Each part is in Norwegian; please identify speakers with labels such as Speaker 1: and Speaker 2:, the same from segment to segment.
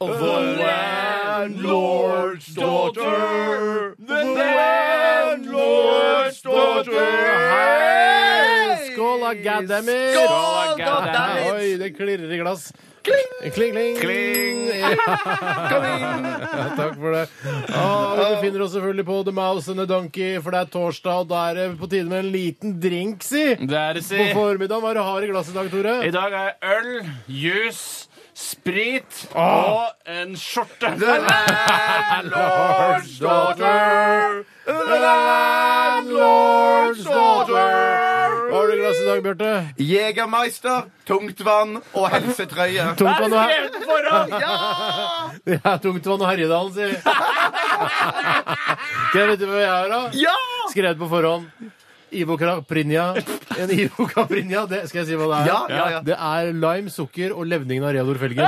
Speaker 1: landlord's daughter. The landlord's daughter. Hei!
Speaker 2: Skål, Academy!
Speaker 1: Skål, goddammit!
Speaker 2: Oi, det klirrer i glass. Kling, kling! kling. Ja. Ja, takk for det. Og vi befinner oss selvfølgelig på The Mouse and the Donkey, for det er torsdag, og da er det på tide med en liten drink, si.
Speaker 1: Det er det,
Speaker 2: På
Speaker 1: si.
Speaker 2: formiddagen, hva er det du har i glasset i dag, Tore?
Speaker 1: I dag er øl, juice, sprit og en skjorte. The landlord's
Speaker 2: daughter.
Speaker 1: The landlord's
Speaker 2: Hva har du i glasset i dag, Bjarte?
Speaker 3: Jegermeister, tungtvann og helsetrøye.
Speaker 2: Tungtvann og, her...
Speaker 1: Skrevet på forhånd!
Speaker 2: ja, tungtvann og Herjedalen, si. Skal jeg vite hva jeg har, da?
Speaker 3: Ja!
Speaker 2: Skrevet på forhånd. Ivo Caprinja. En Ivo Caprinja, det skal jeg si hva det er.
Speaker 3: Ja, ja, ja.
Speaker 2: Det er lime, sukker og levningen av Reodor Felgen.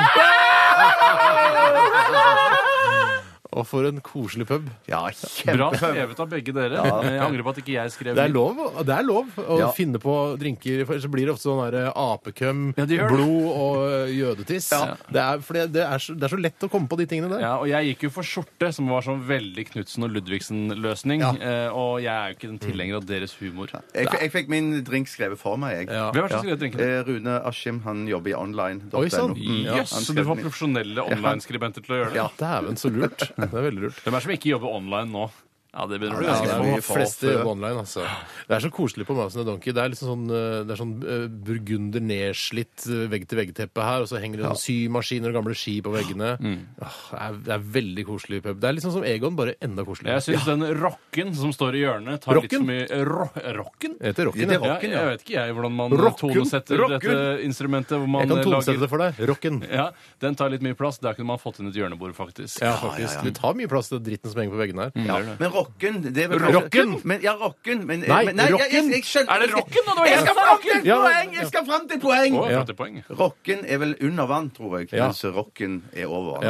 Speaker 2: og for en koselig pub.
Speaker 3: Ja,
Speaker 1: Bra
Speaker 3: kjempe.
Speaker 1: skrevet av begge dere. Jeg angrer på at ikke jeg skrev
Speaker 2: Det er
Speaker 1: min.
Speaker 2: lov, det er lov å
Speaker 3: Ja.
Speaker 2: finne på drinker, for ellers så blir det ofte sånn her apekøm,
Speaker 1: Ja, det gjør det.
Speaker 2: blod og ø, jødetiss.
Speaker 1: Ja.
Speaker 2: Det, er, for det, det, er så, det er så lett å komme på de tingene der.
Speaker 1: Ja, og jeg gikk jo for skjorte, som var sånn veldig Knutsen og Ludvigsen-løsning. eh, Og jeg er jo ikke en tilhenger av deres humor.
Speaker 3: Jeg, f- jeg fikk min drink skrevet for meg, jeg.
Speaker 1: Hvem er det som skrev drinken?
Speaker 3: Eh, Rune Askim, han jobber i online.
Speaker 2: Oi, sann.
Speaker 3: Ja,
Speaker 1: Jøss,
Speaker 3: han
Speaker 1: så du
Speaker 3: skrev
Speaker 1: får
Speaker 3: min.
Speaker 1: profesjonelle online-skribenter til å gjøre det?
Speaker 3: Ja.
Speaker 2: Dæven, så lurt. Det er veldig lurt.
Speaker 1: Hvem er det som ikke jobber online nå? Ja, det begynner å bli
Speaker 3: Ja,
Speaker 2: Ja, det
Speaker 1: ganske
Speaker 2: er
Speaker 3: vi
Speaker 1: få.
Speaker 2: mye
Speaker 3: får
Speaker 2: fleste
Speaker 3: ofte-
Speaker 2: jobber online, altså. Det er så koselig på Mouse and the Donkey. Det er liksom sånn, eh, det er sånn eh, burgunder nedslitt eh, vegg-til-vegg-teppe her, og så henger det sånn symaskiner og gamle ski på veggene. Åh, det, er, det er veldig koselig pub. Det er liksom som Egon, bare enda koseligere.
Speaker 1: Jeg syns den rocken som står i hjørnet, tar litt
Speaker 2: Rocken?
Speaker 1: så mye eh, ro Rocken?
Speaker 2: Det heter Rocken,
Speaker 3: Det
Speaker 2: ja.
Speaker 3: er rocken,
Speaker 1: ja,
Speaker 3: ja.
Speaker 1: jeg vet ikke jeg hvordan man
Speaker 2: Rocken?
Speaker 1: tonesetter
Speaker 2: Rocken?
Speaker 1: dette instrumentet. Hvor man
Speaker 2: Jeg kan
Speaker 1: eh,
Speaker 2: tonesette
Speaker 1: lager...
Speaker 2: det for deg. Rocken.
Speaker 1: Ja, Den tar litt mye plass. Der kunne man fått inn et hjørnebord, faktisk.
Speaker 2: Ja, faktisk. Det tar mye plass til dritten som henger på veggene her.
Speaker 1: Ja.
Speaker 3: Men rocken det er vel
Speaker 2: Rocken?
Speaker 3: Men, ja, rocken. Men,
Speaker 2: Nei,
Speaker 3: men, nei jeg, jeg, jeg skjønner
Speaker 1: Er det rocken nå? Det var
Speaker 3: Jeg
Speaker 1: jeg
Speaker 3: skal
Speaker 1: som sa
Speaker 3: fram
Speaker 1: rocken!
Speaker 3: til
Speaker 2: Ja.
Speaker 3: poeng! Jeg skal fram til poeng!
Speaker 1: Å,
Speaker 2: Ja.
Speaker 1: flott poeng.
Speaker 3: Rocken er vel under vann, tror jeg,
Speaker 2: Ja.
Speaker 3: mens rocken er over vann.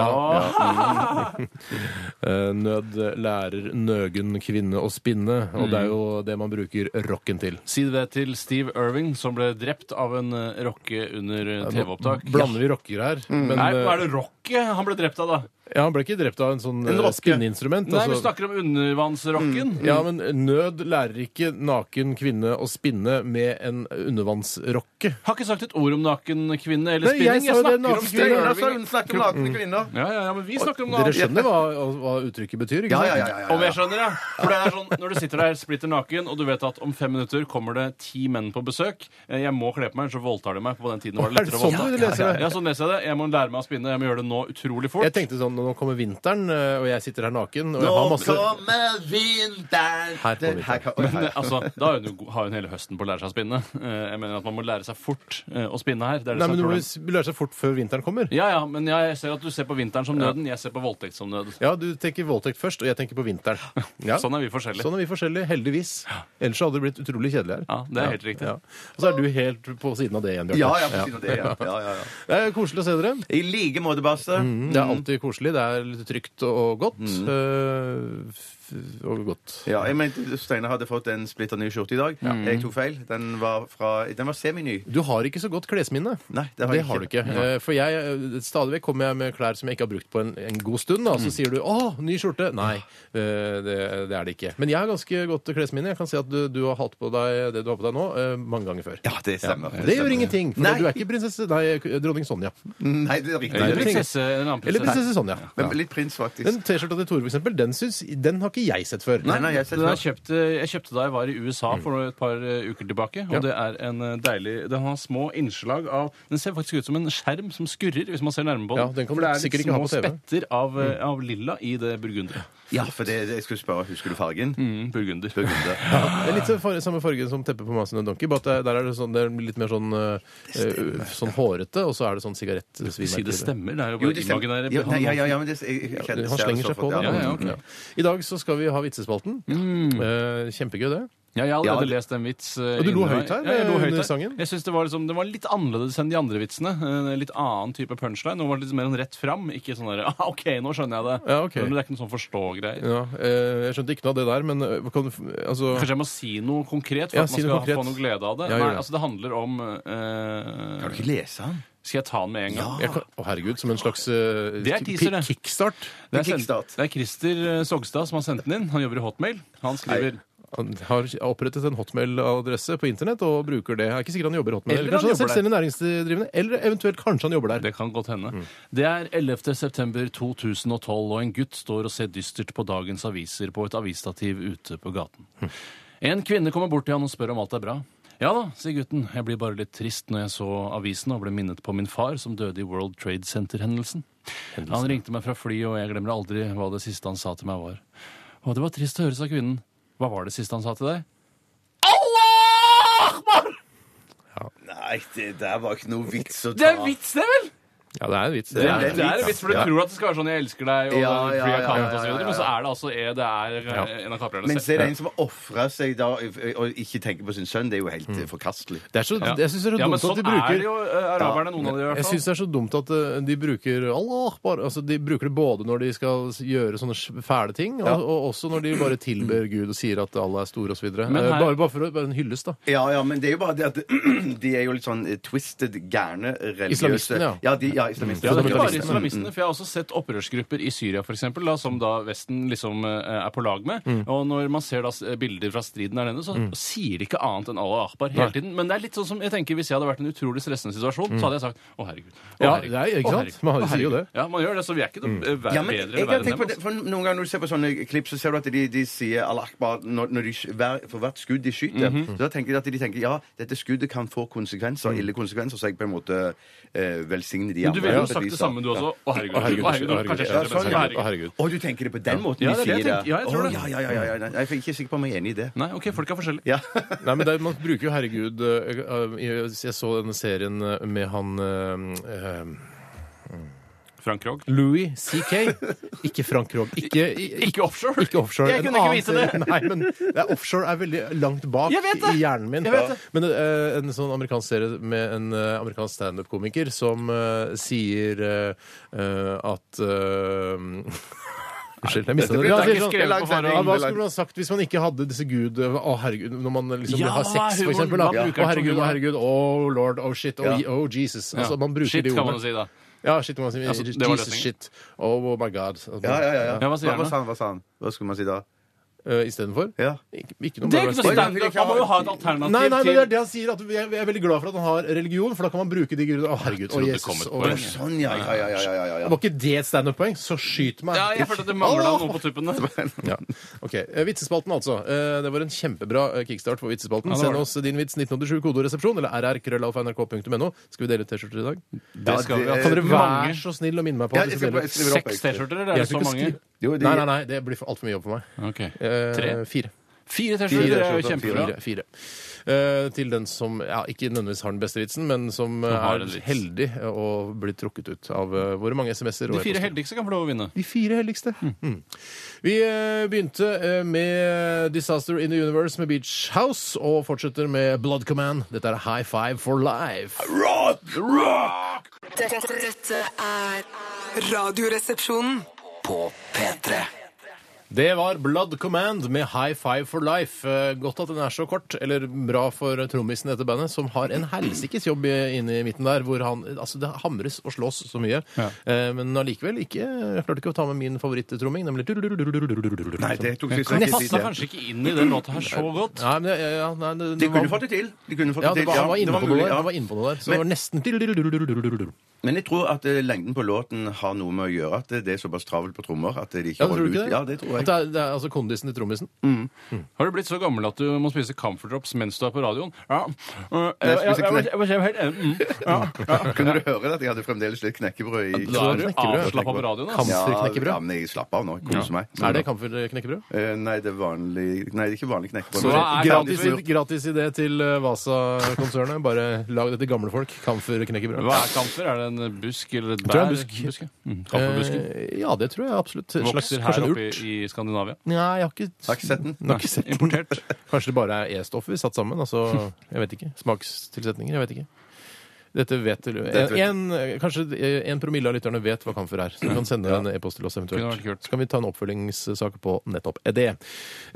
Speaker 2: Mm. Eh, Nød lærer nøgen kvinne å spinne, og det er jo det man bruker rocken til.
Speaker 1: Si det til Steve Irving, som ble drept av en eh, rocke under eh, TV-opptak.
Speaker 2: Blander vi rocker her? Men
Speaker 1: Nei,
Speaker 2: eh,
Speaker 1: hva er det rocke han ble drept av, da?
Speaker 2: ja, han ble ikke drept av en sånn eh,
Speaker 3: rocke.
Speaker 2: spinneinstrument.
Speaker 1: Nei, vi
Speaker 2: altså-
Speaker 1: snakker om undervannsrocken.
Speaker 2: Mm, Ja, men nød lærer ikke naken kvinne å spinne med en undervannsrokke.
Speaker 1: Har ikke sagt et ord om naken kvinne eller
Speaker 2: Nei, jeg sa
Speaker 1: spinning.
Speaker 2: jo det,
Speaker 1: snakker om
Speaker 2: naken
Speaker 1: Steve
Speaker 2: kvinne.
Speaker 3: Da
Speaker 1: Irving.
Speaker 3: sa hun snakke om nakne kvinner.
Speaker 1: Ja, ja, ja, men vi snakker om
Speaker 2: Dere
Speaker 1: naken.
Speaker 2: skjønner hva, hva uttrykket betyr? ikke
Speaker 3: Ja,
Speaker 2: sant?
Speaker 3: ja, ja, ja, ja.
Speaker 1: Om jeg skjønner, ja. For det er sånn, Når du sitter der splitter naken, og du vet at om fem minutter kommer det ti menn på besøk eh, Jeg må kle på meg, ellers så voldtar de meg. På den tiden var det
Speaker 2: Er det
Speaker 1: lettere å
Speaker 2: sånn
Speaker 1: voldta.
Speaker 2: du leser det?
Speaker 1: Ja, sånn leser jeg det. Jeg må lære meg å spinne. Jeg må gjøre det nå utrolig fort.
Speaker 2: Jeg tenkte sånn, Nå kommer vinteren, eh, og jeg sitter her naken og jeg har
Speaker 3: Nå
Speaker 2: masse
Speaker 3: kommer vinteren
Speaker 2: Her kommer vinteren.
Speaker 3: kommer-
Speaker 1: Men, eh, altså, da har hun, jo, go- har hun hele høsten på å lære seg å spinne. Eh, Jeg mener at Man må lære seg fort eh, å spinne her. Det er det
Speaker 2: Nei, men
Speaker 1: som er
Speaker 2: Du må
Speaker 1: problemet.
Speaker 2: jo lære seg fort før vinteren kommer.
Speaker 1: Ja, ja, men jeg ser at du ser på vinteren som nøden. Jeg ser på voldtekt som nød.
Speaker 2: Ja, Du tenker voldtekt først, og jeg tenker på vinteren. Ja.
Speaker 1: Sånn er vi forskjellige.
Speaker 2: Sånn er vi forskjellige, heldigvis. Ellers så hadde det blitt utrolig kjedelig her.
Speaker 1: Ja, det er helt riktig.
Speaker 2: Ja. Og så er du helt på siden av det igjen, Bjarte.
Speaker 3: Ja, eh, ja, på siden av det. Ja. Ja, ja, Mm. ja.
Speaker 2: Det er koselig å se dere.
Speaker 3: I like måte, Basse.
Speaker 2: Det er alltid koselig. Det er litt trygt og godt.
Speaker 3: Mm.
Speaker 2: eh, f- og godt.
Speaker 3: Ja, jeg mente Steinar hadde fått en splitter ny skjorte i dag. Jeg tok feil. Den var, fra, den var seminy.
Speaker 2: Du har ikke så godt klesminne.
Speaker 3: Nei, det har
Speaker 2: Det
Speaker 3: jeg
Speaker 2: har du ikke. Eh, For jeg, eh, stadig vekk kommer jeg med klær som jeg ikke har brukt på en, en god stund. Da. Så
Speaker 3: Mm.
Speaker 2: sier du 'Å, ny skjorte'. Nei, eh, det, det er det ikke. Men jeg har ganske godt klesminne. Jeg kan si at du, du har hatt på deg det du har på deg nå, eh, mange ganger før.
Speaker 3: Ja, det stemmer.
Speaker 2: Det gjør ingenting, for
Speaker 3: Nei.
Speaker 2: du er ikke prinsesse Nei, dronning Sonja.
Speaker 3: Nei, det er riktig.
Speaker 1: Eller
Speaker 2: det er
Speaker 1: prinsesse, en annen
Speaker 2: Eller
Speaker 1: prinsesse.
Speaker 2: prinsesse Sonja.
Speaker 3: Men litt prins, faktisk.
Speaker 2: Den T-skjorta til Tore, for eksempel, den, syns, den har ikke jeg sett før.
Speaker 3: nei, nei, jeg
Speaker 1: Den har
Speaker 3: setter
Speaker 1: jeg kjøpte, jeg kjøpte da jeg var i USA for et par eh, uker tilbake. Og
Speaker 2: Ja.
Speaker 1: det er en eh, deilig Den har små innslag av Den ser faktisk ut som en skjerm som skurrer, hvis man ser nærmere på den.
Speaker 2: Ja, den kan
Speaker 1: for
Speaker 2: du
Speaker 1: det er
Speaker 2: sikkert
Speaker 1: litt
Speaker 2: ikke ha på
Speaker 1: små
Speaker 2: TV. Mm.
Speaker 1: spetter av, eh, av lilla i det burgunderet.
Speaker 3: Ja, for det, det, jeg skulle spørre, husker du fargen?
Speaker 1: Mm, burgunder.
Speaker 3: Burgunder.
Speaker 2: Det er litt sånn farge, samme farge som teppet på Masen og Donkey, bare at det- der er det, sånn, det er litt mer sånn, eh, eh, sånn hårete, og så er det sånn sigarett
Speaker 1: Si det stemmer. Det er jo
Speaker 3: Jo,
Speaker 1: bare
Speaker 3: det stemmer.
Speaker 1: imaginære
Speaker 3: Jo, nei, ja, ja, ja, ja, men det, jeg, jeg kjente
Speaker 2: Han slenger seg på det.
Speaker 3: Ja,
Speaker 1: ja,
Speaker 3: ja,
Speaker 1: ok. Mm.
Speaker 2: Ja. I dag så skal vi ha vitsespalten. Eh, kjempegøy, det.
Speaker 1: Ja, jeg har allerede
Speaker 3: Ja.
Speaker 1: lest en vits. eh,
Speaker 2: Og du lo
Speaker 1: inni meg.
Speaker 2: høyt her,
Speaker 1: Ja, jeg lo
Speaker 2: eh,
Speaker 1: høyt
Speaker 2: under
Speaker 1: her.
Speaker 2: sangen.
Speaker 1: Jeg synes det var, liksom, det var litt annerledes enn de andre vitsene. eh, Litt annen type punchline. Nå var det litt mer en rett fram. Ikke sånn der, ah, OK, nå skjønner jeg det.
Speaker 2: Ja, ok.
Speaker 1: Men det er ikke noe sånn forstå-greier.
Speaker 2: Ja, eh, jeg skjønte ikke noe av det der, men eh, kan, du f- altså,
Speaker 1: Kanskje jeg må si noe konkret for
Speaker 2: Ja,
Speaker 1: at man
Speaker 2: si
Speaker 1: skal
Speaker 2: noe konkret.
Speaker 1: få noe glede av det?
Speaker 2: Ja, gjør
Speaker 1: Nei,
Speaker 2: det.
Speaker 1: altså det handler om
Speaker 3: Kan du
Speaker 1: eh,
Speaker 3: ikke lese den?
Speaker 1: Skal jeg ta den med en gang?
Speaker 2: jeg kan, Å, herregud, som en slags eh,
Speaker 1: Det er
Speaker 2: ki-
Speaker 1: teaser, det.
Speaker 2: kickstart.
Speaker 1: Det er, sendt,
Speaker 3: Kickstart.
Speaker 1: det er Christer eh, Sogstad som har sendt den inn. Han jobber i Hotmail. Han skriver
Speaker 2: Han har opprettet en hotmail-adresse på internett og bruker det. Jeg er ikke sikkert han jobber i hotmail.
Speaker 1: Eller
Speaker 2: Eller kanskje han er
Speaker 1: han jobber der.
Speaker 2: selvstendig næringsdrivende, eller eventuelt kanskje han jobber der.
Speaker 1: Det kan godt hende. Det er 11. september 2012, og en gutt står og ser dystert på dagens aviser på et avisstativ ute på gaten. En kvinne kommer bort til han og spør om alt er bra. Ja da, sier gutten. Jeg blir bare litt trist når jeg så avisen og ble minnet på min far som døde i World Trade Center-hendelsen. Han ringte meg fra flyet, og jeg glemmer aldri hva det siste han sa til meg var. Og det var trist å høre, sa kvinnen. Hva var det siste han sa til deg? Allah akbar!
Speaker 3: Nei, det der var ikke noe vits å ta.
Speaker 1: Det er vits, det, vel?
Speaker 2: Ja, det er en vits.
Speaker 3: Det
Speaker 1: Ja,
Speaker 3: er
Speaker 1: det er en vits, for du
Speaker 3: Ja.
Speaker 1: tror at det skal være sånn 'jeg elsker deg' og
Speaker 3: Ja, ja, ja, ja,
Speaker 1: ja, og sånn, så
Speaker 3: ja,
Speaker 1: videre,
Speaker 3: ja.
Speaker 1: men så er det altså eh, det er eh, en av kaprerne
Speaker 3: Men
Speaker 1: selv.
Speaker 3: se, det er en som har ofra seg da og- og ikke tenker på sin sønn. Det er jo helt
Speaker 1: Mm.
Speaker 3: eh, forkastelig.
Speaker 2: Det er så,
Speaker 1: Ja.
Speaker 2: Jeg syns det er så
Speaker 1: ja, men
Speaker 2: dumt
Speaker 1: sånn
Speaker 2: at de
Speaker 1: er
Speaker 2: bruker
Speaker 1: det jo eh, araberne, noen av de i
Speaker 2: jeg
Speaker 1: hvert
Speaker 2: synes det
Speaker 1: fall.
Speaker 2: er så dumt at eh, de bruker Allah, bare, altså De bruker det både når de skal s- gjøre sånne s- fæle ting, og, og også når de bare tilber Gud og sier at Allah er stor osv. Her...
Speaker 1: Men her-
Speaker 2: Bare, bare for å være en hyllest, da.
Speaker 3: Ja, ja, men det er jo bare det at de er jo litt sånn eh, twisted, gærne, religiøse
Speaker 2: Islamistene, ja.
Speaker 3: Ja, de, ja liksom- islamistene. Mm.
Speaker 1: Ja, det er ikke bare
Speaker 2: Fundamentalistene.
Speaker 1: islamistene, for jeg har også sett opprørsgrupper i Syria for eksempel, da, som da Vesten liksom eh, er på lag med.
Speaker 3: Mm.
Speaker 1: Og når man ser da s- eh, bilder fra striden der nede, så sier de ikke annet enn Allah akbar hele
Speaker 2: Nei.
Speaker 1: tiden. Men det er litt sånn som jeg tenker, hvis jeg hadde vært i en utrolig stressende situasjon,
Speaker 3: Mm.
Speaker 1: så hadde jeg sagt 'Å, herregud'. Å,
Speaker 2: Ja,
Speaker 1: herregud.
Speaker 2: det er- ikke
Speaker 1: Å,
Speaker 2: sant?
Speaker 1: herregud.
Speaker 2: Man
Speaker 1: Å,
Speaker 2: sier jo
Speaker 1: herregud.
Speaker 2: det.
Speaker 1: Ja, man gjør det, så vi er ikke noe eh, ver-
Speaker 3: Mm. Ja, men jeg
Speaker 1: bedre eller
Speaker 3: har
Speaker 1: verre
Speaker 3: tenkt
Speaker 1: enn
Speaker 3: på
Speaker 1: dem.
Speaker 3: det, for Noen ganger når du ser på sånne klipp, så ser du at de, de sier Allah akbar når, når de, sk- hver, for hvert skudd de skyter.
Speaker 1: Mhm.
Speaker 3: Så Da tenker de at de tenker ja, dette skuddet kan få konsekvenser, ille konsekvenser, så jeg på en måte eh, velsigner de
Speaker 1: Mm. Men du ville jo
Speaker 3: på et
Speaker 1: sagt
Speaker 3: vis,
Speaker 1: det
Speaker 3: da.
Speaker 1: samme, du også. Å, herregud.
Speaker 2: Å, herregud,
Speaker 1: Å, herregud.
Speaker 2: å, herregud,
Speaker 1: Kanskje jeg
Speaker 3: Ja,
Speaker 1: skjønner det,
Speaker 3: sånn,
Speaker 1: men
Speaker 3: ja.
Speaker 1: herregud.
Speaker 2: Å, herregud.
Speaker 3: Å, du tenker det på den måten de
Speaker 1: Ja, det er det
Speaker 3: sier
Speaker 1: jeg tenker. Ja, jeg tror
Speaker 3: Å,
Speaker 1: det.
Speaker 3: ja, ja, ja, ja, ja. Nei, Jeg er ikke sikker på om jeg er enig i det.
Speaker 1: Nei, OK, folk er forskjellige.
Speaker 3: Ja.
Speaker 2: Nei, men det, er- Man bruker jo 'herregud' eh, eh, Jeg jeg så denne serien eh, med han eh, eh,
Speaker 1: Frank Krogh.
Speaker 2: Louis C.K. Ikke Frank Krogh. Ikke, i-
Speaker 1: Ikke offshore.
Speaker 2: ikke offshore.
Speaker 1: Jeg
Speaker 2: En
Speaker 1: kunne ikke
Speaker 2: annen
Speaker 1: vite det.
Speaker 2: serie- Nei, men det er, offshore er veldig langt bak
Speaker 1: Jeg vet det.
Speaker 2: i hjernen min.
Speaker 1: Jeg vet det.
Speaker 2: Men eh, en sånn amerikansk serie med en eh, amerikansk standup-komiker som eh, sier eh, eh, at eh, Unnskyld, jeg mistet det.
Speaker 3: blir-
Speaker 2: Ja,
Speaker 3: det er
Speaker 2: sier
Speaker 3: ikke
Speaker 2: sånn-
Speaker 3: skrevet på forhånd.
Speaker 2: ja, Hva skulle man sagt hvis man ikke hadde disse gud... eh, Å, herregud, når man liksom
Speaker 1: Ja,
Speaker 2: har
Speaker 1: hva er
Speaker 2: sex, for
Speaker 1: humoren?
Speaker 2: eksempel. Da.
Speaker 1: Man bruker
Speaker 2: Å, herregud,
Speaker 1: det
Speaker 2: å,
Speaker 1: som
Speaker 2: herregud, oh lord, oh shit, oh,
Speaker 3: Ja.
Speaker 2: oh Jesus. Altså,
Speaker 1: Ja.
Speaker 2: man bruker
Speaker 1: Shit,
Speaker 2: de
Speaker 1: kan
Speaker 2: ordene.
Speaker 1: man si da.
Speaker 2: Ja, shit, kan man si.
Speaker 1: Altså, det var
Speaker 2: Jesus,
Speaker 1: løsningen.
Speaker 2: shit. Oh, my god. Altså,
Speaker 3: Ja, ja, ja, ja.
Speaker 1: Ja, hva sier han
Speaker 3: hva
Speaker 1: da?
Speaker 3: sa han? Hva sa han? Hva skulle man si da?
Speaker 2: Eh, Istedenfor?
Speaker 3: Ja.
Speaker 2: Ikke, ikke noe
Speaker 1: Det er
Speaker 2: bra-
Speaker 1: ikke noe
Speaker 3: sterkt.
Speaker 1: standup. Man må jo ha et alternativ
Speaker 2: Nei, nei, men
Speaker 1: til
Speaker 2: det er det han sier. At jeg, jeg er veldig glad for at han har religion, for da kan man bruke de grunnene. Å, herregud.
Speaker 1: Jeg
Speaker 2: Å,
Speaker 1: trodde det kom
Speaker 2: Jesus.
Speaker 1: et
Speaker 2: Å,
Speaker 1: poeng.
Speaker 2: Jesus.
Speaker 3: Sånn, ja, ja, ja, ja, ja, ja, ja.
Speaker 2: Var ikke det et standup-poeng? Så skyt meg.
Speaker 1: Ja, jeg følte at det mangla noe på tuppene.
Speaker 2: Ja. Ok, eh, Vitsespalten, altså. Eh, Det var en kjempebra eh, kickstart for Vitsespalten.
Speaker 1: Ja, det var
Speaker 2: Send oss din vits 1987 kodoresepsjon eller rrkrøllalfa.nrk.no. Skal vi dele ut T-skjorter i dag?
Speaker 1: Det skal vi
Speaker 3: det-
Speaker 1: ha.
Speaker 2: Kan dere være
Speaker 1: Mange.
Speaker 2: så snill å minne meg på
Speaker 3: Ja,
Speaker 2: at vi
Speaker 3: jeg
Speaker 2: skal
Speaker 3: skal
Speaker 2: dele
Speaker 3: bare-
Speaker 2: ut?
Speaker 3: skriver opp,
Speaker 1: Seks
Speaker 3: jeg.
Speaker 1: T-skjorter, eller er det
Speaker 2: Jeg
Speaker 1: så
Speaker 2: skal ikke
Speaker 1: mange?
Speaker 2: skrive-
Speaker 3: Jo, de-
Speaker 2: Nei, nei, nei, det blir for altfor mye jobb for meg.
Speaker 1: Ok.
Speaker 2: Eh,
Speaker 1: Tre?
Speaker 2: Fire.
Speaker 1: Fire
Speaker 3: Fire
Speaker 1: T-skjorter er jo
Speaker 3: T-skjorter,
Speaker 1: kjempebra.
Speaker 2: Fire. fire. Eh, til den som ja, ikke nødvendigvis har den beste vitsen, men som eh,
Speaker 1: har
Speaker 2: er
Speaker 1: en vits.
Speaker 2: heldig og blir trukket ut av eh, våre mange SMS-er. og
Speaker 1: De fire
Speaker 2: e-poster.
Speaker 1: heldigste kan få lov å vinne.
Speaker 2: De fire heldigste. Mm. Vi eh, begynte eh, med Disaster in the Universe med Beach House, og fortsetter med Blood Command. Dette er High Five for Life.
Speaker 4: Dette, dette er
Speaker 5: Radioresepsjonen.
Speaker 6: På P3
Speaker 2: Det var Blood Command med High Five for Life. Eh, Godt at den er så kort, eller bra for trommisen i dette bandet, som har en helsikes jobb i- inne i midten der, hvor han Altså, det hamres og slås så mye,
Speaker 1: Ja.
Speaker 2: Eh, men allikevel ikke Jeg klarte ikke å ta med min favorittromming, nemlig
Speaker 3: Nei, det tok
Speaker 1: Det
Speaker 3: sikkert ikke tid.
Speaker 1: passa kanskje ikke inn i den låta her så godt.
Speaker 2: Nei, men det, ja, nei, det,
Speaker 3: De
Speaker 2: det
Speaker 3: kunne
Speaker 2: var-
Speaker 3: fått det til. De kunne fått
Speaker 2: ja,
Speaker 3: det
Speaker 2: det
Speaker 3: til.
Speaker 2: var, han var inne på
Speaker 3: mulig,
Speaker 2: noe der.
Speaker 3: ja.
Speaker 2: Han var inne på noe der. Så det
Speaker 3: Men-
Speaker 2: var nesten
Speaker 3: Men jeg tror at eh, lengden på låten har noe med å gjøre at det er såpass travelt på trommer at de ikke
Speaker 2: Ja, tror du
Speaker 3: holder ut.
Speaker 2: ikke det?
Speaker 3: Ja, det tror jeg.
Speaker 2: At det er, det er altså kondisen til trommisen.
Speaker 1: Har du blitt så gammel at du må spise Comfort Drops mens du er på radioen? Ja. Uh,
Speaker 3: Nei, jeg
Speaker 1: jeg-
Speaker 3: spiser
Speaker 1: jeg-
Speaker 3: knekk.
Speaker 1: jeg var helt enig. Mm. Ja.
Speaker 3: Kunne du høre det at jeg hadde fremdeles litt knekkebrød i sånn?
Speaker 1: Da er du
Speaker 2: Knekkebrød.
Speaker 1: avslappa på radioen.
Speaker 2: Kan-
Speaker 1: ass.
Speaker 3: Ja,
Speaker 2: Knekkebrød?
Speaker 3: ja, men jeg slapper av nå. jeg Koser meg.
Speaker 2: Er det kamferknekkebrød?
Speaker 3: Eh, Nei, det er vanlig Nei, det er ikke vanlig knekkebrød.
Speaker 1: Så
Speaker 3: men
Speaker 1: hva
Speaker 3: vanlig
Speaker 1: er
Speaker 2: Gratis,
Speaker 3: smør.
Speaker 2: gratis idé til eh, Vasa-konsernet. Bare lag det til gamle folk. Kamferknekkebrød.
Speaker 1: Hva er kamfer? Er det en busk eller et
Speaker 2: tror det er
Speaker 1: bær?
Speaker 2: busk.
Speaker 1: Mm. Kamferbusken.
Speaker 2: Eh, Ja, det tror jeg absolutt. En Slags,
Speaker 1: Vokser her
Speaker 2: kanskje en
Speaker 1: oppe
Speaker 2: urt?
Speaker 1: i, i Skandinavia.
Speaker 2: Nei, jeg har ikke,
Speaker 3: Har ikke sett den.
Speaker 2: jeg har ikke sett den.
Speaker 1: Importert.
Speaker 2: Kanskje det bare er E-stoffer satt sammen? Altså, jeg vet ikke. Smakstilsetninger? Jeg vet ikke. Dette vet du.
Speaker 3: vet
Speaker 2: En, en, kanskje eh, en promille av lytterne vet hva kamfer er. Så du kan sende en e-post til oss
Speaker 1: Kunne vært
Speaker 2: eventuelt.
Speaker 1: kult.
Speaker 2: Så kan vi ta en oppfølgingssak på nettopp det.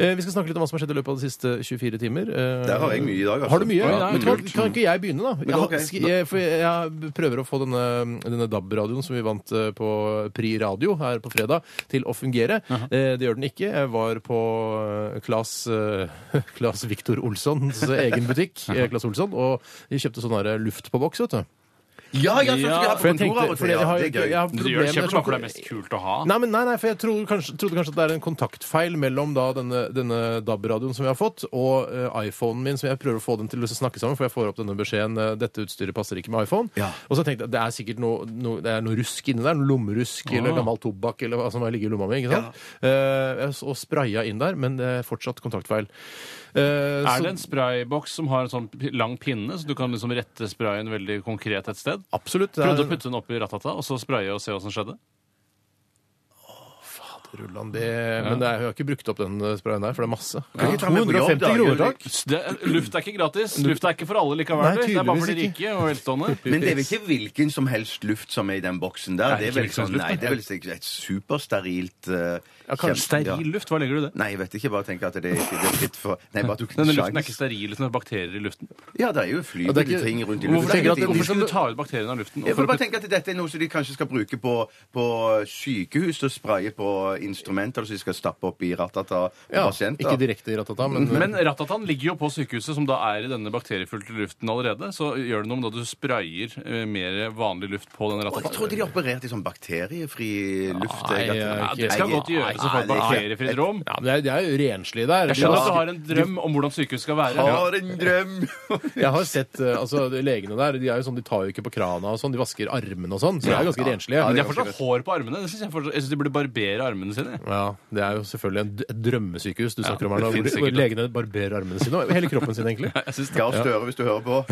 Speaker 2: Eh, Vi skal snakke litt om hva som har skjedd i løpet av de siste 24 timer. Eh,
Speaker 3: Der har jeg mye i dag, altså.
Speaker 2: Har du mye?
Speaker 3: Ja,
Speaker 2: Men kan, kan ikke jeg begynne, da? Jeg,
Speaker 3: Men
Speaker 2: har-
Speaker 3: ok.
Speaker 2: sk- jeg, for jeg prøver å få denne, denne DAB-radioen som vi vant eh, på Pri Radio her på fredag, til å fungere. Eh, Det gjør den ikke. Jeg var på eh, Claes, eh, Claes Victor Olssons egen butikk, eh, Claes Olsson, og de kjøpte sånn her luft på boks, vet du.
Speaker 3: Ja, ja, sånn skal jeg ha
Speaker 2: For
Speaker 3: på kontoret av
Speaker 2: jeg tenkte,
Speaker 3: og til.
Speaker 2: for jeg
Speaker 3: Ja,
Speaker 2: har,
Speaker 3: det er
Speaker 2: jeg
Speaker 3: gøy.
Speaker 2: har
Speaker 1: Men Du gjør
Speaker 2: problemer
Speaker 1: det kjempebra, for det er mest kult å ha.
Speaker 2: Nei, men nei, nei, for jeg trodde kanskje, trodde kanskje at det er en kontaktfeil mellom da denne, denne DAB-radioen som vi har fått, og eh, iPhonen min, som jeg prøver å få den til å snakke sammen, for jeg får opp denne beskjeden eh, dette utstyret passer ikke med iPhone.
Speaker 3: Ja.
Speaker 2: Og så tenkte jeg det er sikkert noe, noe, det er noe rusk inni der, noe lommerusk eller gammel tobakk eller hva som ligger i lomma mi. ikke sant? Eh, jeg s- og spraya inn der, men det er fortsatt kontaktfeil. Eh,
Speaker 1: Er
Speaker 2: så-
Speaker 1: det en sprayboks som har en sånn pi- lang pinne, så du kan liksom rette sprayen veldig konkret et sted?
Speaker 2: Absolutt. det er-
Speaker 1: Prøvde å putte den oppi ratata og så spraye og se hva som skjedde?
Speaker 2: Rulland, det, Men det er, jeg har ikke brukt opp den eh, sprayen der, for det er masse.
Speaker 3: ikke ta med på jobb,
Speaker 2: 250
Speaker 3: da,
Speaker 2: kroner,
Speaker 3: Jørgen?
Speaker 2: takk.
Speaker 1: Det, luft er ikke gratis. Luft er ikke for alle likevel.
Speaker 2: Nei,
Speaker 1: det er bare for de
Speaker 2: tydeligvis
Speaker 1: rike og velstående.
Speaker 3: Men det er vel ikke hvilken som helst luft som er i den boksen der? Det er
Speaker 1: Nei, ikke
Speaker 3: vel
Speaker 1: hvilken som
Speaker 3: sånn,
Speaker 1: helst luft,
Speaker 3: nei, det er vel sikkert et supersterilt eh, kjem- ja.
Speaker 1: Steril luft, hva legger du i det?
Speaker 3: Nei, jeg vet ikke. Jeg bare tenker at det, ikke- det er fritt for Nei, bare at du
Speaker 1: Denne luften er ikke steril, det er bakterier i luften.
Speaker 3: Ja, det er jo
Speaker 2: det er
Speaker 3: flyvende
Speaker 2: ikke-
Speaker 3: ting rundt i
Speaker 1: Hvorfor,
Speaker 3: luften.
Speaker 2: tenker du at
Speaker 3: Ingenting.
Speaker 1: hvorfor
Speaker 2: skal
Speaker 1: skal du ta ut bakteriene av luften?
Speaker 3: Jeg
Speaker 1: Og for
Speaker 3: får
Speaker 1: å
Speaker 3: bare
Speaker 1: putte-
Speaker 3: tenke at Dette er noe som de kanskje skal bruke på, på sykehus, og spraye på instrumenter som de skal stappe opp i ratata på
Speaker 2: Ja,
Speaker 3: pasienter.
Speaker 2: ikke direkte i ratata, men,
Speaker 1: Men ratatan ligger jo på sykehuset, som da er i denne bakteriefylte luften allerede. Så gjør det noe om da du sprayer eh, mer vanlig luft på den
Speaker 3: Og jeg
Speaker 1: ratatan.
Speaker 3: trodde de opererte i sånn bakteriefri luft.
Speaker 2: Nei,
Speaker 3: jeg, at-
Speaker 1: Ja,
Speaker 2: jeg-
Speaker 1: det skal
Speaker 3: Nei,
Speaker 1: godt
Speaker 3: nei,
Speaker 1: gjøres å få
Speaker 3: det
Speaker 1: et
Speaker 3: er ikke-
Speaker 1: bakteriefritt rom.
Speaker 2: ja, men det er- det er jo renslig der.
Speaker 1: Jeg skjønner
Speaker 2: Ja.
Speaker 1: at du har en drøm om hvordan sykehuset skal være.
Speaker 3: Har en drøm!
Speaker 2: Jeg har sett eh, altså, de legene der. De, er jo sånn, de tar jo ikke på krana og sånn. De vasker armene og sånn. Så de er ganske renslige.
Speaker 1: Men
Speaker 2: Men
Speaker 1: de
Speaker 2: jeg
Speaker 1: har fortsatt hår på armene. Det synes jeg, fortsatt, jeg synes de burde barbere armene sine.
Speaker 2: for- Ja, Det er jo selvfølgelig en d- et drømmesykehus du snakker om her.
Speaker 1: det
Speaker 2: nå, Hvor,
Speaker 1: finnes
Speaker 2: de- hvor
Speaker 1: sikkert.
Speaker 2: legene barberer armene sine og hele kroppen sin, egentlig.
Speaker 1: Jeg synes det.
Speaker 3: Gahr Støre, hvis du hører på.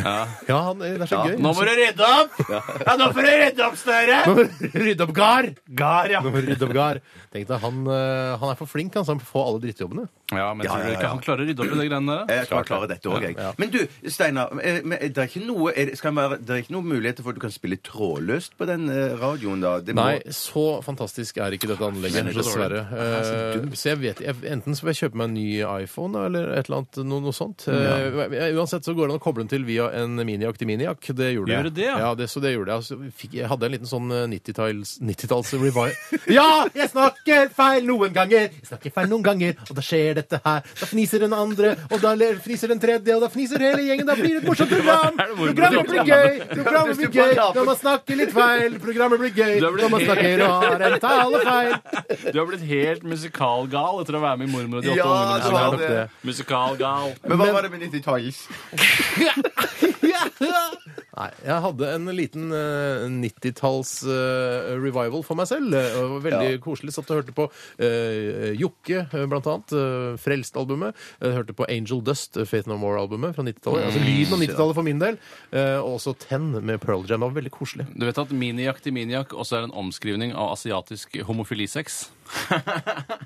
Speaker 2: Ja, han, det er så gøy.
Speaker 1: Nå må du rydde opp! Ja, nå får du rydde opp, Støre!
Speaker 2: Rydde opp gard! Gard, ja. Rydde opp gard. Tenk deg, han, eh, han er for flink, han, så han får alle drittjobbene.
Speaker 1: Ja, men
Speaker 3: Ja,
Speaker 1: tror
Speaker 3: ja,
Speaker 1: du
Speaker 3: ja.
Speaker 1: ikke han klarer å rydde opp i de greiene der? da?
Speaker 3: Jeg kan klare dette òg, jeg. Men du, Steinar. eh, men Det er ikke noe er det- skal være, det er ikke noen muligheter for at du kan spille trådløst på den eh, radioen, da? Det må-
Speaker 2: Nei, så fantastisk er ikke dette anlegget,
Speaker 1: Nei, det er så
Speaker 2: dessverre. Eh, Så jeg vet jeg, Enten så vil jeg kjøpe meg en ny iPhone eller et eller annet, noe, noe sånt. Eh, jeg- Uansett så går det an å koble den til via en minijack til minijack. Det gjorde jeg.
Speaker 1: Gjør det det, ja?
Speaker 2: ja? det, så det gjorde jeg. Altså, fikk, jeg hadde en liten sånn eh, 90-talls 90-talls revive. ja! Jeg snakker feil noen ganger! Jeg snakker feil noen ganger, og da skjer dette her. Da fniser den andre, og da le- fniser den tredje, og da fniser hele gjengen. Da blir det et morsomt program!
Speaker 1: Er det hvor-
Speaker 2: Programmet blir gøy! Programmet blir gøy! Når man snakker litt feil, programmet blir gøy!
Speaker 1: Du er blitt
Speaker 2: Når man snakker og har en talefeil.
Speaker 1: Du har blitt helt musikalgal etter å være med i Mormor og de åtte
Speaker 3: Ja,
Speaker 1: ungene.
Speaker 3: du
Speaker 1: som
Speaker 3: har
Speaker 1: er
Speaker 3: det.
Speaker 1: oppe. Musikalgal.
Speaker 3: Men hva var det med 90-talls?
Speaker 2: Nei, jeg hadde en liten 90-talls revival for meg selv. eh, og det var veldig koselig. Satt og hørte på eh, Jokke, eh, blant annet. eh, Frelst-albumet. Eh, hørte på Angel Dust, eh, Faith No More-albumet fra 90-tallet. Altså lyden av 90-tallet for min del. eh, og også Ten med Pearl Jam. Det var veldig koselig.
Speaker 1: Du vet at minijakk til minijakk også er en omskrivning av asiatisk homofilisex?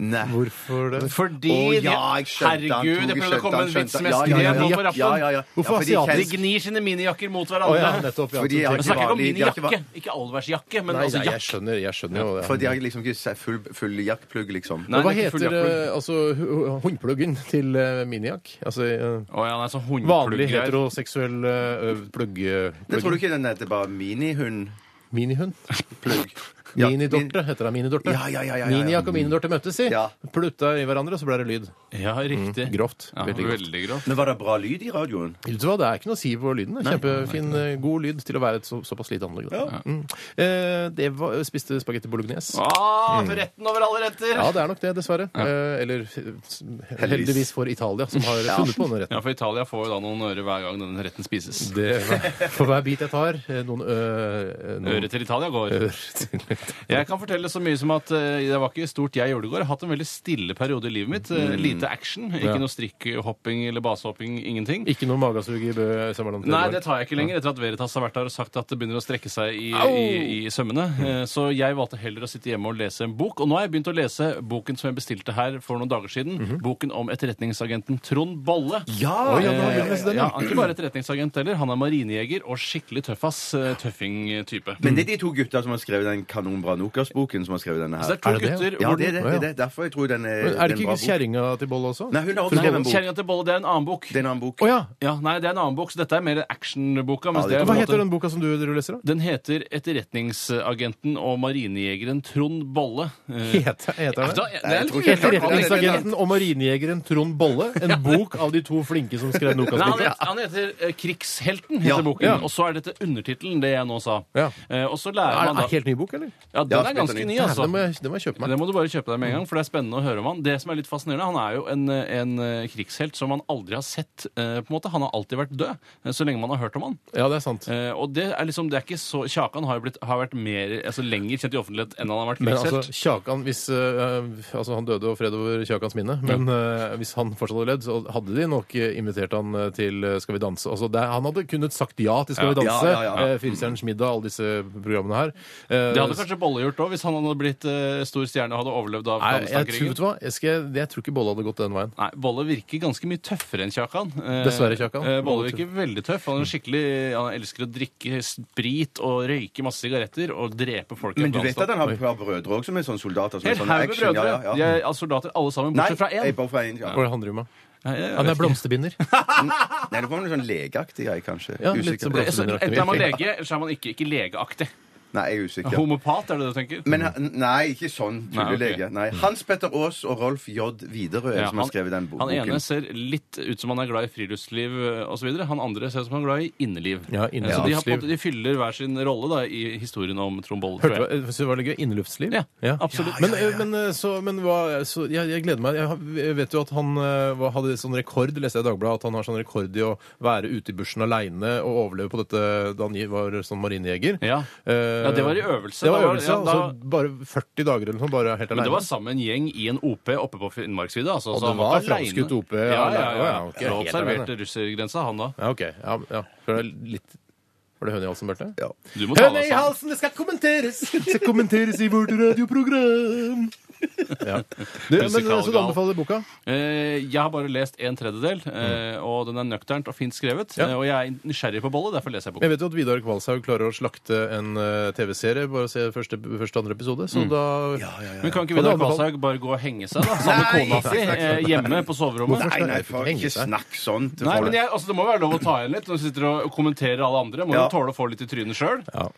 Speaker 3: Nei.
Speaker 2: Hvorfor det?
Speaker 1: Fordi
Speaker 3: Å,
Speaker 1: de-
Speaker 3: ja, jeg skjønte han,
Speaker 1: Herregud,
Speaker 3: Tore,
Speaker 1: jeg prøvde å komme
Speaker 3: skjønte han,
Speaker 1: med en vits
Speaker 3: skjønte
Speaker 1: med
Speaker 3: han. Ja,
Speaker 1: skred
Speaker 3: ja, ja,
Speaker 1: nå
Speaker 3: ja,
Speaker 1: på
Speaker 3: ja,
Speaker 1: rappen.
Speaker 3: ja, ja.
Speaker 2: Hvorfor
Speaker 3: Ja, fordi de
Speaker 1: De
Speaker 2: asiatisk?
Speaker 3: kjenner-
Speaker 1: gnir sine minijakker mot
Speaker 2: Å ja,
Speaker 1: hverandre.
Speaker 2: nettopp. Ja,
Speaker 3: Fordi jeg-
Speaker 1: Jeg snakker ikke om
Speaker 3: Vanlig, de har ikke
Speaker 1: minijakke, ikke allværsjakke, men
Speaker 2: Nei,
Speaker 1: altså
Speaker 2: nei, jeg
Speaker 1: jakk.
Speaker 2: skjønner, jeg skjønner jo det.
Speaker 3: For de har liksom ikke se- full, full jakkplugg, liksom.
Speaker 1: Nei,
Speaker 2: Og hva
Speaker 1: det er ikke full
Speaker 2: heter
Speaker 1: jakkplugg.
Speaker 2: eh, altså hu- håndpluggen til eh, minijakk? Altså eh,
Speaker 1: Å ja, nei, så
Speaker 2: vanlig
Speaker 1: hundepluggreier.
Speaker 2: heteroseksuell eh, ø, plugg... eh,
Speaker 3: Det
Speaker 2: plugg.
Speaker 3: tror du ikke den heter bare minihund?
Speaker 2: Minihund?
Speaker 3: Plugg. Ja,
Speaker 2: Minidorte heter det. Minidorte.
Speaker 3: Ja, ja, ja, ja, ja.
Speaker 2: Minijakk og minidorte møttes i.
Speaker 3: Ja.
Speaker 2: Plutta i hverandre, og så ble det lyd.
Speaker 1: Ja,
Speaker 3: Mm,
Speaker 1: riktig.
Speaker 2: Grovt.
Speaker 1: Ja,
Speaker 2: Veldig grovt.
Speaker 1: veldig grovt.
Speaker 3: Men var det bra lyd i radioen?
Speaker 2: Vet du hva, Det er ikke noe å si på lyden. det. Kjempefin, eh, god lyd til å være et så, såpass lite anlegg. da. Mm. Eh, det var, spiste spagetti bolognese.
Speaker 1: Ah, for retten over alle retter!
Speaker 2: Ja, det er nok det, dessverre. Eh, eller eh, heldigvis for Italia, som har funnet på denne retten.
Speaker 1: Ja, for Italia får jo da noen øre hver gang denne retten spises.
Speaker 2: Det, for hver bit jeg tar, eh, noen, ø, eh, noen
Speaker 1: Øret til Italia går.
Speaker 2: ører til.
Speaker 1: Jeg kan fortelle så mye som at eh, det var ikke stort jeg gjorde det i går. Jeg har hatt en veldig stille periode i livet mitt. eh, Lite action. Ikke noe strikkhopping eller basehopping. Ingenting.
Speaker 2: Ikke noe magesug i Bø Sømmerland?
Speaker 1: Nei, det tar jeg ikke lenger etter at Veritas har vært der og sagt at det begynner å strekke seg i, i, i sømmene. Eh, Så jeg valgte heller å sitte hjemme og lese en bok. Og nå har jeg begynt å lese boken som jeg bestilte her for noen dager siden. Boken om etterretningsagenten Trond Bolle.
Speaker 3: Ja!
Speaker 2: Oi, ja, nå har vi lest den,
Speaker 1: ja,
Speaker 2: ja.
Speaker 1: han er ikke bare etterretningsagent heller. Han er marinejeger og skikkelig tøffass. eh, Tøffing-type.
Speaker 3: Men det er de to gutta som har skrevet den kanonbra Nokas-boken som har skrevet denne her.
Speaker 1: Så det er to
Speaker 2: Er det det?
Speaker 1: gutter.
Speaker 3: Ja,
Speaker 1: hvor
Speaker 3: det er
Speaker 1: den-
Speaker 3: det. det, er det. Derfor jeg tror den er,
Speaker 2: Men Er det
Speaker 3: den
Speaker 2: ikke
Speaker 3: bok.
Speaker 2: kjerringa til Bolle også?
Speaker 3: Nei, hun har også
Speaker 1: Nei,
Speaker 3: skrevet en bok.
Speaker 1: Kjerringa til Bolle, det er en annen bok.
Speaker 3: Det er en annen bok.
Speaker 2: Å ja!
Speaker 1: Ja, nei, det er en annen bok, så dette er mer actionboka. mens
Speaker 3: Ja, det-
Speaker 1: det er på
Speaker 2: Hva
Speaker 1: en måte-
Speaker 2: heter den boka som du, du leser, da?
Speaker 1: Den heter 'Etterretningsagenten og marinejegeren Trond Bolle'. Eh,
Speaker 2: Heter, heter den?
Speaker 1: da- det er litt
Speaker 3: tror ikke-
Speaker 1: mye rart. Han heter-
Speaker 2: Etterretningsagenten og marinejegeren Trond Bolle. En bok av de to flinke som skrev
Speaker 1: Nei, han
Speaker 2: Nokas-boka.
Speaker 1: heter, han heter eh, Krigshelten,
Speaker 3: Ja,
Speaker 1: heter boken.
Speaker 2: ja.
Speaker 1: Og så er dette undertittelen, det jeg nå sa.
Speaker 2: Ja.
Speaker 1: Eh, og så lærer
Speaker 2: Er
Speaker 1: man
Speaker 2: det
Speaker 1: da
Speaker 2: en helt ny bok, eller?
Speaker 1: Ja, den
Speaker 3: Ja,
Speaker 1: er ganske ny,
Speaker 2: Ja,
Speaker 1: altså.
Speaker 2: det, må jeg, det må jeg kjøpe meg.
Speaker 1: Det må du bare kjøpe deg med en gang, for det er spennende å høre om han. Det som er litt fascinerende, han er jo en, en eh, krigshelt som man aldri har sett, eh, på en måte. Han har alltid vært død, eh, så lenge man har hørt om han.
Speaker 2: Ja, det er sant.
Speaker 1: Eh, og det er liksom, det er ikke så Kjakan har jo blitt, har vært mer, altså lenger kjent i offentlighet enn han har vært
Speaker 2: Men
Speaker 1: krigshelt.
Speaker 2: altså, Kjakan hvis, øh, altså Han døde og fred over Kjakans minne, men øh, hvis han fortsatt hadde levd, så hadde de nok øh, invitert han øh, til øh, Skal vi danse. Altså, det, han hadde kunnet sagt ja til Skal vi danse,
Speaker 3: Ja, ja, ja, ja.
Speaker 2: øh, Firestjerners middag, alle disse programmene her. Eh,
Speaker 1: det hadde kanskje Bolle gjort òg, hvis han hadde blitt eh, stor stjerne og hadde overlevd av
Speaker 2: Nei, jeg tror, vet
Speaker 1: Afghanistan-krigen.
Speaker 2: du hva? Jeg, skal, jeg tror ikke Bolle hadde gått den veien.
Speaker 1: Nei, Bolle virker ganske mye tøffere enn Kjakan. Eh,
Speaker 2: Dessverre, Kjakan. Mm.
Speaker 1: eh, Bolle virker veldig tøff. Han er skikkelig, han elsker å drikke sprit og røyke masse sigaretter og drepe folk. i
Speaker 3: Men du vet at
Speaker 1: Afghanistan.
Speaker 3: han har et par brødre òg som er sånne soldater? Som er
Speaker 1: Helt
Speaker 3: sånn
Speaker 1: haug med
Speaker 3: action.
Speaker 1: brødre.
Speaker 3: Ja, ja,
Speaker 1: De
Speaker 3: ja.
Speaker 1: er altså, soldater alle sammen,
Speaker 3: Nei,
Speaker 1: bortsett fra
Speaker 3: jeg er
Speaker 1: én.
Speaker 3: bare fra en, ja.
Speaker 2: Hva er det han driver med?
Speaker 1: Nei, jeg
Speaker 2: Han
Speaker 1: vet
Speaker 2: er
Speaker 1: ikke.
Speaker 2: blomsterbinder.
Speaker 3: Nei, det var noe sånn legeaktig greie, kanskje.
Speaker 2: Ja, litt som
Speaker 1: Så
Speaker 2: blomsterbinder.
Speaker 1: Enten er man lege, eller så er man ikke, ikke legeaktig.
Speaker 3: Nei, jeg er usikker.
Speaker 1: Homopat, er det det du tenker?
Speaker 3: Men han- nei, ikke sånn
Speaker 1: Nei,
Speaker 3: tullelege.
Speaker 1: ok. Mm.
Speaker 3: Nei, Hans Petter Aas og Rolf J. Widerøe
Speaker 1: Ja,
Speaker 3: som har skrevet den bo-
Speaker 1: han
Speaker 3: boken.
Speaker 1: ene ser litt ut som han er glad i friluftsliv eh, osv. Han andre ser ut som han er glad i inneliv. Eh,
Speaker 2: Ja, inneliv.
Speaker 1: Så de, har, på en måte- de fyller hver sin rolle da, i historien om Trombolle.
Speaker 2: Hørte du hva- jeg synes det var litt gøy? Inneluftsliv?
Speaker 1: Ja, absolutt.
Speaker 2: Men, eh, men, så, men hva, så, jeg, jeg gleder meg. Jeg, har- jeg vet jo at han eh, hva- hadde sånn rekord, leste jeg i Dagbladet, at han har sånn rekord i å være ute i bushen aleine og overleve på dette da han var sånn marinejeger.
Speaker 1: Ja.
Speaker 2: Eh,
Speaker 1: Ja, det var i øvelse.
Speaker 2: Det var
Speaker 1: Da var-
Speaker 2: øvelse,
Speaker 1: ja, da-
Speaker 2: altså Bare 40 dager eller noe sånt, bare helt
Speaker 1: Men det
Speaker 2: aleine.
Speaker 1: var sammen en gjeng i en OP oppe på Finnmarksvidda. Altså,
Speaker 2: Og
Speaker 1: så
Speaker 2: det
Speaker 1: han
Speaker 2: var
Speaker 1: ikke alene.
Speaker 2: framskutt OP,
Speaker 1: Ja, ja, ja.
Speaker 2: ja, ja, ok.
Speaker 1: Han
Speaker 2: Helt
Speaker 1: observerte russergrensa, han da.
Speaker 2: Ja, ok. Ja, ja. Så det er litt Var det høne i halsen, Bjarte?
Speaker 3: Ja.
Speaker 1: Du må tale
Speaker 2: Høne i
Speaker 1: sammen.
Speaker 2: halsen, det skal kommenteres! Det skal kommenteres i vårt radioprogram! Ja. Du, men, eh,
Speaker 1: Musikalgal.
Speaker 2: så du anbefaler boka?
Speaker 1: Eh, jeg har bare lest en tredjedel, eh, og den er nøkternt og fint skrevet.
Speaker 2: Ja.
Speaker 1: eh, Og jeg er nysgjerrig på bollet, derfor leser jeg boken.
Speaker 2: Jeg vet jo at Vidar Kvalshaug klarer å slakte en eh, TV-serie. Bare se første, første andre episode. Så
Speaker 1: Mm.
Speaker 2: da
Speaker 1: Men kan ikke
Speaker 2: Og det
Speaker 1: Vidar
Speaker 2: anbefaler-
Speaker 1: Kvalshaug bare gå og henge seg da, sammen med kona si eh, hjemme på soverommet?
Speaker 3: sånn. Nei, nei, for
Speaker 2: Henge
Speaker 3: ikke
Speaker 2: seg.
Speaker 3: snakk sånn til
Speaker 1: Nei,
Speaker 3: folk.
Speaker 1: men jeg, altså, Det må være lov å ta igjen litt når du sitter og kommenterer alle andre. Må
Speaker 3: Ja.
Speaker 1: jo tåle å få litt i trynet sjøl.
Speaker 2: ja.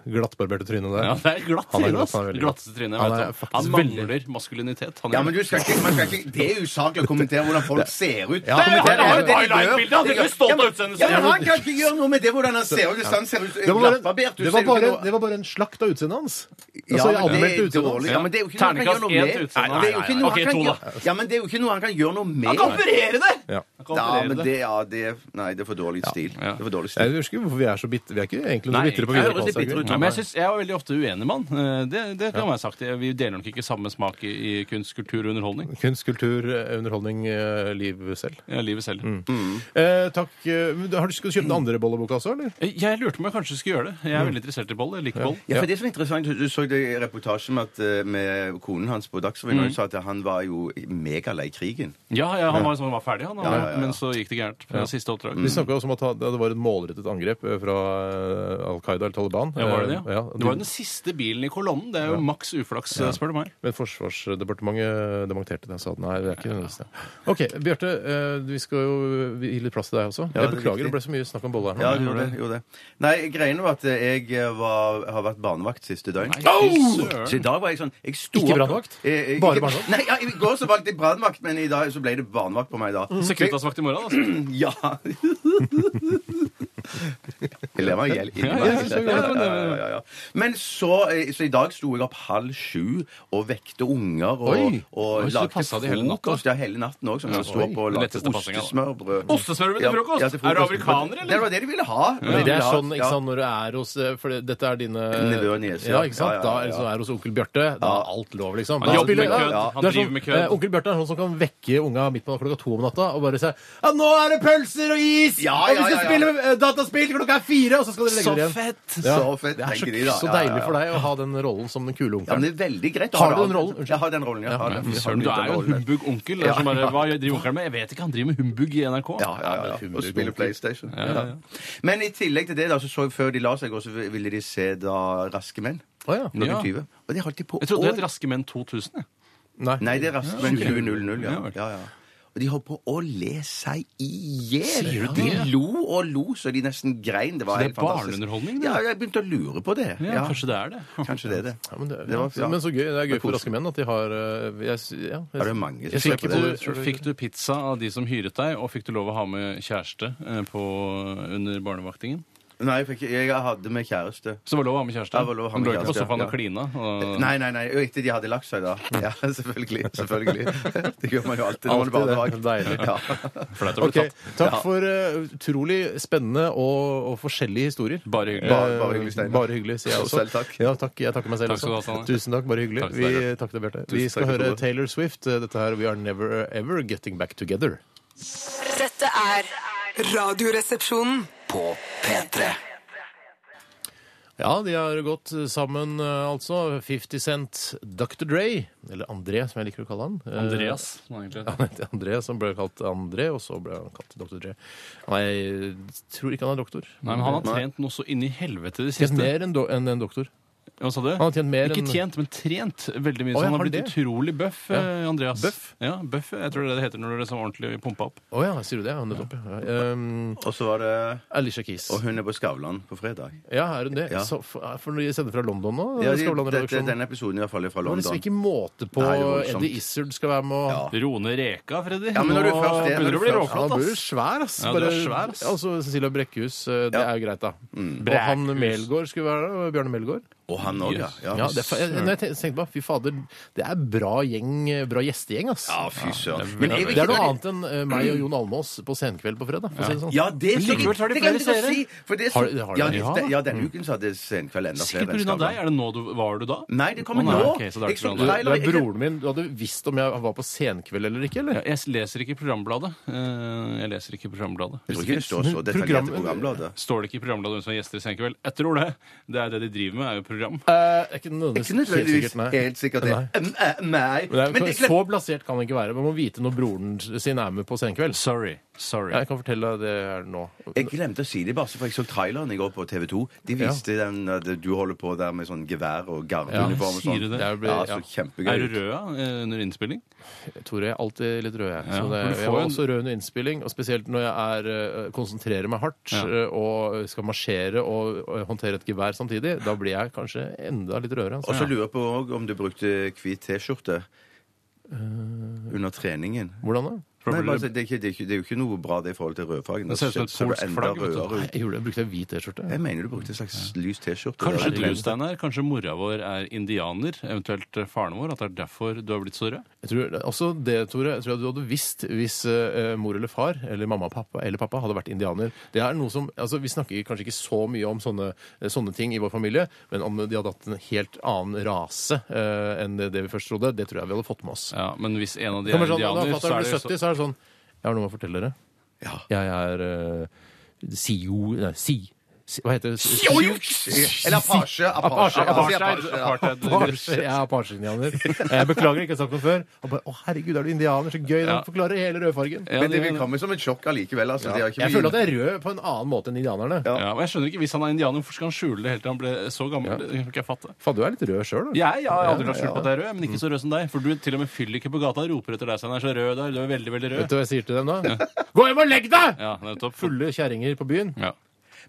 Speaker 2: Glattbarberte trynet der.
Speaker 1: Ja, det er glatt
Speaker 2: Han er
Speaker 1: tryne.
Speaker 2: glatt,
Speaker 1: ass.
Speaker 2: han er veldig
Speaker 1: Glatteste trynet jeg
Speaker 2: Han er
Speaker 1: vet om.
Speaker 2: faktisk
Speaker 1: Han
Speaker 2: veldig-
Speaker 1: mangler maskulinitet. Han
Speaker 3: Ja,
Speaker 1: gjør
Speaker 3: men
Speaker 1: det.
Speaker 3: du skal ikke, man skal ikke, Det er usaklig å kommentere hvordan folk ser ut.
Speaker 2: Ja, men
Speaker 3: Kommenter
Speaker 2: han
Speaker 3: det
Speaker 2: har jo
Speaker 3: de gjør.
Speaker 1: highlight-bilde, han er ikke stolt av utseendet sitt.
Speaker 3: Ja, men han kan ikke gjøre noe med det hvordan han ser ut. Hvis han ser ut
Speaker 2: Det var, bare,
Speaker 3: glattbarbert ut, så er det jo
Speaker 2: det, var
Speaker 3: ikke
Speaker 2: bare,
Speaker 3: noe-
Speaker 2: det var bare en slakt av utseendet hans.
Speaker 3: Ja,
Speaker 2: Altså, jeg
Speaker 3: men det er
Speaker 2: anmeldte utseendet
Speaker 3: dårlig.
Speaker 2: hans.
Speaker 3: Ja, men det er jo ikke noe han kan gjøre
Speaker 1: Terningkast
Speaker 3: noe
Speaker 1: én
Speaker 3: med.
Speaker 1: til utseendet.
Speaker 3: Det er jo ikke noe han
Speaker 1: Ok,
Speaker 3: kan
Speaker 1: to, da.
Speaker 3: gjøre- Ja, men det er jo ikke noe han kan gjøre noe med.
Speaker 1: Han kan operere det!
Speaker 2: Ja.
Speaker 1: Han kan
Speaker 3: Ja,
Speaker 1: operere
Speaker 3: men
Speaker 1: det.
Speaker 3: det, ja, det, nei, det er for dårlig stil.
Speaker 1: Ja.
Speaker 3: Det er for dårlig stil.
Speaker 2: Jeg husker ikke hvorfor vi er så bitre. Vi er ikke egentlig noe
Speaker 1: Nei,
Speaker 2: bitre på
Speaker 1: jeg
Speaker 2: Vidar
Speaker 3: høres litt bitre
Speaker 2: Kvalshaug.
Speaker 3: ut.
Speaker 1: Nei, men jeg, synes, jeg er veldig ofte uenig med han. Eh, Det, det kan være sagt. Vi deler nok ikke samme smak i, i kunst, kultur og underholdning.
Speaker 2: Kunst, kultur, eh, underholdning, eh, liv selv.
Speaker 1: Ja, livet selv.
Speaker 2: Eh, takk. eh, men Har du skal du kjøpe den andre bolleboka også, eller?
Speaker 1: Eh, Jeg lurte på om jeg kanskje skulle gjøre det. Jeg er veldig interessert i boll. Jeg liker boll.
Speaker 3: Ja, for det som er interessant, Du så det i reportasjen med, at, eh, med konen hans på Dagsrevyen.
Speaker 2: Mm.
Speaker 3: og Hun sa at han var jo megalei krigen.
Speaker 1: Ja, ja, han var, sånn, han var ferdig, han. han
Speaker 3: ja, ja, ja.
Speaker 1: Men så gikk det gærent på siste oppdrag.
Speaker 2: Mm. Vi snakka også om at han- det var et målrettet angrep eh, fra eh, Al Qaida eller Taliban.
Speaker 1: Ja,
Speaker 2: Ja,
Speaker 1: var var det det? Ja. Det var jo den siste bilen i kolonnen. Det er jo maks uflaks, spør du meg.
Speaker 2: Men Forsvarsdepartementet demonterte det og sa at nei, det er ikke den eneste. Ok, Bjarte, eh, vi skal jo vi gi litt plass til deg også.
Speaker 3: Ja,
Speaker 2: jeg
Speaker 3: det er
Speaker 2: beklager,
Speaker 3: riktig.
Speaker 2: det ble så mye snakk om bolle her.
Speaker 3: Ja,
Speaker 2: nå.
Speaker 3: jeg gjorde det. Gjorde det. Nei, greiene var at jeg var, har vært barnevakt siste døgn.
Speaker 1: Nei, fy
Speaker 3: Så i
Speaker 1: søren.
Speaker 3: dag var jeg sånn jeg sto
Speaker 2: Ikke
Speaker 3: opp-
Speaker 2: brannvakt?
Speaker 3: Eh, eh,
Speaker 2: Bare
Speaker 3: ikke-
Speaker 2: barnevakt?
Speaker 3: Nei, ja, I går så valgte jeg brannvakt, men i dag så ble det barnevakt på meg i dag.
Speaker 2: Mm.
Speaker 1: Securitas-vakt i morgen, altså.
Speaker 3: Ja. Jeg lever i hjel.
Speaker 1: Ja, ja, så godt.
Speaker 3: Ja, ja, ja. Men så, eh, så i dag sto jeg opp halv sju og vekte unger og,
Speaker 2: Oi.
Speaker 3: og
Speaker 1: Oi, så du
Speaker 3: lagde
Speaker 1: passet det hele natta?
Speaker 3: frokost. Ja, hele natten òg. Som jeg sto opp og
Speaker 1: Den
Speaker 3: lagde
Speaker 1: letteste passingen, da.
Speaker 3: ostesmørbrød.
Speaker 1: Ostesmørbrød til frokost? Er du amerikaner, eller?
Speaker 3: Det var det de ville ha.
Speaker 2: Men det er sånn, ikke sant, når du er hos eh, For det- dette er dine
Speaker 3: Nevø og niese, ja.
Speaker 2: Ja, ikke sant?
Speaker 3: Ja, ja,
Speaker 2: Da
Speaker 3: ja,
Speaker 2: er,
Speaker 3: ja.
Speaker 2: så er du hos onkel Bjarte. Da er alt lov, liksom.
Speaker 1: Han jobber
Speaker 2: Spiller-
Speaker 1: med kødd.
Speaker 2: ja.
Speaker 1: Han
Speaker 2: Det er
Speaker 1: driver
Speaker 2: sånn,
Speaker 1: med kødd.
Speaker 2: eh, Onkel Bjarte er sånn som kan vekke unga midt på klokka to om natta og bare si Ja, nå er det pølser og is!
Speaker 3: Ja,
Speaker 2: og vi
Speaker 3: ja,
Speaker 2: skal
Speaker 3: ja, ja.
Speaker 2: spille eh, dataspill til klokka er fire! Og så skal dere legge
Speaker 3: Så
Speaker 2: dere igjen.
Speaker 3: fett!
Speaker 2: Ja.
Speaker 3: Så fett,
Speaker 2: Det er så,
Speaker 3: tenker de da.
Speaker 2: så
Speaker 3: Ja, ja,
Speaker 2: deilig for
Speaker 3: ja.
Speaker 2: deg å ha den rollen som den
Speaker 3: Ja,
Speaker 2: kule
Speaker 3: men
Speaker 2: onkelen.
Speaker 3: det er veldig greit. å ha
Speaker 2: Har
Speaker 3: det
Speaker 2: du den
Speaker 3: an-
Speaker 2: rollen? Unnskyld.
Speaker 3: Jeg har den rollen, ja. Har den.
Speaker 1: Fy Søren, du
Speaker 3: Jeg har
Speaker 1: er
Speaker 3: den
Speaker 1: jo en
Speaker 3: rollen.
Speaker 1: humbug-onkel. Det er som bare, Hva driver onkelen med? Jeg vet ikke, han driver med humbug i NRK.
Speaker 3: Ja, ja, ja.
Speaker 2: Humbug,
Speaker 3: Og spille
Speaker 2: onkel.
Speaker 3: PlayStation. Ja. Men i tillegg til det, da, så så jeg før de la seg, og så ville de se da Raske menn.
Speaker 2: Å ja.
Speaker 3: Klokken
Speaker 1: Ja.
Speaker 3: 20. Og det holdt de på
Speaker 1: Jeg trodde det het
Speaker 3: å-
Speaker 1: Raske menn 2000. jeg.
Speaker 2: Nei.
Speaker 3: Nei, det er Raske menn 2000, ja.
Speaker 1: Ja, vel.
Speaker 3: ja, ja. Og de holdt på å le seg i hjel.
Speaker 1: du
Speaker 3: De
Speaker 1: det?
Speaker 3: lo og lo så de nesten grein. Det var
Speaker 1: Så det
Speaker 3: helt
Speaker 1: er
Speaker 3: fantastisk.
Speaker 1: barneunderholdning, det?
Speaker 3: Ja, jeg begynte å lure på det.
Speaker 1: Ja, Kanskje det er det.
Speaker 3: Kanskje det er det.
Speaker 2: Ja, men, det,
Speaker 3: Det var- ja.
Speaker 2: men så gøy. Det er gøy for
Speaker 3: koselig.
Speaker 2: raske menn at de har eh, jeg, sy- ja, jeg,
Speaker 3: Er det mange som
Speaker 2: jeg
Speaker 3: ser
Speaker 2: ser
Speaker 3: på
Speaker 2: ikke
Speaker 3: det?
Speaker 2: på-
Speaker 1: Så Fikk du pizza av de som hyret deg, og fikk du lov å ha med kjæreste eh, på, under barnevaktingen?
Speaker 3: Nei, for ikke- jeg hadde med kjæreste.
Speaker 1: Så det var lov å ha med kjæreste?
Speaker 3: Ja, det var lov å ha med
Speaker 1: Du lå ikke på
Speaker 3: kjæreste,
Speaker 1: sofaen
Speaker 3: ja.
Speaker 1: og klina? Og...
Speaker 3: Nei, nei, nei. Og etter de hadde lagt seg, da.
Speaker 1: Mm.
Speaker 3: Ja, selvfølgelig. selvfølgelig. Det gjør man jo alltid når man er
Speaker 2: Alltid det.
Speaker 3: barnevakt.
Speaker 2: Deilig.
Speaker 3: Ja.
Speaker 1: Flaut å bli
Speaker 2: Ok,
Speaker 1: tatt.
Speaker 2: Takk
Speaker 3: Ja.
Speaker 2: for eh, utrolig spennende og, og forskjellige historier. Eh,
Speaker 1: Bare hyggelig.
Speaker 3: Bare- bare hyggelig, Steinar.
Speaker 2: Bare hyggelig, sier jeg
Speaker 3: Og
Speaker 2: også.
Speaker 3: selv takk.
Speaker 2: Ja, takk. Jeg takker meg selv
Speaker 1: Takk skal du ha,
Speaker 2: også.
Speaker 1: Steinar.
Speaker 2: Tusen takk, bare hyggelig.
Speaker 1: Takk,
Speaker 2: Vi,
Speaker 1: Steinar.
Speaker 2: takk til Bjarte. Vi
Speaker 3: Tusen
Speaker 2: skal
Speaker 3: takk for
Speaker 2: høre
Speaker 3: det.
Speaker 2: Taylor Swift. eh, Dette her We Are Never Ever Getting Back Together.
Speaker 4: Dette er Radioresepsjonen.
Speaker 6: På P3.
Speaker 2: Ja, de har gått sammen, eh, altså. 50 Cent, Dr. Dre, eller André, som jeg liker å kalle han. Eh,
Speaker 1: Andreas, som han egentlig heter.
Speaker 2: Han heter André, som ble kalt André, og så ble han kalt Dr. Dre. Nei, jeg tror ikke han er doktor.
Speaker 1: Nei, men han har trent noe så inn i helvete i det
Speaker 2: Tjent
Speaker 1: siste.
Speaker 2: mer enn do enn en doktor.
Speaker 1: Hva sa du?
Speaker 2: Han har tjent mer
Speaker 1: Ikke
Speaker 2: enn-
Speaker 1: tjent, men trent veldig mye.
Speaker 2: Å,
Speaker 1: Så
Speaker 2: ja,
Speaker 1: han
Speaker 2: har
Speaker 1: har
Speaker 2: de
Speaker 1: blitt
Speaker 2: det?
Speaker 1: utrolig bøff, eh, Andreas.
Speaker 2: Bøff?
Speaker 1: Ja, bøff, jeg tror det er det det heter når du liksom ordentlig pumpa opp.
Speaker 2: Å ja, sier du det? Ja, nettopp. Ja. Um,
Speaker 3: Og så var det
Speaker 2: Alicia Keys.
Speaker 3: Og hun er på Skavlan på fredag.
Speaker 2: Ja, er hun det?
Speaker 3: Ja.
Speaker 2: Så, for, for når jeg sender fra London nå?
Speaker 3: Ja, de, dette,
Speaker 2: Skavlan-redaksjonen.
Speaker 3: denne episoden i hvert fall er fra
Speaker 2: Det var liksom
Speaker 3: London.
Speaker 2: ikke måte på
Speaker 3: Nei, det var voldsomt.
Speaker 2: Eddie Izzard skal være med og
Speaker 3: Ja.
Speaker 1: Rone Reka, Freddy.
Speaker 3: Ja, men når du
Speaker 1: Nå
Speaker 3: først er- når du
Speaker 1: begynner du å bli
Speaker 3: først-
Speaker 2: Ja,
Speaker 1: råflott,
Speaker 2: da blir du
Speaker 1: ass.
Speaker 2: svær, ass.
Speaker 1: Ja, du er svær, ass.
Speaker 2: Altså, Cecilia Brekkhus, eh, det er jo greit, da.
Speaker 3: Mm.
Speaker 2: Og han
Speaker 1: Brekkhus.
Speaker 2: Melgaard skulle være der. og Bjarne Melgaard.
Speaker 3: Og han òg, ja. ja.
Speaker 2: Ja, det, er fa- jeg, når jeg ten- tenkte på, fy fader, det er bra gjeng, eh, bra gjestegjeng, ass.
Speaker 3: Ja, fy søren.
Speaker 1: det er
Speaker 3: jeg vil
Speaker 2: Det
Speaker 3: ikke-
Speaker 2: er noe annet enn eh, meg og Jon Almås på Senkveld på fredag. For å si det sånn.
Speaker 3: Ja, det er
Speaker 1: Likevel tar de
Speaker 3: det kan jeg
Speaker 1: flere
Speaker 3: ikke
Speaker 1: seere.
Speaker 3: si, for det er så-
Speaker 2: Har- har de-
Speaker 3: ja,
Speaker 2: ja.
Speaker 3: det- ja, denne uken så hadde Senkveld enda flere
Speaker 1: Sikkert pga.
Speaker 3: enn Skavlan.
Speaker 1: deg. Mm. Er det nå du Var du da?
Speaker 3: Nei, det kommer
Speaker 1: Å, nei,
Speaker 3: nå.
Speaker 1: ok, så det er
Speaker 3: Jeg så
Speaker 1: ikke bra, da.
Speaker 3: trailer-
Speaker 2: Det er
Speaker 3: jeg-
Speaker 2: broren min. Du hadde visst om jeg var på Senkveld eller ikke, eller?
Speaker 1: Ja, Jeg leser ikke programbladet. Eh, Jeg leser ikke programbladet.
Speaker 3: Jeg tror ikke det står så
Speaker 2: Men
Speaker 3: detaljert i
Speaker 2: programmet-
Speaker 3: programbladet.
Speaker 1: Står det ikke i programbladet hvem som er gjester i Senkveld? Jeg tror det. Det er det de driver med, er jo program.
Speaker 2: Eh, er ikke
Speaker 3: Ikke
Speaker 2: nødvendigvis
Speaker 3: nødvendigvis
Speaker 2: helt sikkert, nei.
Speaker 3: helt sikkert det. Mm, eh, Nei.
Speaker 2: Men det er,
Speaker 3: Men det er
Speaker 2: så
Speaker 3: klart-
Speaker 2: blasert kan det ikke være. Man må vite når broren sin er med på Senkveld.
Speaker 1: Sorry. Sorry.
Speaker 2: Jeg kan fortelle deg det her nå.
Speaker 3: jeg glemte å si det, bare for jeg så traileren i går på TV 2. De viste den at du holder på der med sånn gevær og gardeuniform og
Speaker 1: Ja, sier du
Speaker 3: sånn.
Speaker 1: det?
Speaker 2: Det er, ble,
Speaker 3: Ja,
Speaker 2: ja,
Speaker 3: så kjempegøy.
Speaker 1: Er du
Speaker 3: ut.
Speaker 1: rød ja, eh, under innspilling?
Speaker 2: Tore, jeg er alltid litt rød, jeg.
Speaker 1: Ja,
Speaker 2: Så det,
Speaker 1: men du får
Speaker 2: jeg var
Speaker 1: jo en-
Speaker 2: også rød under innspilling, og spesielt når jeg er, eh, konsentrerer meg hardt
Speaker 1: Ja.
Speaker 2: eh, og skal marsjere og, og håndtere et gevær samtidig. Da blir jeg kanskje enda litt rødere.
Speaker 3: Og
Speaker 2: Altså.
Speaker 3: så lurer jeg på også om du brukte hvit T-skjorte
Speaker 1: Eh.
Speaker 3: under treningen.
Speaker 2: Hvordan da?
Speaker 3: Nei, bare,
Speaker 1: Probably-
Speaker 3: si- det, er ikke, det, er ikke, det er jo ikke noe bra det i forhold til rødfargen.
Speaker 1: Det ser ut som et
Speaker 3: ser
Speaker 1: polsk
Speaker 3: enda
Speaker 1: flagg, vet du.
Speaker 3: rødere ut.
Speaker 2: Nei, jeg gjorde, brukte jeg hvit T-skjorte?
Speaker 3: Jeg mener du brukte en slags lys T-skjorte.
Speaker 1: Kanskje
Speaker 3: Det
Speaker 1: du,
Speaker 3: var-
Speaker 1: Steinar, kanskje mora vår er indianer, eventuelt eh, faren vår, at det er derfor du har blitt så rød?
Speaker 2: Jeg tror, eh, også det, Tore, jeg tror jeg du hadde visst hvis eh, mor eller far, eller mamma og pappa, eller pappa hadde vært indianer. Det er noe som, altså Vi snakker kanskje ikke så mye om sånne, eh, sånne ting i vår familie, men om de hadde hatt en helt annen rase eh, enn det, det vi først trodde, det tror jeg vi hadde fått med oss.
Speaker 1: Ja, men hvis en av de
Speaker 2: Det
Speaker 1: er
Speaker 2: kommer sånn,
Speaker 1: indianer,
Speaker 2: Når
Speaker 1: så
Speaker 2: fatter'n
Speaker 1: er
Speaker 2: blir
Speaker 1: det jo så...
Speaker 2: 70, så er det sånn Jeg har noe å fortelle dere.
Speaker 3: Ja.
Speaker 2: Jeg er eh, Sio Nei, Si. si- Hva heter det?
Speaker 3: Eller apasje. Apasje.
Speaker 1: Apartheid.
Speaker 3: Ja, altså, apasje, ja.
Speaker 1: Apartheid.
Speaker 2: Apasje. Jeg er apasje-indianer. Jeg beklager, ikke har sagt noe før. Og bare, Å, herregud, er du indianer? Så gøy!
Speaker 1: Ja.
Speaker 2: Den forklarer hele rødfargen.
Speaker 1: Ja,
Speaker 3: Men det vil komme som et sjokk allikevel. Altså. Det er ikke
Speaker 2: Jeg føler at jeg er rød på en annen måte enn indianerne.
Speaker 3: Ja.
Speaker 1: Ja, og jeg skjønner ikke, Hvis han er indianer, hvorfor skal han skjule det helt til han ble så gammel? Det kan ikke jeg fatte.
Speaker 2: Faen, du er litt rød sjøl, da.
Speaker 1: Jeg, jeg har aldri lagt skjul på at jeg er rød, men ikke så rød som deg. For du til og med fylliker på gata roper etter deg, Steinar. Så rød der, du er veldig, veldig
Speaker 2: Vet
Speaker 1: rød.
Speaker 2: du hva jeg sier til dem da? Gå hjem og legg deg!
Speaker 1: Ja, nettopp. Full.
Speaker 2: Fulle kjerringer på byen.
Speaker 1: Ja.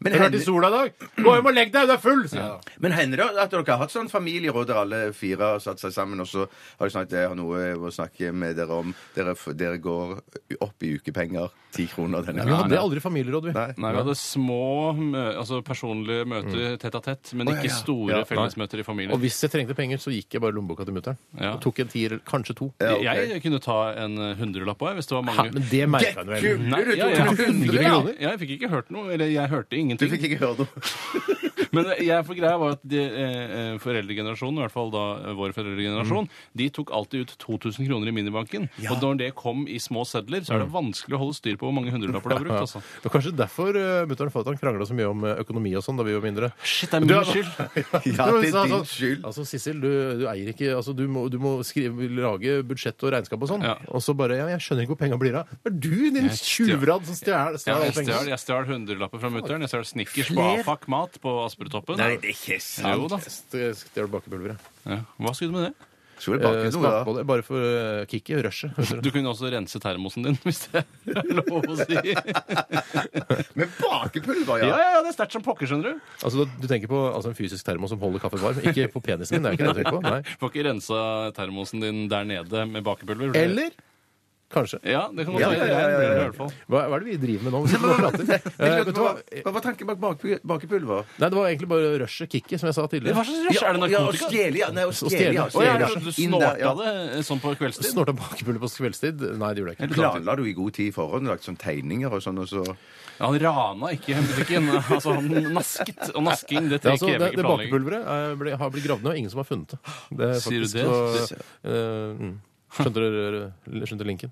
Speaker 3: Men
Speaker 2: Har du vært i
Speaker 3: hender,
Speaker 2: sola i dag? Gå hjem og legg deg, du er full! sier jeg da.
Speaker 3: men hender det at dere har hatt sånn familieråd der alle fire har satt seg sammen, og så har de snakket jeg har noe jeg må snakke med dere om. Dere, f- dere går opp i ukepenger. Ti kroner denne
Speaker 2: Vi
Speaker 3: gangen.
Speaker 2: hadde aldri familieråd, vi.
Speaker 3: Nei.
Speaker 1: Nei, vi hadde små mø altså personlige møter tett à tett, men ikke store
Speaker 2: Mm. Ja, nei.
Speaker 1: fellesmøter i familien.
Speaker 2: Og hvis jeg trengte penger, så gikk jeg bare i lommeboka til mutter'n.
Speaker 1: Ja.
Speaker 2: Og tok en tier, kanskje to.
Speaker 3: Ja, ok.
Speaker 1: Jeg kunne ta en eh, hundrelapp òg, hvis det var
Speaker 2: Ha,
Speaker 1: mange.
Speaker 2: men det merka hun vel.
Speaker 1: Nei,
Speaker 3: Du
Speaker 1: ja,
Speaker 3: tok
Speaker 1: ja.
Speaker 3: 100
Speaker 1: ja,
Speaker 2: kroner?
Speaker 1: jeg fikk ikke hørt noe. Eller jeg hørte
Speaker 3: Du
Speaker 1: ingenting.
Speaker 3: fikk ikke høre noe.
Speaker 1: Men jeg for greia var at de, eh, eh, foreldregenerasjonen, i hvert fall da eh, vår foreldregenerasjon,
Speaker 3: Mm.
Speaker 1: de tok alltid ut 2000 kroner i minibanken. Og når det kom i små sedler, så er
Speaker 3: Mm.
Speaker 1: det vanskelig å holde styr på hvor mange hundrelapper du har brukt. altså.
Speaker 2: Det var kanskje derfor uh, mutter'n og fatter'n krangla så mye om eh, økonomi og sånn da vi var mindre.
Speaker 1: Shit, det er min skyld!
Speaker 3: Ja,
Speaker 2: Du,
Speaker 3: det
Speaker 2: sa
Speaker 3: er din
Speaker 2: sånn,
Speaker 3: skyld.
Speaker 2: Altså, Sissel, du, du eier ikke altså, du, må, du må skrive, lage budsjett og regnskap og sånn.
Speaker 1: Ja.
Speaker 2: Og så bare Ja, jeg skjønner ikke hvor penga blir av. Det er du, din
Speaker 1: stjal-
Speaker 2: tjuvradd, som stjal stjal
Speaker 1: Jeg
Speaker 2: alle
Speaker 1: stjal-
Speaker 2: pengene.
Speaker 1: jeg stjal hundrelapper fra mutter'n. Jeg stjal Snickers Bafak-mat på Asperudtoppen.
Speaker 3: Nei, det er ikke sant.
Speaker 1: Jo da.
Speaker 2: Jeg Stjal bakepulveret.
Speaker 1: Ja. Hva skulle du med det?
Speaker 3: Skulle det
Speaker 2: Eh,
Speaker 3: bake noe, da?
Speaker 2: Smakbolle. Bare for eh, kicket. Rushet. vet du.
Speaker 1: Du kunne også rense termosen din, hvis det er lov å si.
Speaker 3: Med bakepulver,
Speaker 1: Ja,
Speaker 3: ja!
Speaker 1: ja, ja, det er sterkt som pokker, skjønner du.
Speaker 2: Altså, du tenker på altså, en fysisk termos som holder kaffen varm? Ikke på penisen din, det er ikke det du tenker på? Nei.
Speaker 1: Får ikke rensa termosen din der nede med bakepulver.
Speaker 2: Eller kanskje.
Speaker 1: Ja, det kan godt
Speaker 3: Ja,
Speaker 1: være.
Speaker 3: ja, ja, ja,
Speaker 1: Det blir det i
Speaker 3: ja.
Speaker 1: hvert fall.
Speaker 2: Hva, hva er det vi driver med nå? Hvis vi
Speaker 3: Hva
Speaker 2: bare prater? Eh, vet du hva?
Speaker 3: hva var tanken bak bakpu- bakepulver?
Speaker 2: Nei, det var egentlig bare rushet, kicket, som jeg sa tidligere.
Speaker 1: Hva slags rush? Er det
Speaker 3: Ja, og
Speaker 1: narkotika?
Speaker 3: stjele, ja. Nei, og stjele,
Speaker 2: stjele.
Speaker 3: ja. sånn
Speaker 2: Å,
Speaker 1: Å, ja,
Speaker 3: stjele,
Speaker 1: ja,
Speaker 3: ja.
Speaker 1: du
Speaker 3: Inn der, ja.
Speaker 1: snorta det eh, sånn på kveldstid?
Speaker 2: Snorta bakepuller på kveldstid? Nei, det gjorde jeg ikke.
Speaker 3: Planla du i god tid i forhånd? Lagt sånn tegninger og sånn? og så...
Speaker 1: Ja, han rana ikke butikken. altså, han nasket. Og nasking, det
Speaker 2: Det, er
Speaker 1: trenger
Speaker 2: altså, det,
Speaker 1: ikke
Speaker 2: det
Speaker 1: planlegging.
Speaker 2: bakepulveret eh, ble, har blitt gravd ned, og ingen som har funnet det. det er
Speaker 1: Sier du
Speaker 2: faktisk
Speaker 1: det?
Speaker 2: så- eh, mm. Skjønte dere eh, skjønte linken?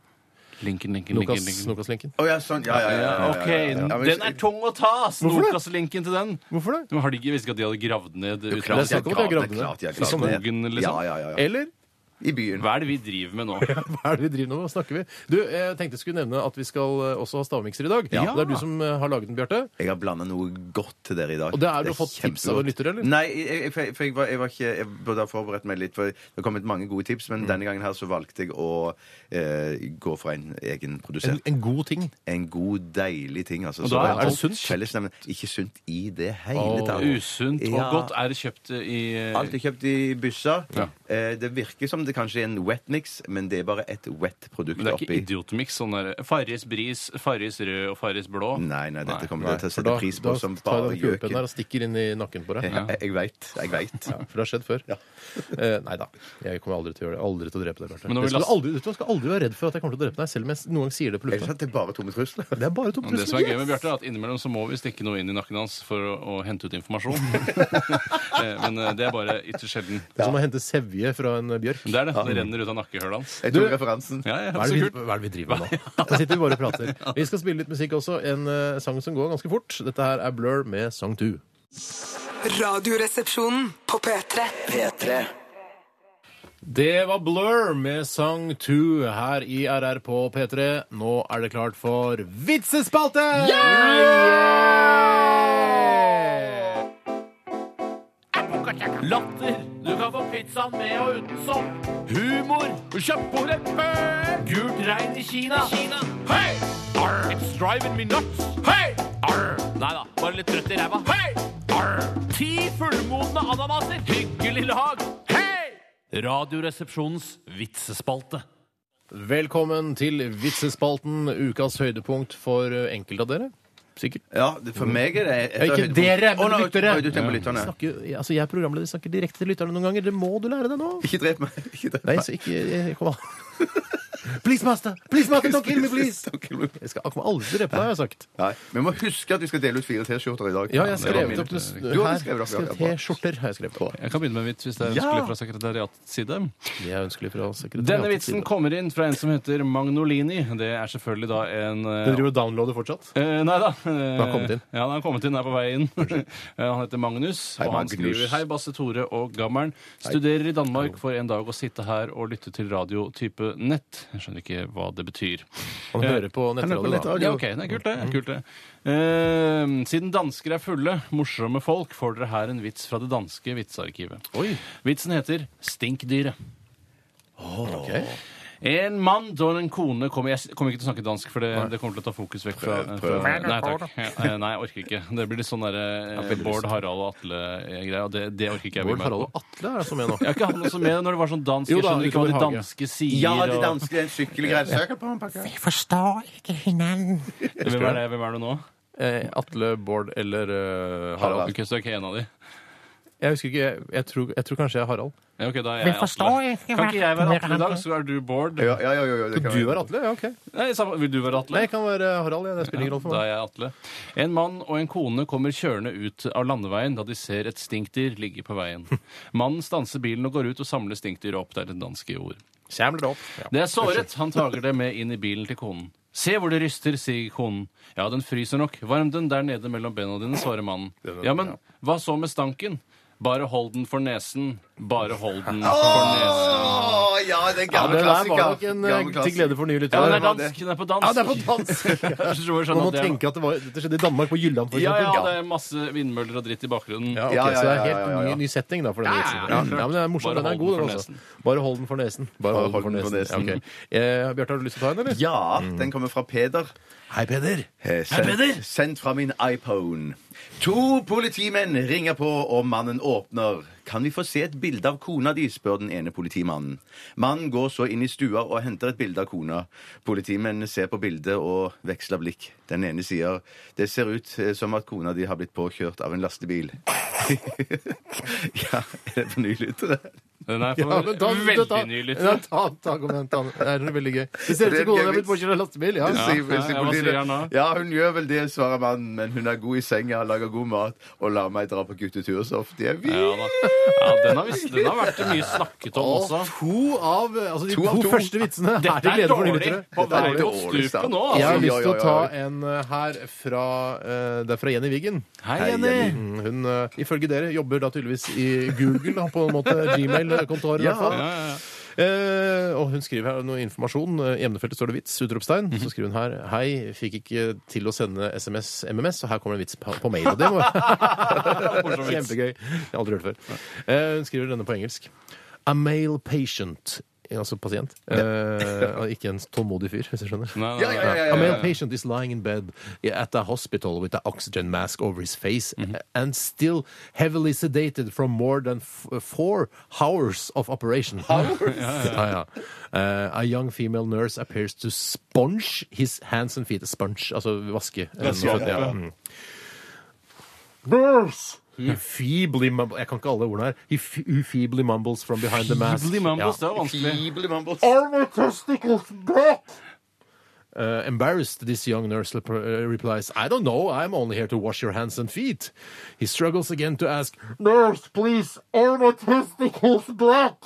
Speaker 1: Linken, linken, linken,
Speaker 2: Lukas-
Speaker 1: linken.
Speaker 2: Lukas-linken?
Speaker 3: Å ja, sånn. Ja, ja, ja. ja, ja,
Speaker 1: OK,
Speaker 3: ja, ja. Ja, men-
Speaker 1: den er tung å ta!
Speaker 2: Hvorfor det?
Speaker 1: Snokas-linken til den.
Speaker 2: Hvorfor det?
Speaker 1: Men Har de ikke visst ikke at de hadde gravd ned
Speaker 3: Klart
Speaker 2: Det
Speaker 1: utlandet?
Speaker 2: er snakk om at
Speaker 3: jeg
Speaker 2: jeg gravde
Speaker 3: klart
Speaker 2: ned.
Speaker 3: jeg
Speaker 2: I
Speaker 3: gravde ned.
Speaker 1: skogen, liksom?
Speaker 3: Ja, ja, ja, ja.
Speaker 2: Eller
Speaker 3: I byen.
Speaker 1: Hva er det vi driver med nå?
Speaker 2: hva er det vi driver med? Hva snakker vi? Du, jeg tenkte jeg skulle nevne at vi skal eh, også ha stavmikser i dag.
Speaker 1: Ja.
Speaker 2: Det er du som eh, har laget den, Bjarte.
Speaker 3: Jeg har blanda noe godt til dere i dag.
Speaker 2: Og det er du har fått tips av
Speaker 3: kjempegodt.
Speaker 2: en lytter, eller?
Speaker 3: Nei, jeg, jeg, for jeg- for jeg, var, jeg, var ikke, jeg burde ha forberedt meg litt, for det har kommet mange gode tips,
Speaker 2: Mm.
Speaker 3: men denne gangen her så valgte jeg å eh, gå for en egen
Speaker 2: En,
Speaker 3: produsent.
Speaker 2: en god ting.
Speaker 3: En god, deilig ting, altså.
Speaker 1: da er
Speaker 3: Så-
Speaker 1: det
Speaker 3: alt
Speaker 2: sunt?
Speaker 3: Fellesnevner. Ikke sunt i det hele
Speaker 2: Åh,
Speaker 3: tatt.
Speaker 1: Usunt og
Speaker 3: Ja.
Speaker 1: godt er kjøpt i eh,
Speaker 3: Alt er kjøpt i busser. Eh, det virker som det kanskje er en wet mix, men det er bare et wet produkt
Speaker 1: Men det er ikke
Speaker 3: oppi.
Speaker 1: idiotmix. Sånn der Farris bris, Farris rød og Farris blå.
Speaker 3: Nei, nei, dette kommer
Speaker 2: Nei,
Speaker 3: jeg til å
Speaker 2: for
Speaker 3: sette pris på som bare
Speaker 2: tar jeg den
Speaker 3: gjøken.
Speaker 2: kulepennen her og stikker inn i nakken på deg.
Speaker 3: Jeg, jeg veit. Jeg veit.
Speaker 2: Ja, for det har skjedd før. Eh, nei da. Jeg kommer aldri til å gjøre det. Aldri til å drepe deg, Bjarte.
Speaker 1: Men nå
Speaker 2: Det
Speaker 1: vil
Speaker 2: skal
Speaker 1: jeg-
Speaker 2: du aldri- vet du, du skal aldri være redd for at jeg kommer til å drepe deg, selv om jeg noen ganger sier det på
Speaker 3: Ellers
Speaker 2: lufta.
Speaker 3: er det bare tomme trusler.
Speaker 2: Det er bare tomt
Speaker 1: Men det som er gøy med
Speaker 2: Yes!
Speaker 1: Bjarte, er at innimellom så må vi stikke noe inn i nakken hans for å, å hente ut informasjon. Eh, Men eh, det er bare ytterst sjelden.
Speaker 2: Det er Som å hente sevje fra en eh, bjørk.
Speaker 1: Men det er det. Det renner ut av nakkehølet hans.
Speaker 3: Jeg tok referansen.
Speaker 1: Ja, ja,
Speaker 2: Hva er,
Speaker 1: så
Speaker 2: det vi,
Speaker 1: kult.
Speaker 2: hva er det vi driver med nå? Da sitter vi bare og prater. Vi skal spille litt musikk også. En eh, sang som går ganske fort. Dette her er Blur med Sang 2.
Speaker 4: Radioresepsjonen på P3.
Speaker 6: P3.
Speaker 2: Det var Blur med Sang 2 her i RR på P3. Nå er det klart for vitsespalte! Yeah!
Speaker 1: Latter. Du kan få pizzaen med og uten sopp. Humor. Kjøpt på rett før. Gult regn i Kina. Hei! Arr. It's driving me nuts. Hei! Arr. Nei da, bare litt trøtt i ræva. Hei! Arr. Ti fullmodne ananaser. Hyggelig lag. Hei! Radioresepsjonens vitsespalte.
Speaker 2: Velkommen til vitsespalten, ukas høydepunkt for eh, enkelte av dere. Sikkert.
Speaker 3: Ja, det- for meg er det et av
Speaker 2: Ikke
Speaker 3: høydepunkt-
Speaker 2: dere,
Speaker 3: Å,
Speaker 2: men
Speaker 3: nei,
Speaker 2: lyttere.
Speaker 3: oi, Du tenker på
Speaker 2: Vi
Speaker 3: lytterne.
Speaker 2: snakker, altså jeg er programleder, jeg snakker direkte til lytterne noen ganger. Det må du lære deg nå.
Speaker 3: Ikke drep meg. Ikke drep
Speaker 2: Nei,
Speaker 3: meg.
Speaker 2: så ikke jeg- Kom eh, an. Please, master! Please, master, don't kill me, please!
Speaker 3: Don't kill me, please.
Speaker 2: Jeg skal jeg kommer aldri drepe deg, har jeg sagt.
Speaker 3: Nei, Vi må huske at vi skal dele ut fire T-skjorter i dag.
Speaker 2: Ja, jeg har
Speaker 3: det var min-
Speaker 2: skrevet opp det.
Speaker 3: Du har skrevet opp, ja,
Speaker 2: Her skrevet
Speaker 3: ja, bra.
Speaker 2: T-skjorter har jeg skrevet på.
Speaker 1: Jeg kan begynne med en vits hvis det er ønskelig
Speaker 2: Ja!
Speaker 1: fra sekretariatets side.
Speaker 2: De er ønskelige fra sekretariatets
Speaker 1: Denne vitsen
Speaker 2: side.
Speaker 1: kommer inn fra en som heter Magnolini. Det er selvfølgelig da en eh,
Speaker 2: Den driver og downloader fortsatt?
Speaker 1: Eh, nei da. Eh,
Speaker 2: Den har kommet inn.
Speaker 1: Ja, den har kommet inn, er på vei inn. Eh, han heter Magnus,
Speaker 3: Hei,
Speaker 1: og han
Speaker 3: Magnus.
Speaker 1: skriver Hei, Basse Tore og Gammeren. Studerer i Danmark for en dag å sitte her og lytte til radio type nett. Jeg skjønner ikke hva det betyr.
Speaker 2: Han
Speaker 1: Eh,
Speaker 2: hører på
Speaker 1: han hører
Speaker 2: nettradio, da.
Speaker 1: Ja, ok, det er kult det. er kult det. Eh, siden dansker er fulle, morsomme folk, får dere her en vits fra det danske vitsearkivet.
Speaker 2: Oi.
Speaker 1: Vitsen heter Stinkdyret.
Speaker 2: Ok.
Speaker 1: En mann og en kone kom, Jeg kommer ikke til å snakke dansk, for det, det kommer til å ta fokus vekk fra,
Speaker 3: prøv.
Speaker 1: fra Nei takk. Ja, eh, Nei, jeg orker ikke. Det blir litt sånn derre eh, Bård, Harald og Atle-greia. Det, det orker ikke jeg
Speaker 2: Bård
Speaker 1: bli med
Speaker 2: Harald
Speaker 1: på.
Speaker 2: og Atle er altså med nå.
Speaker 1: Jeg har ikke hatt noe som med når det var sånn dansk.
Speaker 2: Jo
Speaker 1: Jeg
Speaker 2: da,
Speaker 1: skjønner ikke hva de
Speaker 2: utover Hage.
Speaker 1: danske sier.
Speaker 3: Ja, de
Speaker 1: og-
Speaker 3: danske det er en sykkelgreie. Søker på en pakke.
Speaker 7: forstår ikke hinanden.
Speaker 1: Hvem er det, hvem er det nå?
Speaker 2: Eh, Atle, Bård eller eh, Harald.
Speaker 3: Harald.
Speaker 1: Ok, så er ikke en av de.
Speaker 2: Jeg husker ikke, jeg, jeg, tror, jeg tror kanskje jeg er Harald.
Speaker 1: Ja, ok, da er
Speaker 7: Vi
Speaker 1: jeg
Speaker 7: forstår
Speaker 1: Atle.
Speaker 7: ikke
Speaker 1: Kan ikke jeg være Atle i
Speaker 7: hverandre.
Speaker 1: dag, så er du Bård?
Speaker 3: Ja, ja, ja, ja, ja, det kan
Speaker 2: Du
Speaker 3: være.
Speaker 2: er Atle? Ja, ok.
Speaker 1: Nei, samme, vil du være Atle?
Speaker 2: Nei, jeg kan være Harald. Ja. Det spiller ingen rolle for
Speaker 1: Da
Speaker 2: meg.
Speaker 1: er jeg Atle. En mann og en kone kommer kjørende ut av landeveien da de ser et stinkdyr ligge på veien. Mannen stanser bilen og går ut og samler stinkdyret opp. Det er det danske ord.
Speaker 2: Kjem dere opp. Ja.
Speaker 1: Det er såret. Han tager det med inn i bilen til konen. Se hvor det ryster, sier konen. Ja, den fryser nok. Varm den der nede mellom bena dine, svarer mannen. Ja, men hva så med stanken? Bare hold den for nesen. Bare hold den for nesen.
Speaker 3: Åh, ja, det er en
Speaker 2: Ja,
Speaker 3: gammel
Speaker 2: det der var
Speaker 3: klassiker.
Speaker 2: nok en eh,
Speaker 3: Gammel
Speaker 2: til
Speaker 3: klassiker.
Speaker 2: glede for nye
Speaker 1: Ja, men
Speaker 2: lyttere.
Speaker 1: det er dansk. Den er på dansk.
Speaker 2: Ja, det er på dansk!
Speaker 1: Jeg tror jeg skjønner
Speaker 2: Man må
Speaker 1: at det er-
Speaker 2: tenke at det, var, det skjedde i Danmark, på Jylland, for
Speaker 1: Ja,
Speaker 2: eksempel.
Speaker 1: ja, det er masse vindmøller og dritt i bakgrunnen.
Speaker 2: Ja, ok,
Speaker 3: Ja, ja,
Speaker 2: Så det er
Speaker 3: ja,
Speaker 2: helt
Speaker 3: ja, ja, ja.
Speaker 2: Ny, ny setting da, for denne
Speaker 1: Ja, ja,
Speaker 2: vitsen.
Speaker 1: ja,
Speaker 2: Ja,
Speaker 1: klart.
Speaker 2: men det er morsom,
Speaker 1: Bare
Speaker 2: den
Speaker 1: hold
Speaker 2: er god,
Speaker 1: den for
Speaker 2: den også. Bare hold den for nesen. Bare hold den for nesen.
Speaker 3: nesen.
Speaker 2: Ok. Eh, Bjarte, har du lyst til å ta en, eller?
Speaker 3: Ja, den kommer fra Peder.
Speaker 2: Hei, Peder.
Speaker 3: Eh, Sendt, sendt fra min iPhone. To politimenn ringer på, og mannen åpner. Kan vi få se et bilde av kona di? spør den ene politimannen. Mannen går så inn i stua og henter et bilde av kona. Politimennene ser på bildet og veksler blikk. Den ene sier det ser ut eh, som at kona di har blitt påkjørt av en lastebil. ja, er det for nylyttere?
Speaker 1: Den er
Speaker 2: Ja,
Speaker 1: for
Speaker 2: men ta, ta,
Speaker 1: veldig ny
Speaker 2: Ja,
Speaker 1: lytter.
Speaker 2: ta, ta, kom igjen, ta den. Det er veldig gøy. Det ser ut
Speaker 3: Det er
Speaker 2: som kona
Speaker 3: gøy
Speaker 2: har blitt
Speaker 3: vits.
Speaker 2: påkjørt av en lastebil. Ja.
Speaker 3: sier-
Speaker 1: ja,
Speaker 3: sier
Speaker 1: ja, hva
Speaker 3: politiet.
Speaker 1: sier han da?
Speaker 3: Ja, hun gjør vel det, svarer mannen, men hun er god i senga, lager god mat og lar meg dra på guttetur så ofte jeg vil.
Speaker 1: Ja, da. ja den, har visst, den har vært mye snakket om
Speaker 2: Og
Speaker 1: også.
Speaker 2: to av altså, de
Speaker 3: To
Speaker 2: to,
Speaker 3: av to.
Speaker 2: første vitsene er
Speaker 1: Dette
Speaker 2: til
Speaker 1: er
Speaker 2: glede for nye
Speaker 1: dårlig!
Speaker 2: lyttere.
Speaker 1: På vei
Speaker 3: Dette er
Speaker 1: opp
Speaker 3: dårlig
Speaker 1: stupet
Speaker 3: start.
Speaker 1: nå.
Speaker 2: Jeg
Speaker 1: Altså.
Speaker 3: Ja,
Speaker 2: har lyst til
Speaker 3: ja,
Speaker 2: å
Speaker 3: ja,
Speaker 2: ta
Speaker 3: ja.
Speaker 2: en eh, her fra eh, Det er fra Jenny Wiggen.
Speaker 1: Hei,
Speaker 3: Hei,
Speaker 1: Jenny.
Speaker 3: Jenny.
Speaker 2: Mm, Hun, eh, ifølge dere, jobber da tydeligvis i Google, da, på en måte Gmail-kontoret. i
Speaker 3: Ja.
Speaker 2: hvert fall.
Speaker 1: Ja, ja, ja.
Speaker 2: Eh, og hun skriver her noe informasjon. Eh, I emnefeltet står det vits, utropstegn.
Speaker 3: Mhm.
Speaker 2: Så skriver hun her Hei, fikk ikke til å sende SMS, MMS, og her kommer det en vits på, på mail. Og det må Kjempegøy. Jeg har aldri hørt det før. Eh, hun skriver denne på engelsk. A male patient. Altså pasient. Eh, ikke en tålmodig fyr, hvis du skjønner.
Speaker 1: Nei, nei,
Speaker 3: Ja, ja, ja, ja,
Speaker 2: A
Speaker 3: ja.
Speaker 2: male patient is lying in bed at a hospital with an oxygen mask over his face and still heavily sedated from more than f four hours of operation. ja, ja. Uh, a young female nurse appears to sponge his hands and feet. Sponge, altså vaske.
Speaker 1: Vaske opp, ja.
Speaker 2: Mm. Nurse! He feebly mumble- Jeg kan ikke alle ordene her. He fe- who feebly mumbles from behind the mask.
Speaker 1: Feebly mumbles, det var vanskelig.
Speaker 3: Feeble mumbles.
Speaker 2: Uh, embarrassed, this young nurse lep- uh, replies, I don't know, I'm only here to wash your hands and feet. He struggles again to ask, Nurse, please, are my testicles black?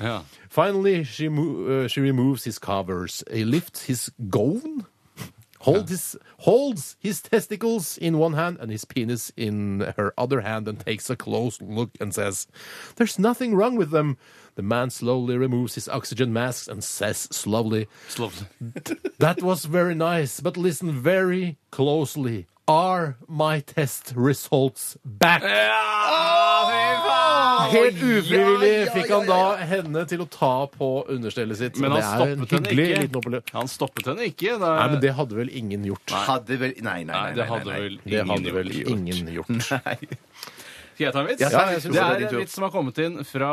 Speaker 1: Ja.
Speaker 2: Finally, she, mo- uh, she removes his covers. He lifts his gown, holds his, holds his testicles in one hand and his penis in her other hand, and takes a close look and says, There's nothing wrong with them. The man slowly removes his oxygen mask and says slowly,
Speaker 1: Slovlig.
Speaker 2: That was very nice, but listen very closely. Are my test results back? Oh! Helt ufrivillig fikk han da henne til å ta på understellet sitt.
Speaker 1: Men
Speaker 2: det er en
Speaker 1: han stoppet henne
Speaker 2: hyggelig
Speaker 1: ikke.
Speaker 2: liten opplevelse.
Speaker 1: Han stoppet henne ikke.
Speaker 2: Nei, men det hadde vel ingen gjort.
Speaker 3: Hadde vel Nei, nei,
Speaker 1: Nei,
Speaker 3: nei.
Speaker 1: det
Speaker 3: nei,
Speaker 1: hadde
Speaker 3: nei, nei.
Speaker 2: det
Speaker 1: vel ingen
Speaker 2: hadde vel
Speaker 1: gjort.
Speaker 2: ingen gjort.
Speaker 1: Skal jeg ta en vits?
Speaker 3: Ja, ta en vits,
Speaker 1: det
Speaker 3: Tore,
Speaker 1: er
Speaker 3: din
Speaker 1: en
Speaker 3: tur.
Speaker 1: vits som har kommet inn fra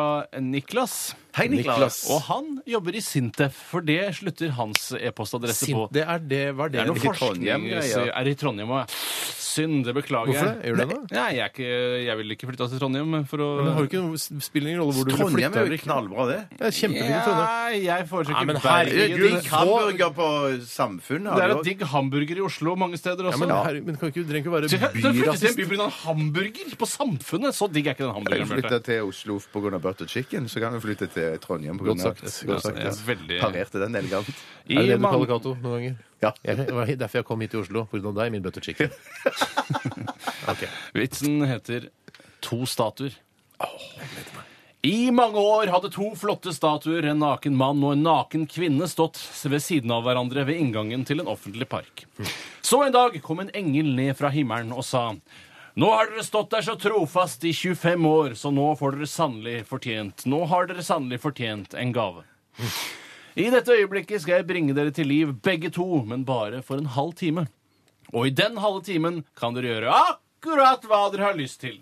Speaker 1: Niklas.
Speaker 3: Hei, Niklas.
Speaker 1: Og han jobber i Sintef, for det slutter hans e-postadresse på.
Speaker 2: Sint, det er det, var det,
Speaker 1: Det er noe
Speaker 3: i Trondheim,
Speaker 1: forskning
Speaker 3: greier.
Speaker 1: Er det i Trondheim òg, ja. Synd, det beklager
Speaker 2: Hvorfor
Speaker 1: jeg.
Speaker 2: det? Gjør du det nå?
Speaker 1: Nei, jeg, er ikke, jeg vil ikke flytte til Trondheim for å
Speaker 2: Men det har jo ikke noe spiller ingen rolle hvor du vil
Speaker 3: Trondheim
Speaker 2: flytte
Speaker 3: er
Speaker 2: eller
Speaker 3: jo
Speaker 2: ikke.
Speaker 3: knallbra, det.
Speaker 2: Det er kjempefint i Trondheim.
Speaker 1: Nei, jeg
Speaker 2: Nei,
Speaker 1: foretrekker
Speaker 2: men
Speaker 1: Bergen.
Speaker 2: herregud,
Speaker 3: Digg hamburger på Samfunnet.
Speaker 1: Det er
Speaker 3: har
Speaker 1: jo
Speaker 3: de
Speaker 1: digg hamburger i Oslo mange steder
Speaker 2: Ja,
Speaker 1: også.
Speaker 2: men,
Speaker 1: Ja,
Speaker 2: herre- men kan ikke, du trenger ikke
Speaker 1: Du kan
Speaker 2: være
Speaker 1: flytte til en
Speaker 2: byrasist.
Speaker 1: by pga. hamburger på Samfunnet! Så digg er ikke den
Speaker 3: Kan
Speaker 1: hamburgeren.
Speaker 3: vi flytte
Speaker 1: Bjarte.
Speaker 3: til Oslo pga. butter chicken, så kan vi flytte til Trondheim pga.
Speaker 2: Godt sagt.
Speaker 3: Godt sagt
Speaker 1: Ja,
Speaker 3: ja.
Speaker 1: det er veldig-
Speaker 3: Parerte den elegant.
Speaker 2: Er
Speaker 1: I
Speaker 2: det det du kaller
Speaker 1: mange-
Speaker 2: Cato noen ganger?
Speaker 3: Ja.
Speaker 2: Jeg, det var derfor jeg kom hit til Oslo, pga. deg, min butter chicken. Ok.
Speaker 1: Vitsen heter To statuer. I mange år hadde to flotte statuer, en naken mann og en naken kvinne, stått ved siden av hverandre ved inngangen til en offentlig park. Så en dag kom en engel ned fra himmelen og sa nå har dere stått der så trofast i 25 år, så nå får dere sannelig fortjent Nå har dere sannelig fortjent en gave. I dette øyeblikket skal jeg bringe dere til liv, begge to, men bare for en halv time. Og i den halve timen kan dere gjøre akkurat hva dere har lyst til.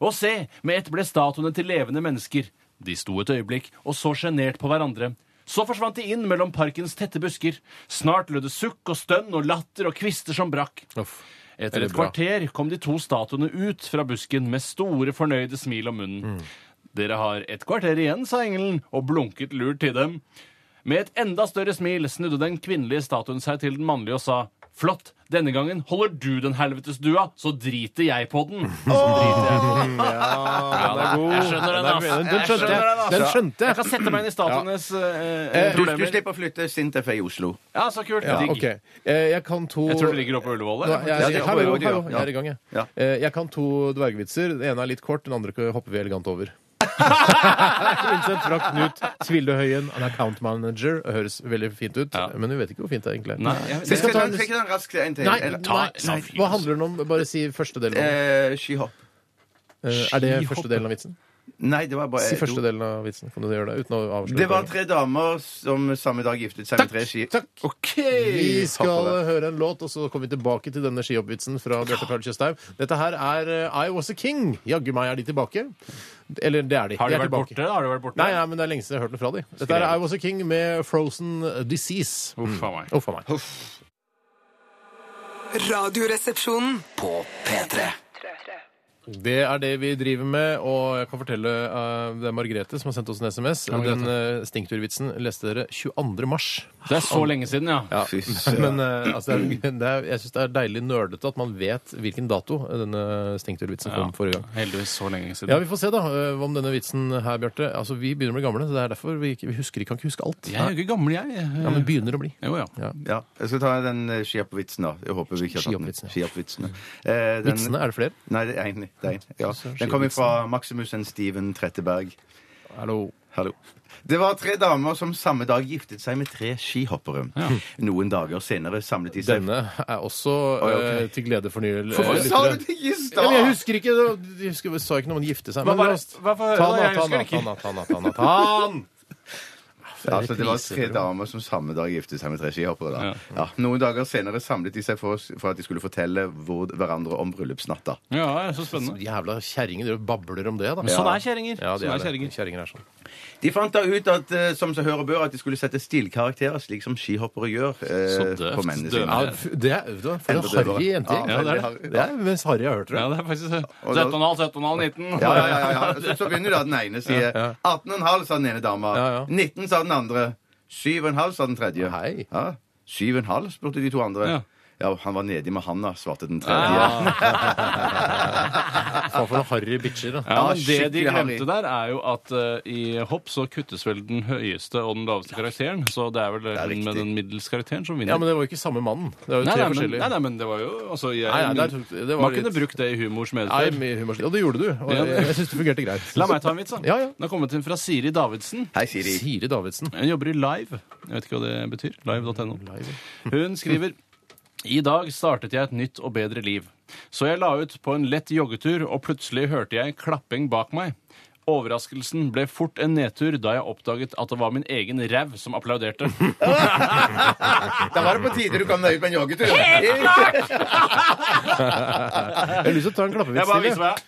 Speaker 1: Og se, med ett ble statuene til levende mennesker. De sto et øyeblikk og så sjenert på hverandre. Så forsvant de inn mellom parkens tette busker. Snart lød det sukk og stønn og latter og kvister som brakk.
Speaker 2: Uff.
Speaker 1: Etter
Speaker 2: det
Speaker 1: et
Speaker 2: bra?
Speaker 1: kvarter kom de to statuene ut fra busken med store, fornøyde smil om munnen.
Speaker 2: Mm.
Speaker 1: Dere har et kvarter igjen, sa engelen, og blunket lurt til dem. Med et enda større smil snudde den kvinnelige statuen seg til den mannlige og sa Flott, denne gangen holder du den helvetes dua, så driter jeg på den. Så driter jeg på den.
Speaker 2: Ja, den er god.
Speaker 1: Jeg skjønner den, ass.
Speaker 2: Den,
Speaker 1: Jeg
Speaker 2: skjønte
Speaker 1: skjønner den,
Speaker 2: jeg.
Speaker 1: altså. ass.
Speaker 2: Den skjønte
Speaker 1: Jeg
Speaker 2: jeg.
Speaker 1: kan sette meg inn i statuenes eh, eh,
Speaker 3: Du, du
Speaker 1: problemer.
Speaker 3: slipper å flytte Sintef er i Oslo.
Speaker 1: Ja, så kult.
Speaker 2: Ja,
Speaker 1: Digg.
Speaker 2: ok. Eh, Jeg kan to
Speaker 1: Jeg tror det ligger oppe på Ullevål.
Speaker 2: Nå,
Speaker 1: eller?
Speaker 2: jeg, er-
Speaker 3: Ja,
Speaker 2: jeg,
Speaker 3: det- ja,
Speaker 2: hallo,
Speaker 3: det-
Speaker 2: hallo, jeg
Speaker 3: ja.
Speaker 2: er i gang, jeg.
Speaker 3: Ja.
Speaker 2: Eh, Jeg kan to dvergvitser. Den ene er litt kort, den andre hopper vi elegant over. Innsendt fra Knut Tvilde Høien. Han er account manager og høres veldig fint ut.
Speaker 1: Ja.
Speaker 2: Men vi vet ikke hvor fint det egentlig er.
Speaker 1: Nei, jeg-
Speaker 2: Vi skal
Speaker 3: Skal
Speaker 2: ta
Speaker 3: ta
Speaker 2: en-
Speaker 3: ikke den raskt en til?
Speaker 2: Nei,
Speaker 3: Eller-
Speaker 2: nei, nei. Hva handler den om? Bare si første delen. av den.
Speaker 3: Eh, Skihopp.
Speaker 2: Eh, Er det første delen av vitsen?
Speaker 3: Nei, det var bare
Speaker 2: Si første delen av vitsen. Kan du gjøre det uten å avsløre?
Speaker 3: Eh, Det var
Speaker 2: poenget?
Speaker 3: tre damer som samme dag giftet seg med tre ski.
Speaker 2: Takk.
Speaker 1: OK!
Speaker 2: Vi skal
Speaker 3: Takk for
Speaker 2: høre en låt, og så kommer vi tilbake til denne skihoppvitsen fra Bjarte Paul Tjøstheim. Dette her er eh, I Was A King. Jaggu meg er de tilbake. Eller det er de.
Speaker 1: Har
Speaker 2: de
Speaker 1: du
Speaker 2: er
Speaker 1: vært
Speaker 2: tilbake.
Speaker 1: borte? da? Har du vært borte?
Speaker 2: Nei, nei, men det er lenge siden jeg har hørt noe fra de. Dette er I Was A King med Frozen Disease.
Speaker 1: Uff a meg.
Speaker 2: Uff a meg.
Speaker 4: Radioresepsjonen.
Speaker 6: På P3.
Speaker 2: Det er det vi driver med, og jeg kan fortelle eh, det er Margrethe som har sendt oss en SMS. Den eh, stinkturvitsen leste dere 22. mars.
Speaker 1: Det er så lenge siden, ja.
Speaker 3: Fy søren.
Speaker 2: Men eh, altså, det er, det er, jeg syns det er deilig nerdete at man vet hvilken dato eh, denne stinkturvitsen kom forrige gang.
Speaker 1: Heldigvis så lenge siden.
Speaker 2: Ja, Vi får se da eh, om denne vitsen her, Bjarte. Altså, Vi begynner å bli gamle. så det er derfor Vi, ikke, vi husker, kan ikke huske alt.
Speaker 1: Jeg er jo ikke gammel, jeg.
Speaker 2: Ja, men begynner å bli.
Speaker 1: Jo, ja.
Speaker 3: Ja, jeg skal ta den eh, skihoppvitsen, da. Jeg håper vi ikke har tatt
Speaker 2: Skihoppvitsen,
Speaker 3: den. Skihoppvitsene.
Speaker 2: ja.
Speaker 3: Eh, den-
Speaker 2: Vitsene, er det flere?
Speaker 3: Nei, det er én. Det er en, ja.
Speaker 2: Skihoppvitsen.
Speaker 3: Den kommer fra Maximus and Steven Tretteberg.
Speaker 2: Hallo.
Speaker 3: Hallo. Det var tre damer som samme dag giftet seg med tre skihoppere. Noen dager senere samlet de seg
Speaker 2: Denne er også
Speaker 3: Oi, ok.
Speaker 2: eh, til glede for nye
Speaker 3: Hvorfor
Speaker 2: lyttere.
Speaker 3: sa du det ikke i
Speaker 2: Ja, men jeg
Speaker 3: stad?
Speaker 2: husker ikke det- Jeg husker, jeg sa ikke noe om å gifte seg.
Speaker 1: Hva
Speaker 2: Men
Speaker 1: var
Speaker 2: la
Speaker 1: det-
Speaker 2: oss-
Speaker 1: hva for-
Speaker 2: ta
Speaker 1: hva- jeg
Speaker 2: Nathan,
Speaker 1: husker ikke.
Speaker 2: Nathan, Nathan, Nathan, Nathan.
Speaker 3: Altså, det var
Speaker 2: repriser,
Speaker 3: tre damer som samme dag giftet seg med tre skihoppere. Da. Ja. Noen dager senere samlet de seg for, for at de skulle fortelle hvor, hverandre om bryllupsnatta.
Speaker 1: ja, det er så spennende.
Speaker 2: Jævla kjerringer. Dere babler om det, da.
Speaker 1: Sånn er kjerringer.
Speaker 2: Ja, de
Speaker 1: sånn
Speaker 2: er
Speaker 1: er
Speaker 2: det.
Speaker 1: kjerringer.
Speaker 2: Kjerringer er sånn.
Speaker 3: De fant da ut at eh, som så hører bør, at de skulle sette stilkarakterer, slik som skihoppere gjør eh,
Speaker 1: Så døvt.
Speaker 3: på mennene
Speaker 1: Døvt.
Speaker 3: sine.
Speaker 2: Ja, f- det er øvd, da. For en
Speaker 3: Enda døvere.
Speaker 2: harry jentegjeng.
Speaker 3: Ja,
Speaker 1: det er
Speaker 3: det.
Speaker 2: Det er mest harry jeg har hørt, tror
Speaker 1: Ja,
Speaker 2: jeg.
Speaker 1: det er faktisk det.
Speaker 3: da-
Speaker 1: 17,5, 17,5, 19.
Speaker 3: Ja, ja, ja, ja. Så, så begynner da den ene sier 18,5, sa den ene dama.
Speaker 2: Ja, ja.
Speaker 3: 19, sa den andre. 7,5, sa den tredje.
Speaker 2: Hei.
Speaker 3: Ja, 7,5, spurte de to andre.
Speaker 1: Ja.
Speaker 3: Ja. han var nedi med handa, svarte den tredje.
Speaker 2: Faen for noen harry bitcher, da.
Speaker 1: Ja, men Det
Speaker 3: skikkelig
Speaker 1: de
Speaker 3: harry.
Speaker 1: glemte der, er jo at eh, i hopp så kuttes vel den høyeste og den laveste karakteren. Så det er vel den
Speaker 3: riktig.
Speaker 1: med den middels karakteren som vinner.
Speaker 2: Ja, men det var jo ikke samme mannen. Det var jo
Speaker 1: nei,
Speaker 2: tre
Speaker 1: nei, men, nei,
Speaker 2: forskjellige.
Speaker 1: nei, men det var jo altså, jeg,
Speaker 2: Nei, nei,
Speaker 1: men-
Speaker 2: det er- det var
Speaker 1: Man
Speaker 2: litt-
Speaker 1: kunne brukt det i humors
Speaker 2: Nei,
Speaker 1: medfør.
Speaker 2: mye humor. Og det gjorde du. Og
Speaker 1: Ja.
Speaker 2: jeg, jeg syns det fungerte greit.
Speaker 1: La meg ta en vits, da.
Speaker 2: Ja, ja.
Speaker 1: Den har kommet inn fra Siri Davidsen.
Speaker 3: Hei, Siri.
Speaker 2: Siri Davidsen.
Speaker 1: Hun jobber i Live. Jeg vet ikke hva det betyr. Live.no. Hun skriver I dag startet jeg et nytt og bedre liv. Så jeg la ut på en lett joggetur, og plutselig hørte jeg klapping bak meg. Overraskelsen ble fort en nedtur da jeg oppdaget at det var min egen ræv som applauderte.
Speaker 3: Da var det på tide du kom deg ut på en joggetur. Helt klart!
Speaker 2: Jeg har lyst til å ta en klappevits
Speaker 1: Jeg bare
Speaker 2: til.
Speaker 1: viser meg.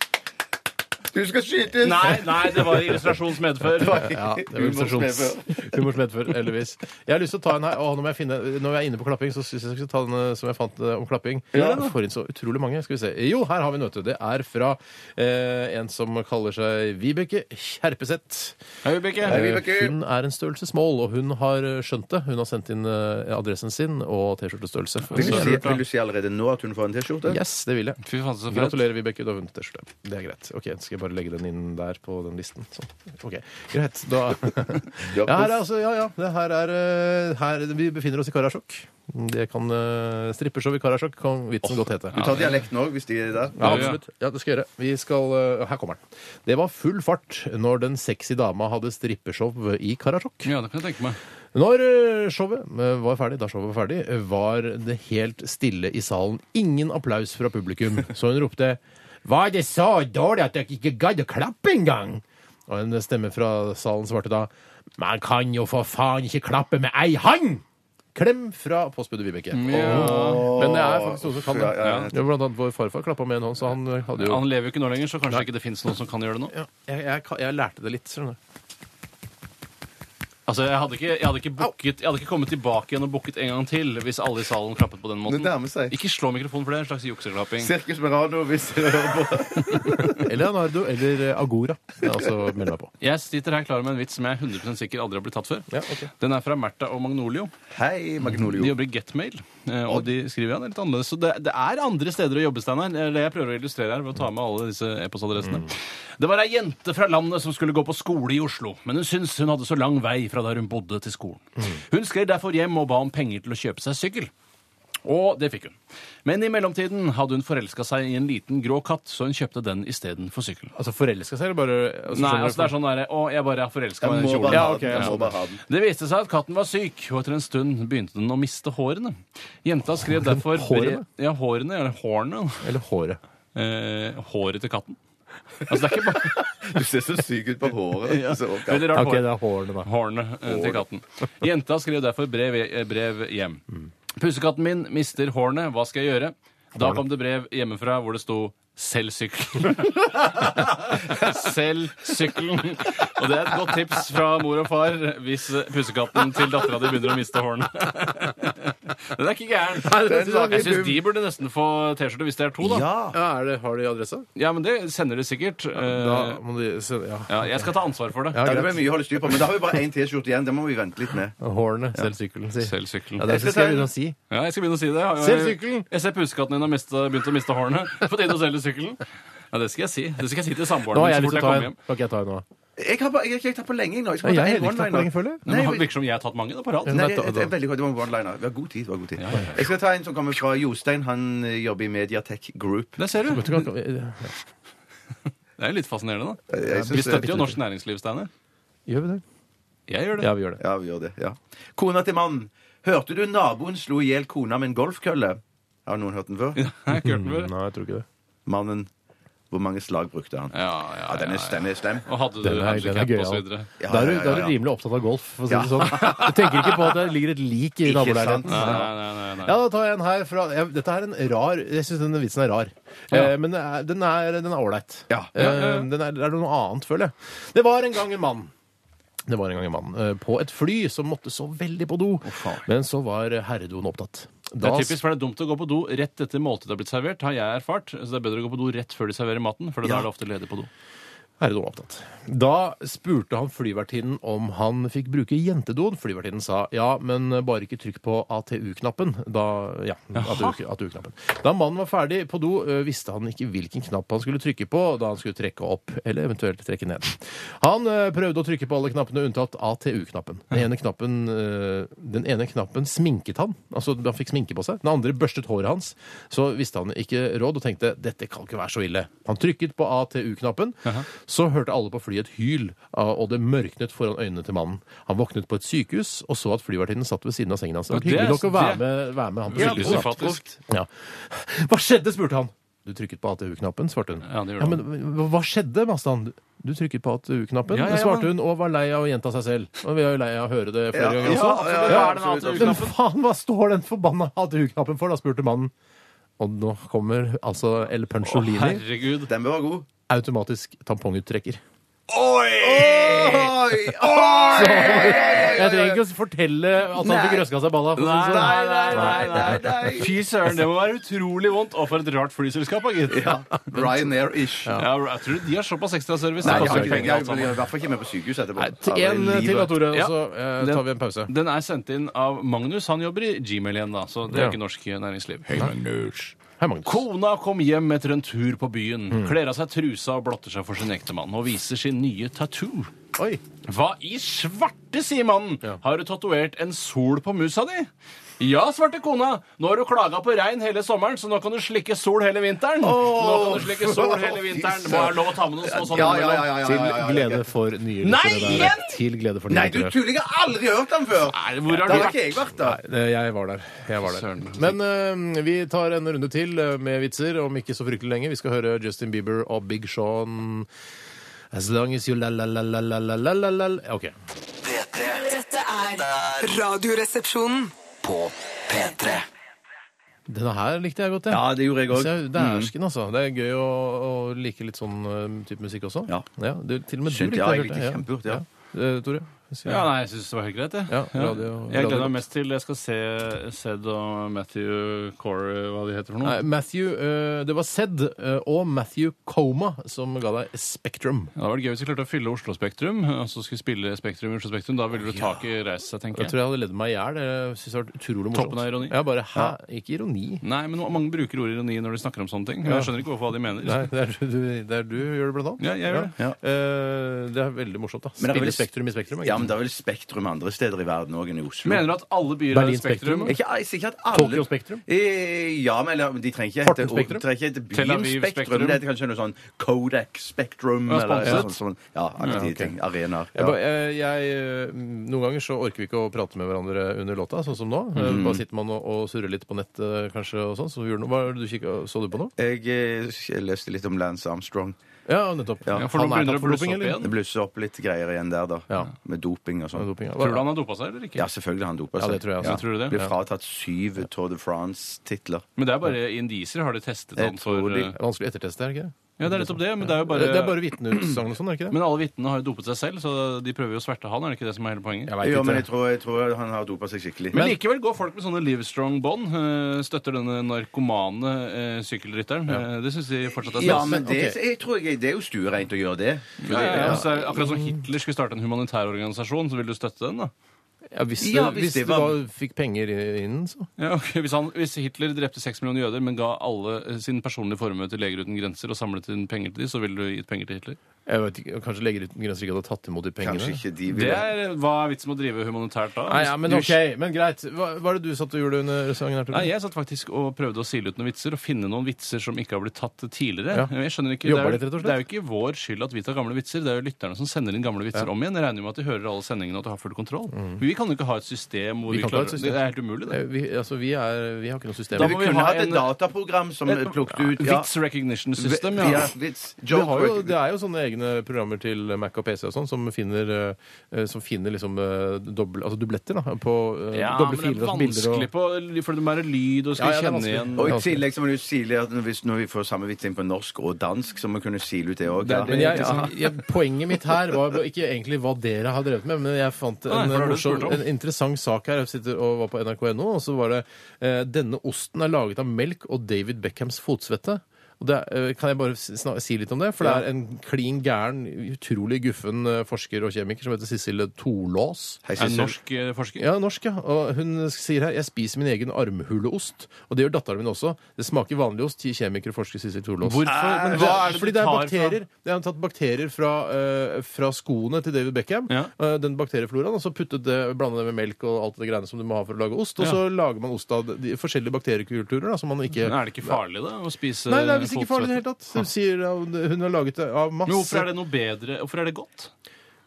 Speaker 3: Du Du skal skytes!
Speaker 1: Nei, nei, det var illustrasjons medfør.
Speaker 2: Ja, det var
Speaker 3: Humor som er
Speaker 2: illustrasjons. Humor som medfører, Elvis. Jeg har lyst til å ta en her. Åh, nå må jeg finne, når jeg er inne på klapping, så syns jeg jeg skal ta den eh, som jeg fant eh, om klapping. Ja. Får inn så utrolig mange. Skal vi se. Jo, her har vi noe til. Det er fra eh, en som kaller seg Vibeke Kjerpeseth.
Speaker 1: Hei, Vibeke.
Speaker 3: Hei, Vibeke.
Speaker 2: Hun er en størrelse small, og hun har skjønt det. Hun har sendt inn eh, adressen sin og T-skjortestørrelse.
Speaker 3: Vil du,
Speaker 2: Så-
Speaker 3: si, vil du si allerede nå at hun får en T-skjorte?
Speaker 2: Yes, det vil jeg.
Speaker 1: Fy faen, så fett.
Speaker 2: Gratulerer, Vibeke. Du har vunnet T-skjorte. Det er greit. Ok, Skal jeg bare legge den inn der på den listen? Sånn. Ok, Greit. Da ja, her er, altså, ja, ja. Det her er eh, her, Vi befinner oss i Karasjok. Det kan eh, Strippeshow i Karasjok kan vitsen godt hete.
Speaker 3: Du tar dialekten òg, hvis de er der?
Speaker 2: Ja, absolutt. Ja, det skal jeg gjøre. Vi skal, eh, her kommer den. Det var full fart når den sexy dama hadde strippeshow i Karasjok.
Speaker 1: Ja, det kan jeg tenke meg.
Speaker 2: Når eh, showet eh, var ferdig, da showet var ferdig, eh, var det helt stille i salen. Ingen applaus fra publikum. Så hun ropte Var det så dårlig at dere ikke gadd å klappe engang? Og en stemme fra salen svarte da Man kan jo for faen ikke klappe med ei hand! Klem fra postbudet Vibeke.
Speaker 1: Mm.
Speaker 2: Åh. Men det er faktisk noen som kan det.
Speaker 3: Ja, ja, ja.
Speaker 2: Det var Blant annet vår farfar klappa med en hånd, så han eh, hadde jo
Speaker 1: Han lever jo ikke nå lenger, så kanskje ikke det fins noen som kan gjøre det nå.
Speaker 2: ja, jeg, jeg, ka- jeg lærte det litt, skjønner du.
Speaker 1: Altså, Jeg hadde ikke, jeg hadde ikke, booket, jeg hadde ikke kommet tilbake igjen og booket en gang til hvis alle i salen klappet på den
Speaker 3: Det
Speaker 1: måten.
Speaker 3: nærmer seg.
Speaker 1: Ikke slå mikrofonen, for det er en slags jukseklapping.
Speaker 3: Sirkus Merano, hvis dere hører på.
Speaker 2: Eller Leonardo eller eh, Agora. Det er altså meld meg på.
Speaker 1: Jeg sitter her klar med en vits som jeg er 100 sikker aldri har blitt tatt før.
Speaker 2: Ja, ok.
Speaker 1: Den er fra Märtha og Magnolio.
Speaker 3: Hei,
Speaker 1: De
Speaker 3: Magnolio.
Speaker 1: jobber i Getmail, eh, og de skriver ja, det er litt annerledes. Så det, det er andre steder å jobbe, Steinar. Det er det jeg prøver å illustrere her ved å ta med alle disse e-postadressene. Det var ei jente fra landet som skulle gå på skole i Oslo, men hun syntes hun hadde så lang vei fra der hun bodde til skolen. Hun skrev derfor hjem og ba om penger til å kjøpe seg sykkel. Og det fikk hun. Men i mellomtiden hadde hun forelska seg i en liten grå katt, så hun kjøpte den istedenfor sykkelen.
Speaker 2: Altså forelska seg, eller bare altså,
Speaker 1: Nei,
Speaker 2: skjønner
Speaker 1: altså
Speaker 2: du-
Speaker 1: det er sånn derre Å, jeg bare er forelska i
Speaker 3: Jeg
Speaker 1: den
Speaker 3: må
Speaker 1: kjolen.
Speaker 3: bare
Speaker 2: Ja,
Speaker 3: ha
Speaker 2: ok,
Speaker 3: den. Jeg
Speaker 2: ja.
Speaker 3: må bare ha den.
Speaker 1: Det viste seg at katten var syk, og etter en stund begynte den å miste hårene. Jenta skrev derfor
Speaker 2: Hårene?
Speaker 1: Ja, hårene, eller hårene.
Speaker 2: Eller håret.
Speaker 1: Eh, håret til katten. Altså, det er ikke bare
Speaker 3: Du ser så syk ut på håret. Så, ok.
Speaker 1: Veldig rart hår.
Speaker 2: er hårene, da.
Speaker 1: Hårene eh, til katten. Jenta skrev derfor brev, eh, brev hjem. Pussekatten min mister hårene, hva skal jeg gjøre? Da kom det brev hjemmefra hvor det sto Selg sykkelen. Selg sykkelen. Og det er et godt tips fra mor og far hvis pussekatten til dattera di begynner å miste hårene. Den er ikke gæren. Jeg syns de burde nesten få T-skjorte hvis det er to, da.
Speaker 2: Ja, er det, har de adresse?
Speaker 1: Ja, men det sender de sikkert. Eh,
Speaker 2: Da må de se, ja.
Speaker 1: Ja, jeg skal ta ansvar for det.
Speaker 3: Ja, det ble mye å holde styr på, men da har vi bare én T-skjorte igjen. Det må vi vente litt med.
Speaker 2: Hårene. Selg sykkelen, si.
Speaker 1: Selg sykkelen.
Speaker 2: Ja, det
Speaker 3: Jeg skal
Speaker 2: skal jeg
Speaker 3: ta-
Speaker 2: begynne å si.
Speaker 1: Ja, jeg skal begynne å si det. Jeg-
Speaker 2: Selg sykkelen!
Speaker 1: Jeg ser pussekatten din har mistet- begynt å miste hårene. På tide å selge sykkelen. Ja, det skal jeg si. Det skal jeg si til samboeren
Speaker 2: Nå har
Speaker 1: min
Speaker 2: jeg
Speaker 1: så
Speaker 2: lyst
Speaker 1: fort
Speaker 2: til å ta en.
Speaker 1: jeg kommer hjem.
Speaker 2: Kan ikke jeg ta en nå?
Speaker 3: Jeg har, bare, jeg har ikke tatt på lenge, jeg nå. Jeg skal bare ta
Speaker 2: jeg
Speaker 3: en
Speaker 2: har ikke tatt på lenge, føler
Speaker 3: one-liner.
Speaker 2: jeg.
Speaker 1: Nei, men det virker som jeg har tatt mange da, på rad.
Speaker 3: Nei,
Speaker 2: Nei,
Speaker 3: jeg,
Speaker 2: da-
Speaker 3: jeg, er veldig godt, det var en one-liner. Vi har god tid. vi har god tid. Jeg skal ta en som kommer fra Jostein. Han eh, jobber i Mediatek Group.
Speaker 1: Det ser du.
Speaker 2: Vet
Speaker 1: Det
Speaker 2: du hva-
Speaker 1: er jo litt fascinerende, da.
Speaker 3: Jeg
Speaker 1: Vi
Speaker 3: synes det-
Speaker 1: støtter jo norsk næringsliv, Steiner.
Speaker 2: Gjør vi det?
Speaker 1: Jeg gjør det.
Speaker 2: Ja, vi gjør det.
Speaker 3: Ja, vi gjør det. ja. Kona til mannen. Hørte du naboen slo i hjel kona med en golfkølle? Har noen hørt den før?
Speaker 1: Jeg har ikke hørt den før.
Speaker 2: Mm, Nei, jeg tror ikke det.
Speaker 3: Mannen. Hvor mange slag brukte han?
Speaker 1: Ja,
Speaker 3: Ja, den er, den er slem.
Speaker 1: Og hadde du
Speaker 2: Den er, den er
Speaker 1: handicap
Speaker 2: gøy.
Speaker 1: og så
Speaker 2: Ja.
Speaker 1: videre.
Speaker 3: Ja,
Speaker 2: Da er du,
Speaker 3: ja,
Speaker 2: da er
Speaker 3: ja,
Speaker 2: du
Speaker 3: ja.
Speaker 2: rimelig opptatt av golf, for å si det sånn. Du tenker ikke på at det ligger et lik i
Speaker 3: Ikke sant.
Speaker 2: nabolaget.
Speaker 1: Nei, nei, nei, nei, nei.
Speaker 2: Ja, da tar jeg en her fra jeg, Dette er en rar Jeg syns denne vitsen er rar. Eh, men det er- den er den er ålreit.
Speaker 3: Ja.
Speaker 2: Eh, den er, det er noe annet, føler jeg. Det var en gang en mann. Det var en gang en mann eh, på et fly som måtte så veldig på do. men så var herredoen opptatt.
Speaker 1: Det
Speaker 2: Da,
Speaker 1: er typisk, for det er dumt å gå på do rett etter måltidet er blitt servert, har jeg erfart. Så det er bedre å gå på do rett før de serverer maten, for da er det ofte ledig på do.
Speaker 2: herredoen var opptatt. Da spurte han flyvertinnen om han fikk bruke jentedoen. Flyvertinnen sa ja, men bare ikke trykk på ATU-knappen. Da ja, ATU-knappen. Da mannen var ferdig på do, ø, visste han ikke hvilken knapp han skulle trykke på da han skulle trekke opp, eller eventuelt trekke ned. Han ø, prøvde å trykke på alle knappene unntatt ATU-knappen. Den, ene knappen, ø, den ene knappen sminket han, altså han fikk sminke på seg. Den andre børstet håret hans. Så visste han ikke råd og tenkte dette kan ikke være så ille. Han trykket på ATU-knappen. Så hørte alle på flyet et hyl, ah, og det mørknet foran øynene til mannen. Han våknet på et sykehus og så at flyvertinnen satt ved siden av sengen hans. Det var
Speaker 1: Og det-
Speaker 2: hyggelig nok å være
Speaker 1: det-
Speaker 2: med, være med han på
Speaker 1: Ja,
Speaker 2: sykehuset. da.
Speaker 1: sympatisk.
Speaker 2: Ja. Hva skjedde, spurte han. Du trykket på ATU-knappen, svarte hun.
Speaker 1: Ja, det gjorde
Speaker 2: men hva- hva skjedde, Mastan? Du trykket på ATU-knappen,
Speaker 1: Ja, ja, ja.
Speaker 2: svarte hun, og var lei av å gjenta seg selv. Og vi er jo lei av å høre det
Speaker 3: Ja,
Speaker 2: flere ganger
Speaker 3: ja,
Speaker 2: også.
Speaker 3: ja,
Speaker 1: Hva
Speaker 3: ja,
Speaker 1: er den
Speaker 3: absolutt,
Speaker 1: ATU-knappen?
Speaker 2: Men faen, hva står den forbanna ATU-knappen for, da, spurte mannen. Og nå kommer altså El
Speaker 1: Å,
Speaker 2: Puncholini.
Speaker 1: herregud.
Speaker 3: Den bør være god.
Speaker 2: automatisk tamponguttrekker.
Speaker 3: Oi! Oi!
Speaker 2: Jeg trenger ikke å fortelle at han fikk røska seg i balla. for å si det sånn.
Speaker 1: Nei, nei, nei, nei. Fy søren, det må være utrolig vondt. Og for et rart flyselskap, da, gitt. Ja.
Speaker 3: Ryanair-ish.
Speaker 1: jeg tror de har såpass ekstraservice.
Speaker 3: Nei,
Speaker 1: Det
Speaker 3: jeg,
Speaker 1: koster
Speaker 3: har ikke
Speaker 1: jo
Speaker 3: det. jeg, jeg,
Speaker 1: penger, alt
Speaker 3: jeg er
Speaker 1: sammen.
Speaker 3: i hvert fall ikke med på sykehuset etterpå.
Speaker 2: Nei, til en eh, til, da, Tore,
Speaker 1: Ja.
Speaker 2: og så eh,
Speaker 1: Den-
Speaker 2: tar vi en pause.
Speaker 1: Den er sendt inn av Magnus. Han jobber i Gmail igjen, da, så det er
Speaker 2: Ja.
Speaker 1: ikke norsk næringsliv.
Speaker 2: Hei, Magnus.
Speaker 1: Kona kom hjem etter en tur på byen,
Speaker 3: Mm.
Speaker 1: kler av seg trusa og blotter seg for sin ektemann og viser sin nye tattoo.
Speaker 2: Oi.
Speaker 1: Hva i svarte, sier mannen, har du tatovert en sol på musa di? Ja, svarte kona, nå har du klaga på regn hele sommeren, så nå kan du slikke sol hele vinteren. nå kan du slikke sol hele vinteren. Må jeg ha lov å ta med noe sånt?
Speaker 3: Ja, ja, ja, ja, ja,
Speaker 2: Til
Speaker 3: ja, ja, ja.
Speaker 2: glede for nye
Speaker 1: Nei,
Speaker 2: lyttere der.
Speaker 1: igjen!
Speaker 2: Til glede for nye
Speaker 3: Nei, du
Speaker 2: lyttere.
Speaker 3: tuller! Jeg har aldri hørt den før!
Speaker 1: Nei, hvor har
Speaker 3: Da
Speaker 1: du
Speaker 3: har ikke
Speaker 1: vært?
Speaker 3: jeg vært der.
Speaker 2: Nei, Jeg var der. Jeg var der.
Speaker 1: Søren.
Speaker 3: altså.
Speaker 2: Men eh, vi tar en runde til eh, med vitser, om ikke så fryktelig lenge. Vi skal høre Justin Bieber og Big Sean As long as you la-la-la-la-la-la-la-la OK.
Speaker 6: P3
Speaker 4: Dette er Radioresepsjonen.
Speaker 6: på P3.
Speaker 2: Denne her likte jeg godt, jeg.
Speaker 3: Ja, det Mm. gjorde jeg òg.
Speaker 2: Så Dæsken, altså. Det er gøy å, å like litt sånn eh, type musikk også.
Speaker 3: Ja.
Speaker 2: du, til og med du
Speaker 3: Skjønt,
Speaker 2: likte
Speaker 3: ja,
Speaker 2: det.
Speaker 3: jeg
Speaker 2: hørte
Speaker 3: likte kjempegodt, ja.
Speaker 2: Eh, Tore? sier
Speaker 1: Ja,
Speaker 2: du?
Speaker 1: nei, jeg syns det var helt greit, jeg.
Speaker 2: Ja, radio-
Speaker 1: jeg gleder
Speaker 2: radio-
Speaker 1: meg mest til jeg skal se Sed og Matthew Core, hva de heter for noe.
Speaker 2: Nei, Matthew, eh, Det var Sed eh, og Matthew Coma som ga deg Spektrum.
Speaker 1: Det hadde vært gøy hvis vi klarte å fylle Oslo Spektrum, og så skulle spille Spektrum i Oslo Spektrum. Da ville du taket reist seg, tenker
Speaker 2: Jeg
Speaker 1: jeg.
Speaker 2: tror jeg hadde ledd meg i hjel. Jeg synes det var utrolig morsomt.
Speaker 1: Toppen av ironi.
Speaker 2: Ja, bare, hæ? Ikke ironi.
Speaker 1: Nei, men mange bruker ordet ironi når de snakker om sånne ting. Men jeg skjønner ikke hvorfor hva de mener.
Speaker 2: Nei, det er, du, det er du gjør det blant annet.
Speaker 1: Ja, jeg gjør det.
Speaker 3: Ja.
Speaker 2: Eh, det er veldig morsomt. da.
Speaker 3: Men det er
Speaker 2: Spille
Speaker 3: vel-
Speaker 2: Spektrum i Spektrum.
Speaker 3: Ja, men det er vel Spektrum andre steder i verden òg enn i Oslo.
Speaker 1: Mener du at alle byer har
Speaker 2: Berlin
Speaker 1: et spektrum?
Speaker 2: Spektrum?
Speaker 3: Ikke, jeg sier ikke at alle
Speaker 2: Tokyo Spektrum?
Speaker 3: Eh, ja, men eller, de trenger ikke
Speaker 2: Horten
Speaker 3: hete
Speaker 2: Spektrum?
Speaker 3: de trenger ikke hete
Speaker 1: Tel Aviv
Speaker 3: Byen Spektrum.
Speaker 1: Spektrum?
Speaker 3: Det heter kanskje noe sånn Kodak Spektrum.
Speaker 1: Ja,
Speaker 3: eller
Speaker 1: sponset.
Speaker 3: sånn, sånn, ja, aktige ting. Arenaer.
Speaker 2: Jeg,
Speaker 3: Ja.
Speaker 2: ba- jeg, jeg, eh, noen ganger så orker vi ikke å prate med hverandre under låta, sånn som nå. Eh,
Speaker 1: Mm.
Speaker 2: Bare sitter man og, og surrer litt på nettet, kanskje, og sånn. Så vi gjorde noe. Hva er det du kikket, så du på nå?
Speaker 3: Jeg, eh, jeg leste litt om Lance Armstrong.
Speaker 2: Ja, nettopp.
Speaker 3: Ja.
Speaker 1: Ja, for nå
Speaker 2: Han er
Speaker 1: begynner det
Speaker 2: tatt
Speaker 1: å
Speaker 2: for
Speaker 1: blusse
Speaker 2: doping,
Speaker 1: opp
Speaker 2: eller?
Speaker 1: igjen.
Speaker 3: Det blusser opp litt greier igjen der, da.
Speaker 2: Ja.
Speaker 3: Med doping og sånn.
Speaker 2: Doping, ja.
Speaker 1: Tror du han har dopa seg, eller ikke?
Speaker 3: Ja, selvfølgelig har han dopa
Speaker 2: Ja,
Speaker 3: seg.
Speaker 2: det tror jeg også.
Speaker 1: Ja, tror du det?
Speaker 3: Ble
Speaker 1: Ja.
Speaker 3: fratatt syv Tour de France-titler.
Speaker 1: Men det er bare indiser. Har de testet
Speaker 3: Jeg
Speaker 1: han for
Speaker 3: tror de-
Speaker 1: eh,
Speaker 2: Det er Vanskelig å etterteste, er det ikke det?
Speaker 1: Ja, det er nettopp det, men det er jo
Speaker 2: Det- Det er
Speaker 1: bare
Speaker 2: bare vitneutsagn og sånn, er det ikke det?
Speaker 1: Men alle vitnene har jo dopet seg selv, så de prøver jo å sverte han. Er det ikke det som er hele poenget?
Speaker 2: Jeg vet
Speaker 3: Jo,
Speaker 2: ikke.
Speaker 3: men jeg tror, jeg tror han har dopa seg skikkelig.
Speaker 1: Men likevel går folk med sånne Livestrong-bånd. eh, Støtter denne narkomane eh, sykkelrytteren. Eh, Det syns de fortsatt er
Speaker 3: ja,
Speaker 1: stas.
Speaker 3: men det,
Speaker 2: ok.
Speaker 3: jeg tror jeg, det er jo stuereint å gjøre det.
Speaker 1: Ja, ja, ja. Altså, akkurat som Hitler skulle starte en humanitær organisasjon, så vil du støtte den, da?
Speaker 2: Ja, hvis det,
Speaker 3: Ja, hvis
Speaker 2: hvis
Speaker 3: det
Speaker 2: du
Speaker 3: var-
Speaker 2: da fikk penger i- inn, så.
Speaker 1: Ja, ok. hvis, han, hvis Hitler drepte seks millioner jøder, men ga alle eh, sin personlige formue til Leger uten grenser og samlet inn penger til de, så ville du gitt penger til Hitler?
Speaker 2: Jeg vet ikke, Kanskje Leger uten grenser ikke hadde tatt imot de pengene?
Speaker 3: Kanskje ikke de
Speaker 1: Det
Speaker 3: vil
Speaker 1: er, hva er vitsen med å drive humanitært da?
Speaker 2: Nei, ja, men
Speaker 1: Du-
Speaker 2: ok, men greit. Hva, hva er det du satt og gjorde under sangen her, Tore?
Speaker 1: Nei, jeg satt faktisk og prøvde å sile ut noen vitser og finne noen vitser som ikke har blitt tatt tidligere.
Speaker 2: Ja.
Speaker 1: Jeg skjønner ikke,
Speaker 2: Jobba
Speaker 1: det, er,
Speaker 2: litt, rett og slett.
Speaker 1: det er jo ikke vår skyld at vi tar gamle vitser, det er jo lytterne som sender inn gamle vitser om igjen. Jeg regner jo med at de hører alle sendingene og at de har full kontroll. Men vi kan jo ikke ha et system hvor
Speaker 2: Mm. Vi
Speaker 1: vi,
Speaker 2: kan ikke ha et
Speaker 1: klarer
Speaker 2: system.
Speaker 1: Det er helt umulig, det.
Speaker 2: Eh, Vi, altså, vi, er, vi har ikke noe system.
Speaker 1: Da
Speaker 3: Vi
Speaker 1: må vi
Speaker 3: kunne
Speaker 1: ha
Speaker 3: hatt et
Speaker 1: en-
Speaker 3: dataprogram som
Speaker 1: Et-
Speaker 3: plukket ut ja.
Speaker 1: Vits recognition system,
Speaker 3: Vi-
Speaker 1: ja.
Speaker 3: ja, vits.
Speaker 2: Vi
Speaker 3: Joke
Speaker 2: har jo,
Speaker 3: work.
Speaker 2: det er jo sånne egne programmer til Mac og PC og sånn som finner, eh, som finner liksom eh, doble, altså dubletter da, på eh,
Speaker 1: Ja, men
Speaker 2: doble
Speaker 1: det er
Speaker 2: filer og bilder.
Speaker 1: vanskelig
Speaker 2: Og,
Speaker 1: på, for det må være lyd
Speaker 2: Ja,
Speaker 1: og skal
Speaker 2: ja, det er
Speaker 1: kjenne
Speaker 2: vanskelig.
Speaker 1: igjen
Speaker 3: Og i tillegg så må du sile at hvis når vi får samme vits inn på norsk og dansk, så må vi kunne sile ut det òg. Ja.
Speaker 2: men jeg, liksom, jeg, poenget mitt her var ikke egentlig hva dere har drevet med, men jeg fant
Speaker 1: Nei,
Speaker 2: en,
Speaker 1: hva har du
Speaker 2: morsom,
Speaker 1: spurt om?
Speaker 2: en interessant sak her. Jeg sitter og var på nrk.no, og så var det eh, Denne osten er laget av melk og David Beckhams fotsvette. Og det er, eh, kan jeg bare s- sna- si litt om det? For det er en klin gæren, utrolig guffen eh, forsker og kjemiker som heter Sissel Torlås.
Speaker 3: Hei,
Speaker 1: En
Speaker 3: Sissel.
Speaker 1: norsk eh, forsker.
Speaker 2: Ja, norsk, ja. Og hun sier her jeg spiser min egen armhuleost. Og det gjør datteren min også. Det smaker vanlig ost, sier kjemiker og forsker Sissel Torlås.
Speaker 1: Hvorfor? Men hva er det
Speaker 2: Eh, Fordi
Speaker 1: du
Speaker 2: det er
Speaker 1: tar fra?
Speaker 2: bakterier. Det er tatt bakterier fra, eh, fra skoene til David Beckham.
Speaker 1: Ja.
Speaker 2: eh, den bakteriefloraen. Og så puttet det, blanda det med melk og alt det greiene som du må ha for å lage ost. Og
Speaker 1: Ja.
Speaker 2: så lager man ost av de forskjellige bakteriekulturer da, som man ikke
Speaker 1: Men er det ikke eh, farlig, da? Å spise
Speaker 2: Nei, det er visst ikke farlig i det
Speaker 1: fotsvette?
Speaker 2: hele tatt. Hun sier at hun har laget det av masse
Speaker 1: Men hvorfor er det noe bedre? Hvorfor er det godt?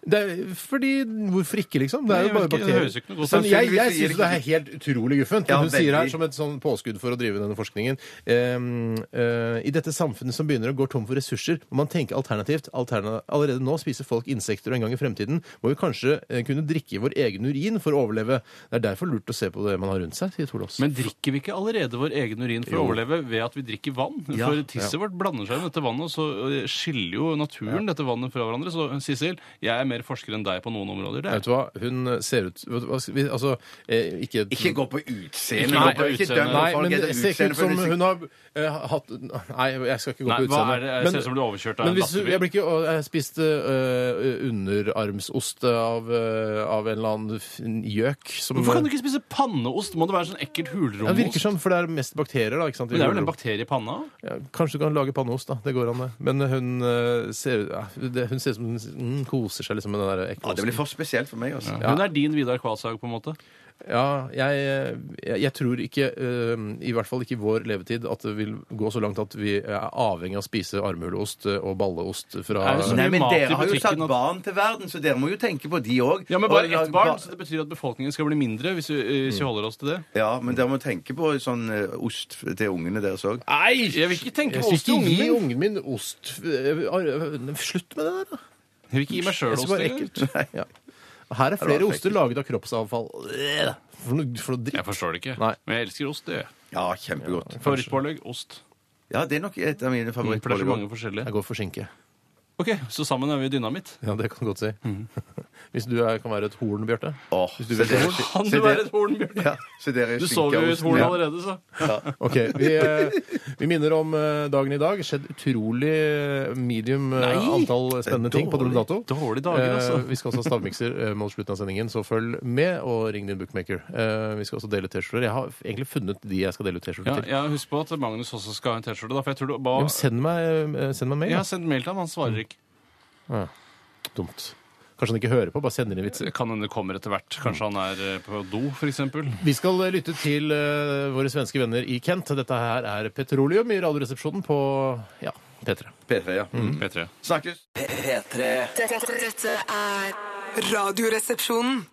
Speaker 2: Det er, fordi Hvorfor ikke, liksom? Det er jo
Speaker 1: Nei, jeg
Speaker 2: bare
Speaker 1: vet ikke, det
Speaker 2: bakterier.
Speaker 1: høres jo ikke noe godt
Speaker 2: Men
Speaker 1: ut.
Speaker 2: jeg jeg syns det er helt utrolig guffent.
Speaker 3: Ja,
Speaker 2: det hun sier her
Speaker 3: veldig.
Speaker 2: som et sånn påskudd for å drive denne forskningen. Ehm, eh, I dette samfunnet som begynner å gå tom for ressurser, må man tenke alternativt. Alterna allerede nå spiser folk insekter, og en gang i fremtiden må vi kanskje eh, kunne drikke vår egen urin for å overleve. Det er derfor lurt å se på det man har rundt seg, sier Torlaus.
Speaker 1: Men drikker vi ikke allerede vår egen urin for å overleve ved at vi drikker vann? for tisset vårt blander seg i dette vannet, og så eh, skiller jo naturen dette vannet fra hverandre. Så Sissel, jeg er mer forsker enn deg på noen områder. Det
Speaker 2: Vet
Speaker 1: er.
Speaker 2: du hva, hun ser ut vet du hva, vi- Altså, eh, ikke
Speaker 3: Ikke gå på utseendet.
Speaker 1: Nei,
Speaker 3: Ikke
Speaker 1: utseende.
Speaker 3: døm
Speaker 2: Nei,
Speaker 3: folk
Speaker 2: men
Speaker 3: etter
Speaker 2: det ser ikke
Speaker 3: utseende, for
Speaker 2: ut som
Speaker 3: det er-
Speaker 2: hun har eh, hatt Nei, jeg skal ikke gå
Speaker 1: Nei,
Speaker 2: på
Speaker 1: hva
Speaker 2: utseendet.
Speaker 1: er det? Jeg ser ut som du er overkjørt av
Speaker 2: men
Speaker 1: en
Speaker 2: hvis,
Speaker 1: lastebil.
Speaker 2: Jeg blir ikke å, Jeg spiste eh, underarmsost av, eh, av en eller annen f- gjøk som
Speaker 1: Hvorfor kan du ikke spise panneost? Må det være sånn ekkelt
Speaker 2: Ja, det virker
Speaker 1: hulromost?
Speaker 2: sånn, for det er mest bakterier, da. ikke sant? i
Speaker 1: Men det er vel en
Speaker 2: hulrom.
Speaker 1: bakterie i panna?
Speaker 2: Ja, Kanskje du kan lage panneost, da. Det går an, det. Men hun eh, ser ja, det- Hun ser ut som hun mm, koser seg liksom med den der
Speaker 3: Ja,
Speaker 2: ekle
Speaker 3: det blir
Speaker 2: osten.
Speaker 3: for spesielt for meg, altså.
Speaker 1: Hun er din Vidar Kvalshaug, på en måte.
Speaker 2: Ja, jeg, jeg, jeg tror ikke, eh, i hvert fall ikke i vår levetid, at det vil gå så langt at vi er avhengig av å spise armhuleost og balleost fra
Speaker 1: Er det sånn? så
Speaker 3: Nei,
Speaker 1: mye
Speaker 3: men
Speaker 1: mat i
Speaker 3: dere har jo
Speaker 1: butikken
Speaker 3: satt
Speaker 1: at-
Speaker 3: barn til verden, så dere må jo tenke på de òg.
Speaker 1: Ja, men bare ett barn, så det betyr at befolkningen skal bli mindre hvis vi, eh,
Speaker 2: Mm.
Speaker 1: hvis vi holder oss til det.
Speaker 3: Ja, men dere må tenke på sånn eh, ost til ungene deres òg.
Speaker 2: Nei!
Speaker 1: Jeg vil ikke tenke
Speaker 2: Jeg
Speaker 1: på
Speaker 2: skal
Speaker 1: ost til
Speaker 2: ikke
Speaker 1: ungen
Speaker 2: gi
Speaker 1: min.
Speaker 2: ungen min ost Eh, ar- Slutt med det der, da.
Speaker 1: Jeg vil ikke gi meg sjøl
Speaker 2: Jeg synes
Speaker 1: ost.
Speaker 2: bare
Speaker 1: engang.
Speaker 2: ekkelt. Ja. Her er flere
Speaker 3: var
Speaker 2: oster laget av kroppsavfall. Øh, For noe, for noe
Speaker 1: Jeg
Speaker 2: dritt.
Speaker 1: forstår det ikke.
Speaker 2: Nei.
Speaker 1: Men jeg elsker ost. det gjør jeg.
Speaker 3: Ja, kjempegodt.
Speaker 1: Favorittpålegg ost.
Speaker 3: Ja, det er nok et av mine
Speaker 2: Mm.
Speaker 1: For det er så
Speaker 3: favorittpålegg.
Speaker 1: mange forskjellige.
Speaker 2: Jeg går for skinke.
Speaker 1: Ok, Så sammen er vi dynamitt.
Speaker 2: Ja, det kan du godt si. Hvis du er, kan være et horn, Bjarte.
Speaker 3: Åh,
Speaker 2: Hvis du
Speaker 3: så
Speaker 2: vil
Speaker 3: dere- så
Speaker 1: Kan du
Speaker 3: dere-
Speaker 1: være et horn, Bjørn?
Speaker 3: Ja, så dere
Speaker 1: Du
Speaker 3: skinker
Speaker 1: sover jo i et
Speaker 3: osten.
Speaker 1: horn
Speaker 3: Ja.
Speaker 1: allerede, så.
Speaker 2: Ok, vi, eh, vi minner om eh, dagen i dag. Skjedd utrolig eh, medium eh,
Speaker 1: Nei!
Speaker 2: antall spennende ting på Dolo Dato.
Speaker 1: Dårlig dager,
Speaker 2: Eh,
Speaker 1: altså.
Speaker 2: Vi skal også ha stavmikser eh, mot slutten av sendingen, så følg med, og ring din bookmaker. Eh, Vi skal også dele ut T-skjorter. Jeg har egentlig funnet de jeg skal dele ut T-skjorter
Speaker 1: Ja,
Speaker 2: til.
Speaker 1: jeg husker på at Magnus også skal ha en T-skjorte. da, for Jeg tror
Speaker 2: Ja,
Speaker 1: det var...
Speaker 2: men send meg, eh, send meg mail.
Speaker 1: Jeg
Speaker 2: da.
Speaker 1: har sendt mail til han, han
Speaker 2: Mm.
Speaker 1: svarer ikke.
Speaker 2: Dumt. Kanskje han ikke hører på, bare sender inn vitser.
Speaker 1: Det Kan hende det kommer etter hvert. Kanskje han er eh, på do, f.eks.
Speaker 2: Vi skal eh, lytte til eh, våre svenske venner i Kent. Dette her er Petroleum i Radioresepsjonen på ja, P3.
Speaker 3: P3, ja. Mm.
Speaker 1: P3.
Speaker 3: Snakkes!
Speaker 6: P3.
Speaker 4: Dette, dette er Radioresepsjonen.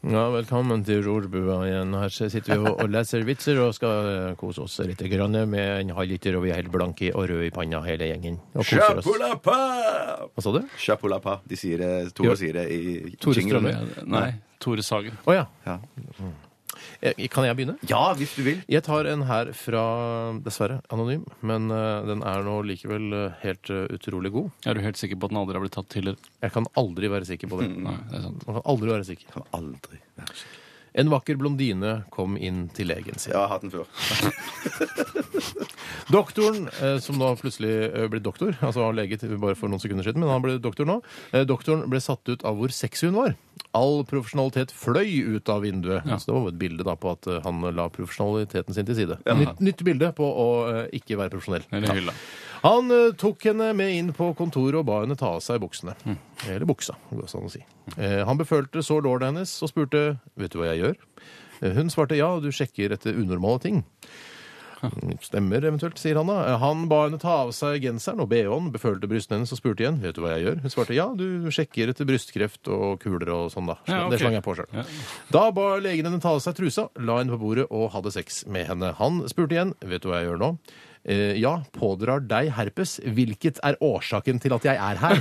Speaker 2: Ja, velkommen til Rorbua igjen. Her sitter vi og, og leser vitser og skal eh, kose oss litt grann med en halv liter, og vi er helt blanke i- og røde i panna hele gjengen. Og koser oss.
Speaker 3: Chapulapa!
Speaker 2: Hva sa du?
Speaker 3: Chapulapa. De sier det,
Speaker 2: Ja.
Speaker 3: Tore sier det i
Speaker 2: Tore
Speaker 3: jinglen.
Speaker 2: Strømme.
Speaker 1: Nei, Tore Sagen.
Speaker 2: Å ja.
Speaker 3: Ja.
Speaker 2: Eh, Kan jeg begynne?
Speaker 3: ja, hvis du vil.
Speaker 2: Jeg tar en her fra, dessverre, anonym, men eh, den er nå likevel eh, helt eh, utrolig god.
Speaker 1: Er du helt sikker på at den aldri har blitt tatt tidligere?
Speaker 2: Jeg kan aldri være sikker på det.
Speaker 1: Nei, det er sant.
Speaker 2: Man kan aldri være sikker.
Speaker 3: Kan aldri være sikker.
Speaker 2: En vakker blondine kom inn til legen sin.
Speaker 3: Ja, jeg har hatt den før.
Speaker 2: Doktoren, eh, som da plutselig eh, ble doktor, altså han var lege til bare for noen sekunder siden, men han ble doktor nå, eh, doktoren ble satt ut av hvor sexy hun var. All profesjonalitet fløy ut av vinduet. Så det var jo et bilde da på at eh, han la profesjonaliteten sin til side. Nytt, nytt bilde på å eh, ikke være profesjonell.
Speaker 1: Eller hylla.
Speaker 2: Han eh, tok henne med inn på kontoret og ba henne ta av seg buksene. Eller buksa, går det an å si. Eh, han befølte så låret hennes og spurte vet du hva jeg gjør. Eh, Hun svarte ja, du sjekker etter unormale ting. Stemmer eventuelt, sier han da. Eh, Han ba henne ta av seg genseren og bh-en, befølte brystene hennes og spurte igjen vet du hva jeg gjør. Hun svarte ja, du sjekker etter brystkreft og kuler og sånn, da.
Speaker 1: Ja, ok.
Speaker 2: Det slang jeg på sjøl.
Speaker 1: Ja.
Speaker 2: Da ba legen henne ta av seg trusa, la henne på bordet og hadde sex med henne. Han spurte igjen vet du hva jeg gjør nå. Eh, ja, pådrar deg herpes, hvilket er årsaken til at jeg er her.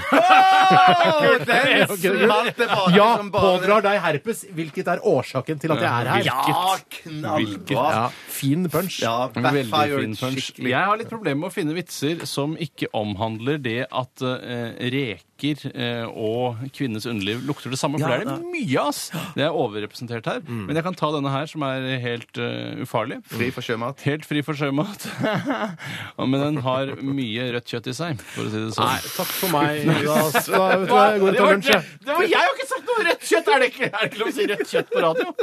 Speaker 3: Kurt smalt tilbake
Speaker 2: ja,
Speaker 3: som bare-
Speaker 2: pådrar deg herpes, hvilket er årsaken til at jeg er her.
Speaker 3: Ja,
Speaker 2: Ja,
Speaker 3: knallbra!
Speaker 2: fin punch.
Speaker 3: Ja,
Speaker 1: Veldig
Speaker 3: backfired
Speaker 1: fin punch.
Speaker 3: skikkelig.
Speaker 1: Jeg har litt problemer med å finne vitser som ikke omhandler det at eh, reker eh, og kvinnens underliv lukter det samme, for det er Mm. det mye av. ass. Det er overrepresentert her. Men jeg kan ta denne her, som er helt eh, ufarlig.
Speaker 3: Fri for sjømat.
Speaker 1: Helt fri for sjømat. Og- Men den har mye rødt kjøtt i seg, for å si det sånn.
Speaker 2: Nei, takk for meg. Da, da, vet du hva, jeg går og tar lunsj, jeg.
Speaker 1: Jeg har ikke sagt noe rødt kjøtt! Er det ikke, lov å si rødt kjøtt på radio?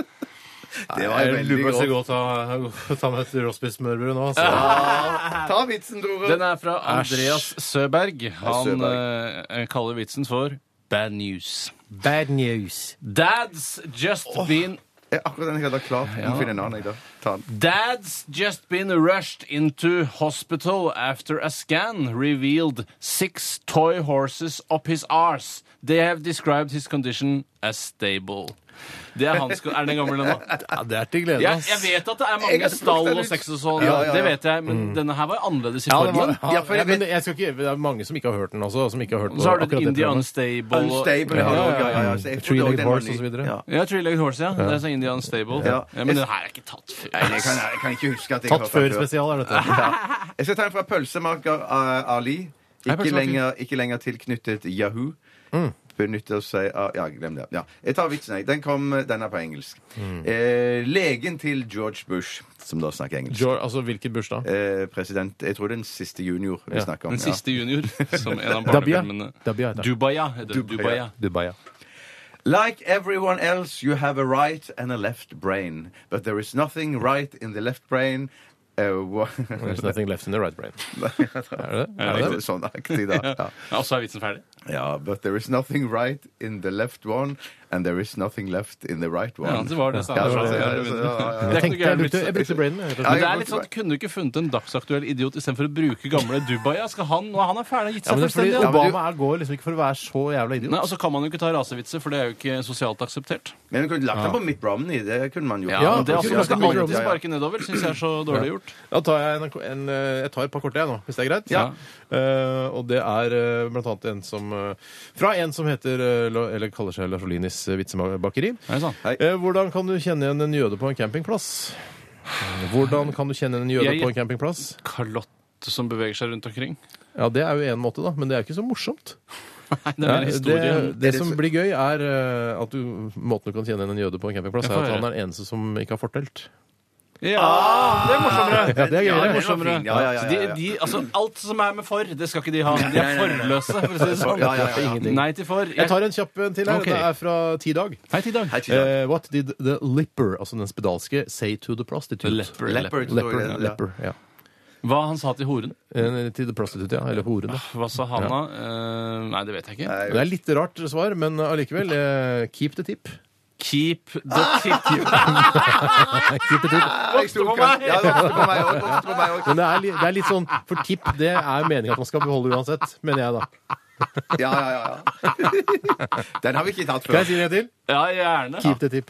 Speaker 3: Det var veldig godt.
Speaker 2: godt å ta med et råspissmørbrød nå. Altså.
Speaker 3: Ta vitsen, Tore.
Speaker 1: Den er fra Andreas Søberg. Han
Speaker 3: Søberg.
Speaker 1: eh, kaller vitsen for Bad news.
Speaker 2: Bad news.
Speaker 1: Dad's just been
Speaker 3: Eh, Akkurat den jeg hadde klart. Ja. Finne en annen jeg da. Ta den.
Speaker 1: Dad's just been rushed into hospital after a scan revealed six toy horses up his arse. They have described his condition as stable. Det er, hans, er den gammel ennå?
Speaker 2: Ja, det er til glede.
Speaker 1: Jeg,
Speaker 2: ass.
Speaker 1: jeg vet at det er
Speaker 3: Jeg
Speaker 1: mange
Speaker 3: hadde plukket
Speaker 1: stall
Speaker 3: den ut.
Speaker 1: og sex og sånn,
Speaker 3: Ja, ja, ja.
Speaker 1: det vet jeg, men denne her var annerledes i
Speaker 2: Ja, det var,
Speaker 1: formen.
Speaker 2: ja,
Speaker 3: Ja, for jeg
Speaker 2: men
Speaker 3: vet-
Speaker 2: jeg skal ikke, det er mange som ikke har hørt den også. Som ikke har hørt
Speaker 1: Og så har
Speaker 2: på
Speaker 1: du
Speaker 2: akkurat det
Speaker 1: Indie
Speaker 2: programmet.
Speaker 1: Unstable. og-
Speaker 3: Unstable. Ja, ja, ja, ja. Så jeg trodde også
Speaker 2: Three-legged
Speaker 3: den var
Speaker 2: horse
Speaker 3: ny.
Speaker 2: og så videre.
Speaker 3: Ja.
Speaker 1: Ja, Three Legged Horse, ja. Det er så Indie Unstable.
Speaker 3: Ja.
Speaker 1: Ja. men den her er ikke tatt før.
Speaker 3: Nei, Jeg, kan, jeg kan ikke huske at jeg
Speaker 2: Tatt
Speaker 3: hørte den
Speaker 2: før spesial er dette.
Speaker 3: Ja. Jeg skal ta en fra pølsemaker eh, Ali. Ikke
Speaker 1: pølsemaker.
Speaker 3: lenger, ikke lenger tilknyttet Yahoo.
Speaker 2: Mm.
Speaker 3: Benytter seg av Ja, glem det. Ja. Jeg tar vitsen, jeg. Den, kom, den er på engelsk.
Speaker 2: Mm.
Speaker 3: Eh, legen til George Bush, som da snakker engelsk
Speaker 2: George, altså hvilket bursdag?
Speaker 3: eh, President Jeg tror det er den siste junior vi
Speaker 2: Ja,
Speaker 3: snakker om.
Speaker 1: Den
Speaker 3: ja.
Speaker 1: siste junior, som en av
Speaker 2: Dabia.
Speaker 1: barnefilmene.
Speaker 2: Dabia heter den.
Speaker 1: Dubaya. heter den.
Speaker 3: Dubaya.
Speaker 2: Dubai, ja.
Speaker 1: Dubaya.
Speaker 3: Like everyone else, you have a right and a left brain. But there is nothing right in the left brain. Uh, wha-
Speaker 2: There's nothing left in the right brain. Er det det?
Speaker 3: Ja, det er sånn aktig, da. Ja.
Speaker 1: Ja, og så er vitsen ferdig.
Speaker 3: Ja, but there is nothing right in the left one, and there is nothing left in the right one.
Speaker 1: Ja, det var det. Så,
Speaker 3: Ja, det
Speaker 1: så,
Speaker 3: var det, ja,
Speaker 1: så-
Speaker 3: det var det, ja, ja, ja.
Speaker 2: Jeg,
Speaker 1: Det er ikke noe
Speaker 2: tenkte, jeg,
Speaker 1: gærent
Speaker 2: brukte,
Speaker 1: vits.
Speaker 2: jeg brukte brainen. jeg, rett og
Speaker 3: Ja,
Speaker 2: slett.
Speaker 1: Men det er litt sånn, Kunne du ikke funnet en dagsaktuell idiot istedenfor å bruke gamle Dubaya? Skal han, og han er ferdig,
Speaker 2: Ja,
Speaker 1: gitt seg
Speaker 2: men det er fordi
Speaker 1: fullstendig.
Speaker 3: men du-
Speaker 2: Obama er, går liksom ikke for å være så jævla idiot.
Speaker 1: Nei, og så kan man jo ikke ta rasevitser, for det er jo ikke sosialt akseptert.
Speaker 3: Men vi kunne lagt den på Mitt Romney. Det kunne man gjort.
Speaker 1: Ja,
Speaker 2: Ja,
Speaker 1: men det er
Speaker 2: det
Speaker 1: altså,
Speaker 2: kunne
Speaker 1: Man skal
Speaker 2: man ikke
Speaker 1: alltid
Speaker 3: gjøre.
Speaker 1: sparke nedover, syns jeg er så dårlig gjort.
Speaker 2: Da tar jeg, en, en, eh, jeg tar et par korte, jeg nå, hvis det er greit.
Speaker 1: Ja.
Speaker 2: Eh, og det er eh, blant annet en som eh, Fra en som heter eh, La- Eller kaller seg Lars Olinis eh, vitsebakeri.
Speaker 1: Nei, sånn. sant.
Speaker 3: Hei.
Speaker 2: Eh, hvordan kan du kjenne igjen en jøde på en campingplass? Hvordan kan du kjenne igjen en jøde
Speaker 1: Jeg-
Speaker 2: på en campingplass?
Speaker 1: Kalotte som beveger seg rundt omkring.
Speaker 2: Ja, Det er jo én måte, da, men det er jo ikke så morsomt.
Speaker 1: Nei, det er
Speaker 2: Ja,
Speaker 1: mer
Speaker 2: det,
Speaker 1: historie.
Speaker 2: det som blir gøy, er eh, at du, måten du kan kjenne igjen en jøde på en campingplass,
Speaker 1: Jeg
Speaker 2: er
Speaker 1: får
Speaker 2: at han
Speaker 1: høre.
Speaker 2: er den eneste som ikke har fortelt.
Speaker 1: Ja, det er morsommere!
Speaker 2: Ja, det er
Speaker 1: Ja, det er
Speaker 2: gøyere.
Speaker 1: morsommere.
Speaker 3: Ja, ja, ja, ja, ja.
Speaker 1: Så De, de, altså, alt som er med for, det skal ikke de ha. De er forløse, for å si det sånn.
Speaker 3: Ja, ja, ja, ja.
Speaker 1: Nei til for.
Speaker 2: Jeg tar en kjapp en til her.
Speaker 1: Ok.
Speaker 2: Det er fra Ti Dag.
Speaker 1: Hei til Dag.
Speaker 3: Hei, Tida.
Speaker 2: Eh, what did the lipper, altså den spedalske, say to the prostitute?
Speaker 1: Leopard.
Speaker 3: Leopard, står
Speaker 2: Leper,
Speaker 3: det,
Speaker 2: ja.
Speaker 3: ja.
Speaker 2: Leper, ja.
Speaker 1: Hva han sa til horen?
Speaker 2: Eh, Til the prostitute, ja. Eller horen. da.
Speaker 1: Hva sa han da? Eh, nei, det vet jeg ikke.
Speaker 3: Nei,
Speaker 2: Det er litt rart svar, men allikevel. eh, keep the tip.
Speaker 1: Keep the tip.
Speaker 2: Keep the tip.
Speaker 3: jeg sto ikke- Ja, det vokste på meg også, vokste på meg også.
Speaker 2: Men det er, li- det er litt sånn, for tip det er meningen at man skal beholde uansett, mener jeg da.
Speaker 3: Ja, ja, ja, ja. Den har vi ikke tatt
Speaker 2: Kan
Speaker 3: før.
Speaker 2: jeg si det en til?
Speaker 1: Ja, gjerne.
Speaker 2: Keep the tip.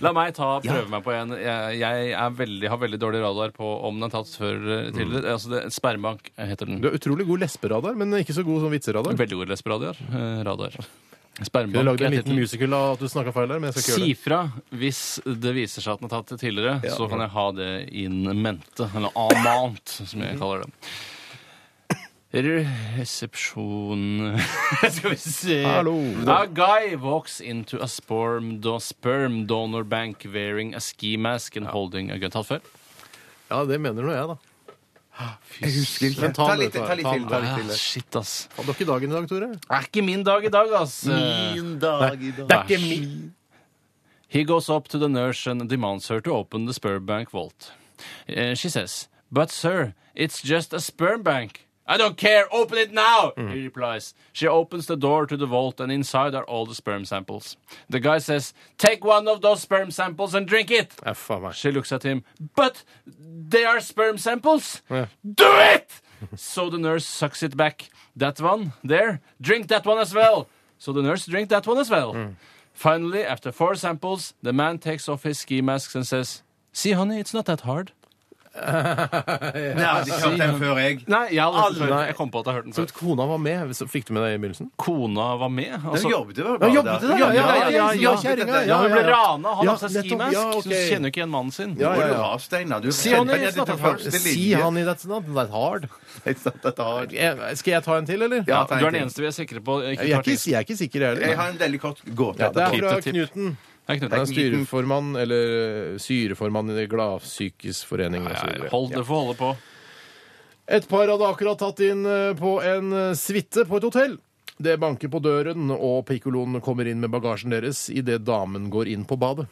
Speaker 1: La meg ta, prøve meg på en. Jeg, jeg er veldig, har veldig dårlig radar på om den er tatt før eller
Speaker 3: Mm.
Speaker 1: tidligere. Altså, det, sperrebank heter den.
Speaker 2: Du er utrolig god lesberadar, men ikke så god som vitseradar.
Speaker 1: Veldig god lesberadar. Eh, radar.
Speaker 2: Du
Speaker 1: Sperrebank
Speaker 2: lagde en
Speaker 1: er
Speaker 2: liten
Speaker 1: tittelen.
Speaker 2: musical av at du snakka feil der, men jeg skal ikke
Speaker 1: Si
Speaker 2: gjøre det.
Speaker 1: fra hvis det viser seg at den er tatt tidligere, så kan jeg ha det in mente, eller en mant, som
Speaker 3: Mhm.
Speaker 1: jeg kaller det. Resepsjon Skal vi se
Speaker 2: Hallo.
Speaker 1: A guy walks into a sperm, do sperm donor bank wearing a ski mask and holding a gun. Tatt før?
Speaker 2: Ja, det mener nå jeg, da.
Speaker 3: Jeg husker ikke.
Speaker 2: Men ta
Speaker 3: Ta
Speaker 2: den,
Speaker 3: litt
Speaker 2: ta
Speaker 3: ta litt
Speaker 2: den,
Speaker 3: til. Ta
Speaker 1: Ah,
Speaker 3: litt til.
Speaker 1: shit, ass.
Speaker 2: Hadde dere dagen i dag, Tore?
Speaker 1: Det er ikke min dag i dag, ass.
Speaker 3: dag i dag.
Speaker 2: Det er ikke min.
Speaker 1: He goes up to the nurse and demands her to open the sperm bank vault. Uh, she says, But sir, it's just a sperm bank. I don't care, open it now! He replies. She opens the door to the vault, and inside are all the sperm samples. The guy says, Take one of those sperm samples and drink it!
Speaker 2: Ja, faen meg.
Speaker 1: She looks at him, But they are sperm samples!
Speaker 2: Yeah.
Speaker 1: Do it! so the nurse sucks it back. That one, there, drink that one as well! So the nurse drink that one as well.
Speaker 2: Mm.
Speaker 1: Finally, after four samples, the man takes off his ski masks and says, See, honey, it's not that hard.
Speaker 3: Nei, jeg hadde ikke hørt den før, jeg.
Speaker 1: Nei, jeg, har aldri,
Speaker 2: Aldri.
Speaker 1: jeg kom på at jeg har hørt den
Speaker 2: Så
Speaker 1: før.
Speaker 2: at kona var med, så fikk du med deg i begynnelsen?
Speaker 1: Kona var med.
Speaker 3: Den
Speaker 1: Altså,
Speaker 3: jobbet vel bare
Speaker 2: jobbet det,
Speaker 3: der.
Speaker 2: ja,
Speaker 3: Jobbet,
Speaker 2: ja, ja, ja,
Speaker 3: jobbet
Speaker 2: ja,
Speaker 3: det
Speaker 2: kjerringa,
Speaker 3: der.
Speaker 2: ja,
Speaker 1: hun ble
Speaker 2: ja.
Speaker 1: rana, han
Speaker 2: Ja,
Speaker 1: har på seg ski
Speaker 2: nettopp,
Speaker 1: mask,
Speaker 2: ja,
Speaker 1: så hun
Speaker 2: ok.
Speaker 1: kjenner jo ikke igjen mannen sin.
Speaker 2: Ja,
Speaker 3: Hvor er
Speaker 2: ja,
Speaker 3: du
Speaker 2: ja.
Speaker 3: har, Steinar? Du
Speaker 1: Si han i-
Speaker 3: kjenner den første
Speaker 2: Si
Speaker 3: linje.
Speaker 2: han i that's not that hard.
Speaker 3: Jeg satt dette her.
Speaker 2: Jeg- Skal jeg ta en til, eller?
Speaker 3: Ja,
Speaker 1: Du er den eneste vi er sikre på. Ikke
Speaker 2: Jeg er
Speaker 1: tar
Speaker 2: ikke,
Speaker 1: til.
Speaker 2: jeg er ikke sikker, jeg
Speaker 3: Jeg
Speaker 2: heller.
Speaker 3: har en veldig kort gåte.
Speaker 2: Ja, det
Speaker 3: etterpå.
Speaker 2: er fra
Speaker 1: Tip til tip.
Speaker 2: Knuten.
Speaker 1: Det er ikke
Speaker 2: Han er
Speaker 1: nødt til.
Speaker 2: styreformann eller syreformann i det Gladpsykisk forening. og så videre.
Speaker 1: Nei, Hold,
Speaker 2: Ja.
Speaker 1: det får holde på.
Speaker 2: Et par hadde akkurat tatt inn eh, på en eh, suite på et hotell. Det banker på døren, og pikkoloen kommer inn med bagasjen deres idet damen går inn på badet.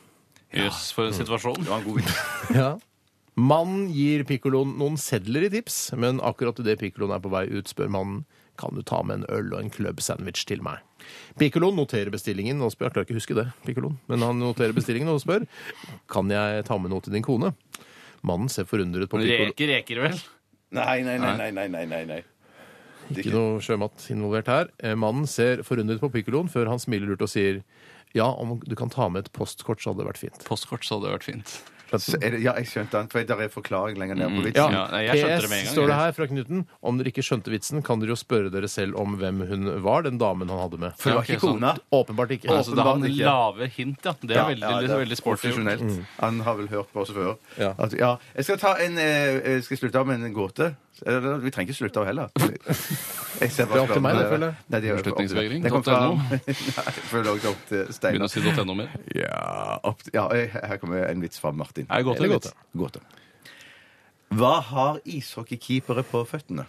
Speaker 1: Jøss,
Speaker 2: Mm.
Speaker 1: for en situasjon.
Speaker 3: Det var en god vits.
Speaker 2: Ja. Mannen gir pikkoloen noen sedler i tips, men akkurat idet pikkoloen er på vei ut, spør mannen Kan du ta med en øl og en club-sandwich til meg? Pikkolon noterer bestillingen og spør Jeg klarer ikke å huske det, Pikkolon, men han noterer bestillingen og spør Kan jeg ta med noe til din kone. Mannen ser forundret på Pikkolon.
Speaker 1: Reker reker vel?
Speaker 3: Nei, nei, nei, nei, nei, nei, nei, nei.
Speaker 2: Ikke noe sjømat involvert her. Eh, Mannen ser forundret på Pikkolon før han smiler lurt og sier ja, om du kan ta med et postkort, så hadde det vært fint.
Speaker 1: Postkort, så hadde det vært fint.
Speaker 3: Så er det, ja, jeg skjønte den, for der er forklaring lenger ned
Speaker 2: Mm,
Speaker 3: på
Speaker 1: Ja,
Speaker 3: vitsen.
Speaker 1: nei, jeg skjønte det med en gang.
Speaker 2: står det her fra Knuten. Om dere ikke skjønte vitsen, kan dere jo spørre dere selv om hvem hun var, den damen han hadde med.
Speaker 3: For det
Speaker 1: Ja,
Speaker 3: var ikke
Speaker 1: ok, sånn.
Speaker 3: kona.
Speaker 2: Åpenbart ikke.
Speaker 1: Ja, så da Altså, han
Speaker 3: Åpenbart ikke.
Speaker 1: laver hint, ja. Det er veldig,
Speaker 3: det
Speaker 1: det
Speaker 3: er
Speaker 1: er veldig sporty. gjort.
Speaker 3: profesjonelt. Han har vel hørt på oss før.
Speaker 2: Mm. Ja.
Speaker 3: At, ja. Jeg skal ta en eh, Jeg skal slutte av med en gåte. Eller, vi trenger ikke slutte av heller. Jeg ser
Speaker 2: Det er opp til meg, det, føler jeg.
Speaker 3: Nei, det er opp-
Speaker 1: Beslutningsvegring.
Speaker 3: Det kom fra-
Speaker 1: .no.
Speaker 3: Nei, jeg føler også opp til
Speaker 1: Begynner å
Speaker 3: Steinar.
Speaker 1: si .no mer.
Speaker 3: Ja, opp, ja, her kommer en vits fra Martin.
Speaker 1: Er det godt,
Speaker 2: Eller
Speaker 1: eller
Speaker 2: godt,
Speaker 1: godt?
Speaker 3: Gåte. Hva har ishockeykeepere på føttene?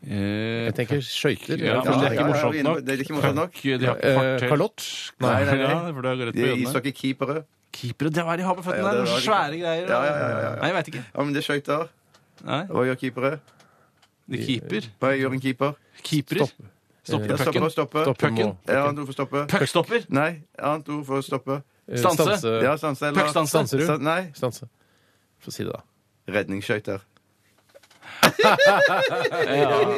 Speaker 1: Eh,
Speaker 2: Jeg tenker skøyter.
Speaker 1: Ja, men det er ikke morsomt
Speaker 3: vi
Speaker 1: nok.
Speaker 3: Det er ikke morsomt nok.
Speaker 1: De har ikke
Speaker 2: Eh,
Speaker 1: fartøy.
Speaker 2: Kalott? Nei.
Speaker 3: Nei, nei, nei.
Speaker 1: Ja, for det er rett
Speaker 3: De
Speaker 1: på
Speaker 3: er
Speaker 1: jødene.
Speaker 3: ishockeykeepere.
Speaker 1: Keepere, det er hva de har på føttene
Speaker 3: Ja,
Speaker 1: der.
Speaker 3: det er
Speaker 1: noen
Speaker 3: det.
Speaker 1: Svære greier.
Speaker 3: Ja, ja, ja, ja, ja.
Speaker 1: Nei, jeg veit ikke.
Speaker 3: Ja, men det er skøyter.
Speaker 1: Nei,
Speaker 3: Hva gjør keepere?
Speaker 1: de keeper.
Speaker 3: Hva gjør en keeper?
Speaker 1: Keepere.
Speaker 2: Stopp.
Speaker 1: Stopper
Speaker 3: Ja, stoppe,
Speaker 1: pucken.
Speaker 3: stoppe.
Speaker 2: Stopp.
Speaker 3: Pucken.
Speaker 1: Pucken.
Speaker 3: Ja, annet ord for stoppe.
Speaker 1: Puckstopper.
Speaker 3: Nei, annet ord for stoppe.
Speaker 2: Eh,
Speaker 1: Stanse.
Speaker 3: Ja, stanse eller
Speaker 1: Puckstanse.
Speaker 2: Stanserud.
Speaker 3: Stan- Nei,
Speaker 2: Stanse. Få si det, da.
Speaker 3: redningsskøyter.
Speaker 2: Ja, den er,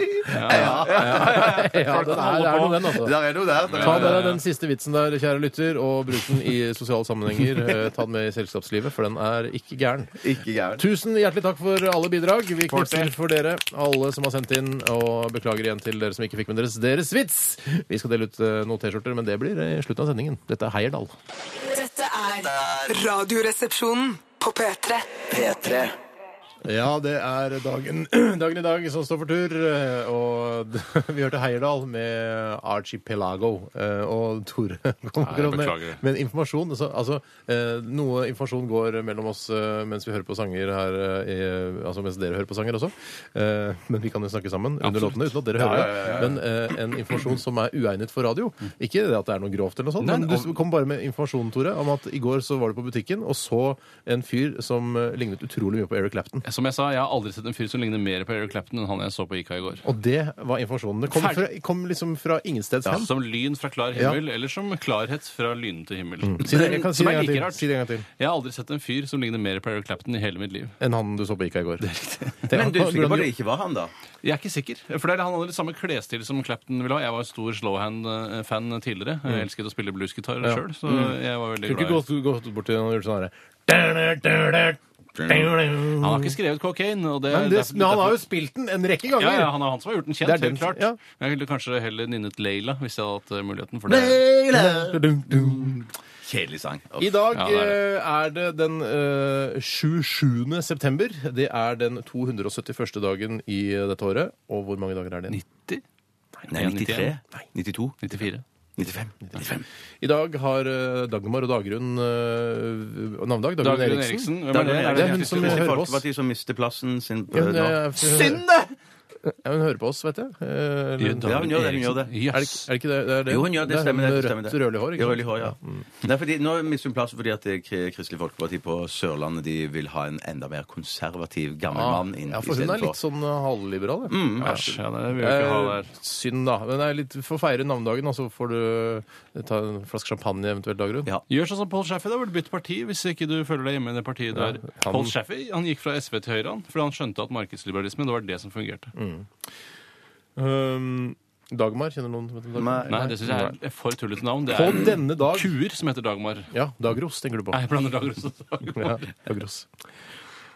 Speaker 2: det er noe, den, altså.
Speaker 3: Der er det jo der.
Speaker 2: Ta med deg den siste vitsen der, kjære lytter, og bruk den i sosiale sammenhenger. Eh, Ta den med i selskapslivet, for den er ikke gæren.
Speaker 3: Ikke gærent.
Speaker 2: Tusen hjertelig takk for alle bidrag. Vi knipser for dere, alle som har sendt inn. Og beklager igjen til dere som ikke fikk med deres deres vits. Vi skal dele ut eh, noen T-skjorter, men det blir eh, i slutten av sendingen. Dette er Heierdal.
Speaker 4: Dette er Radioresepsjonen på P3.
Speaker 6: P3
Speaker 2: Ja, det er dagen, dagen i dag som står for tur. eh, Og d- vi hørte Heierdal med Archipelago. eh, Og Tore kommer
Speaker 1: jeg beklager.
Speaker 2: med, med en informasjon. Altså, altså, eh, noe informasjon går mellom oss eh, mens vi hører på sanger her eh, i- Altså mens dere hører på sanger også. Eh, Men vi kan jo snakke sammen under
Speaker 1: Absolutt.
Speaker 2: låtene uten at dere hører det. Men eh, en informasjon som er uegnet for radio. Ikke det at det er noe grovt eller noe sånt,
Speaker 1: Nei,
Speaker 2: men du
Speaker 1: om-
Speaker 2: kom bare med informasjonen, Tore, om at i går så var du på butikken og så en fyr som eh, lignet utrolig mye på Eric Clapton.
Speaker 1: Som jeg sa, jeg har aldri sett en fyr som ligner mer på Eric Clapton enn han jeg så på IKA i går.
Speaker 2: Og det var informasjonen. Det kom, fra, kom liksom fra ingensteds hen.
Speaker 1: Som lyn fra klar himmel, eller som klarhet fra lynete himmel.
Speaker 2: Mm. Si det, jeg kan si
Speaker 1: som
Speaker 2: det
Speaker 1: er
Speaker 2: en
Speaker 1: like
Speaker 2: gang til.
Speaker 1: rart.
Speaker 2: Si det en gang til.
Speaker 1: Jeg har aldri sett en fyr som ligner mer på Eric Clapton i hele mitt liv.
Speaker 2: Enn han du så på IKA i går. Det er riktig.
Speaker 3: Men du er sikker på at det ikke var han, da?
Speaker 1: Jeg er ikke sikker. For det er Han hadde litt samme klesstil som Clapton ville ha. Jeg var stor slowhand-fan tidligere. Jeg elsket å spille bluesgitar
Speaker 2: Mm. Ja.
Speaker 1: selv, så jeg var veldig
Speaker 2: Kunne ikke
Speaker 1: glad i
Speaker 2: gått, gått bort til noen og gjort sånn herre
Speaker 1: Han
Speaker 2: Men
Speaker 1: har ikke skrevet cocaine. Og det,
Speaker 2: det-
Speaker 1: derfor-
Speaker 2: men han har jo spilt den en rekke ganger!
Speaker 1: ja, ja, han er han som har gjort den kjent,
Speaker 2: Det er
Speaker 1: helt
Speaker 2: den-
Speaker 1: klart.
Speaker 2: ja.
Speaker 1: Jeg ville kanskje heller nynnet Leila, hvis jeg hadde hatt eh, muligheten for det.
Speaker 2: Leila.
Speaker 3: Kjedelig sang.
Speaker 2: I dag
Speaker 1: Ja, det er det.
Speaker 2: eh, er det den eh, 27. september. Det er den 271. dagen i dette året. Og hvor mange dager er det igjen?
Speaker 1: 90?
Speaker 3: Nei, 93? 92?
Speaker 1: 94.
Speaker 3: 95? 95.
Speaker 2: I dag har eh, Dagmar og Dagrun eh, navnedag. Dagrun,
Speaker 1: Dagrun
Speaker 2: Eriksen.
Speaker 1: Eriksen. Hvem
Speaker 3: Dagrun
Speaker 1: er det? Er
Speaker 2: Det
Speaker 1: det
Speaker 2: er hun
Speaker 1: hun
Speaker 2: som
Speaker 1: som
Speaker 3: Kristelig
Speaker 2: hører på oss.
Speaker 3: Folkeparti som mister plassen sin
Speaker 2: Ja,
Speaker 3: eh,
Speaker 2: hun,
Speaker 3: nå.
Speaker 2: eh,
Speaker 3: Synd, det!
Speaker 2: Ja, hun hører på oss, vet jeg. Eh, eller-
Speaker 3: Ja, hun gjør det. hun gjør det.
Speaker 2: Er det, ikke- er det ikke det? det, er det?
Speaker 3: Jo, hun gjør det.
Speaker 2: er
Speaker 3: Stemmer
Speaker 2: hun
Speaker 3: det.
Speaker 2: med
Speaker 3: stemmer det.
Speaker 2: Rødt, rødlig hår.
Speaker 3: Ja,
Speaker 2: Ikke? Mm.
Speaker 3: rødlig hår, ja. Nei, fordi, nå mister hun plass fordi at det er Kri- Kristelig Folkeparti på Sørlandet de vil ha en enda mer konservativ gammel
Speaker 2: Ah,
Speaker 3: mann inn
Speaker 2: ja, for hun er litt
Speaker 3: istedenfor.
Speaker 2: sånn eh, halvliberal. ja.
Speaker 3: Mm.
Speaker 1: Æsj, ja, det vil jeg ikke ha
Speaker 2: Eh,
Speaker 1: der.
Speaker 2: synd, da. Men det er litt for å feire navnedagen, og så får du eh, ta en flaske champagne eventuelt, Dagrun.
Speaker 3: Ja.
Speaker 1: Gjør sånn som Paul Shaffey, da. Vel, bytt parti hvis ikke du føler deg hjemme i det partiet du er.
Speaker 2: han-
Speaker 1: Paul Shaffey han gikk fra SV til Høyre, han, fordi han skjønte at markedsliberalisme det var det som fungerte.
Speaker 2: Um, Dagmar, kjenner noen som heter Dagmar?
Speaker 3: Nei.
Speaker 1: Nei, det syns jeg er et for tullete navn. Det
Speaker 2: På
Speaker 1: er
Speaker 2: denne dag
Speaker 1: kuer som heter Dagmar.
Speaker 2: Ja, Dagros tenker du på.
Speaker 1: Nei, jeg blander Dagros og Dagmar.
Speaker 2: Ja, Dagros.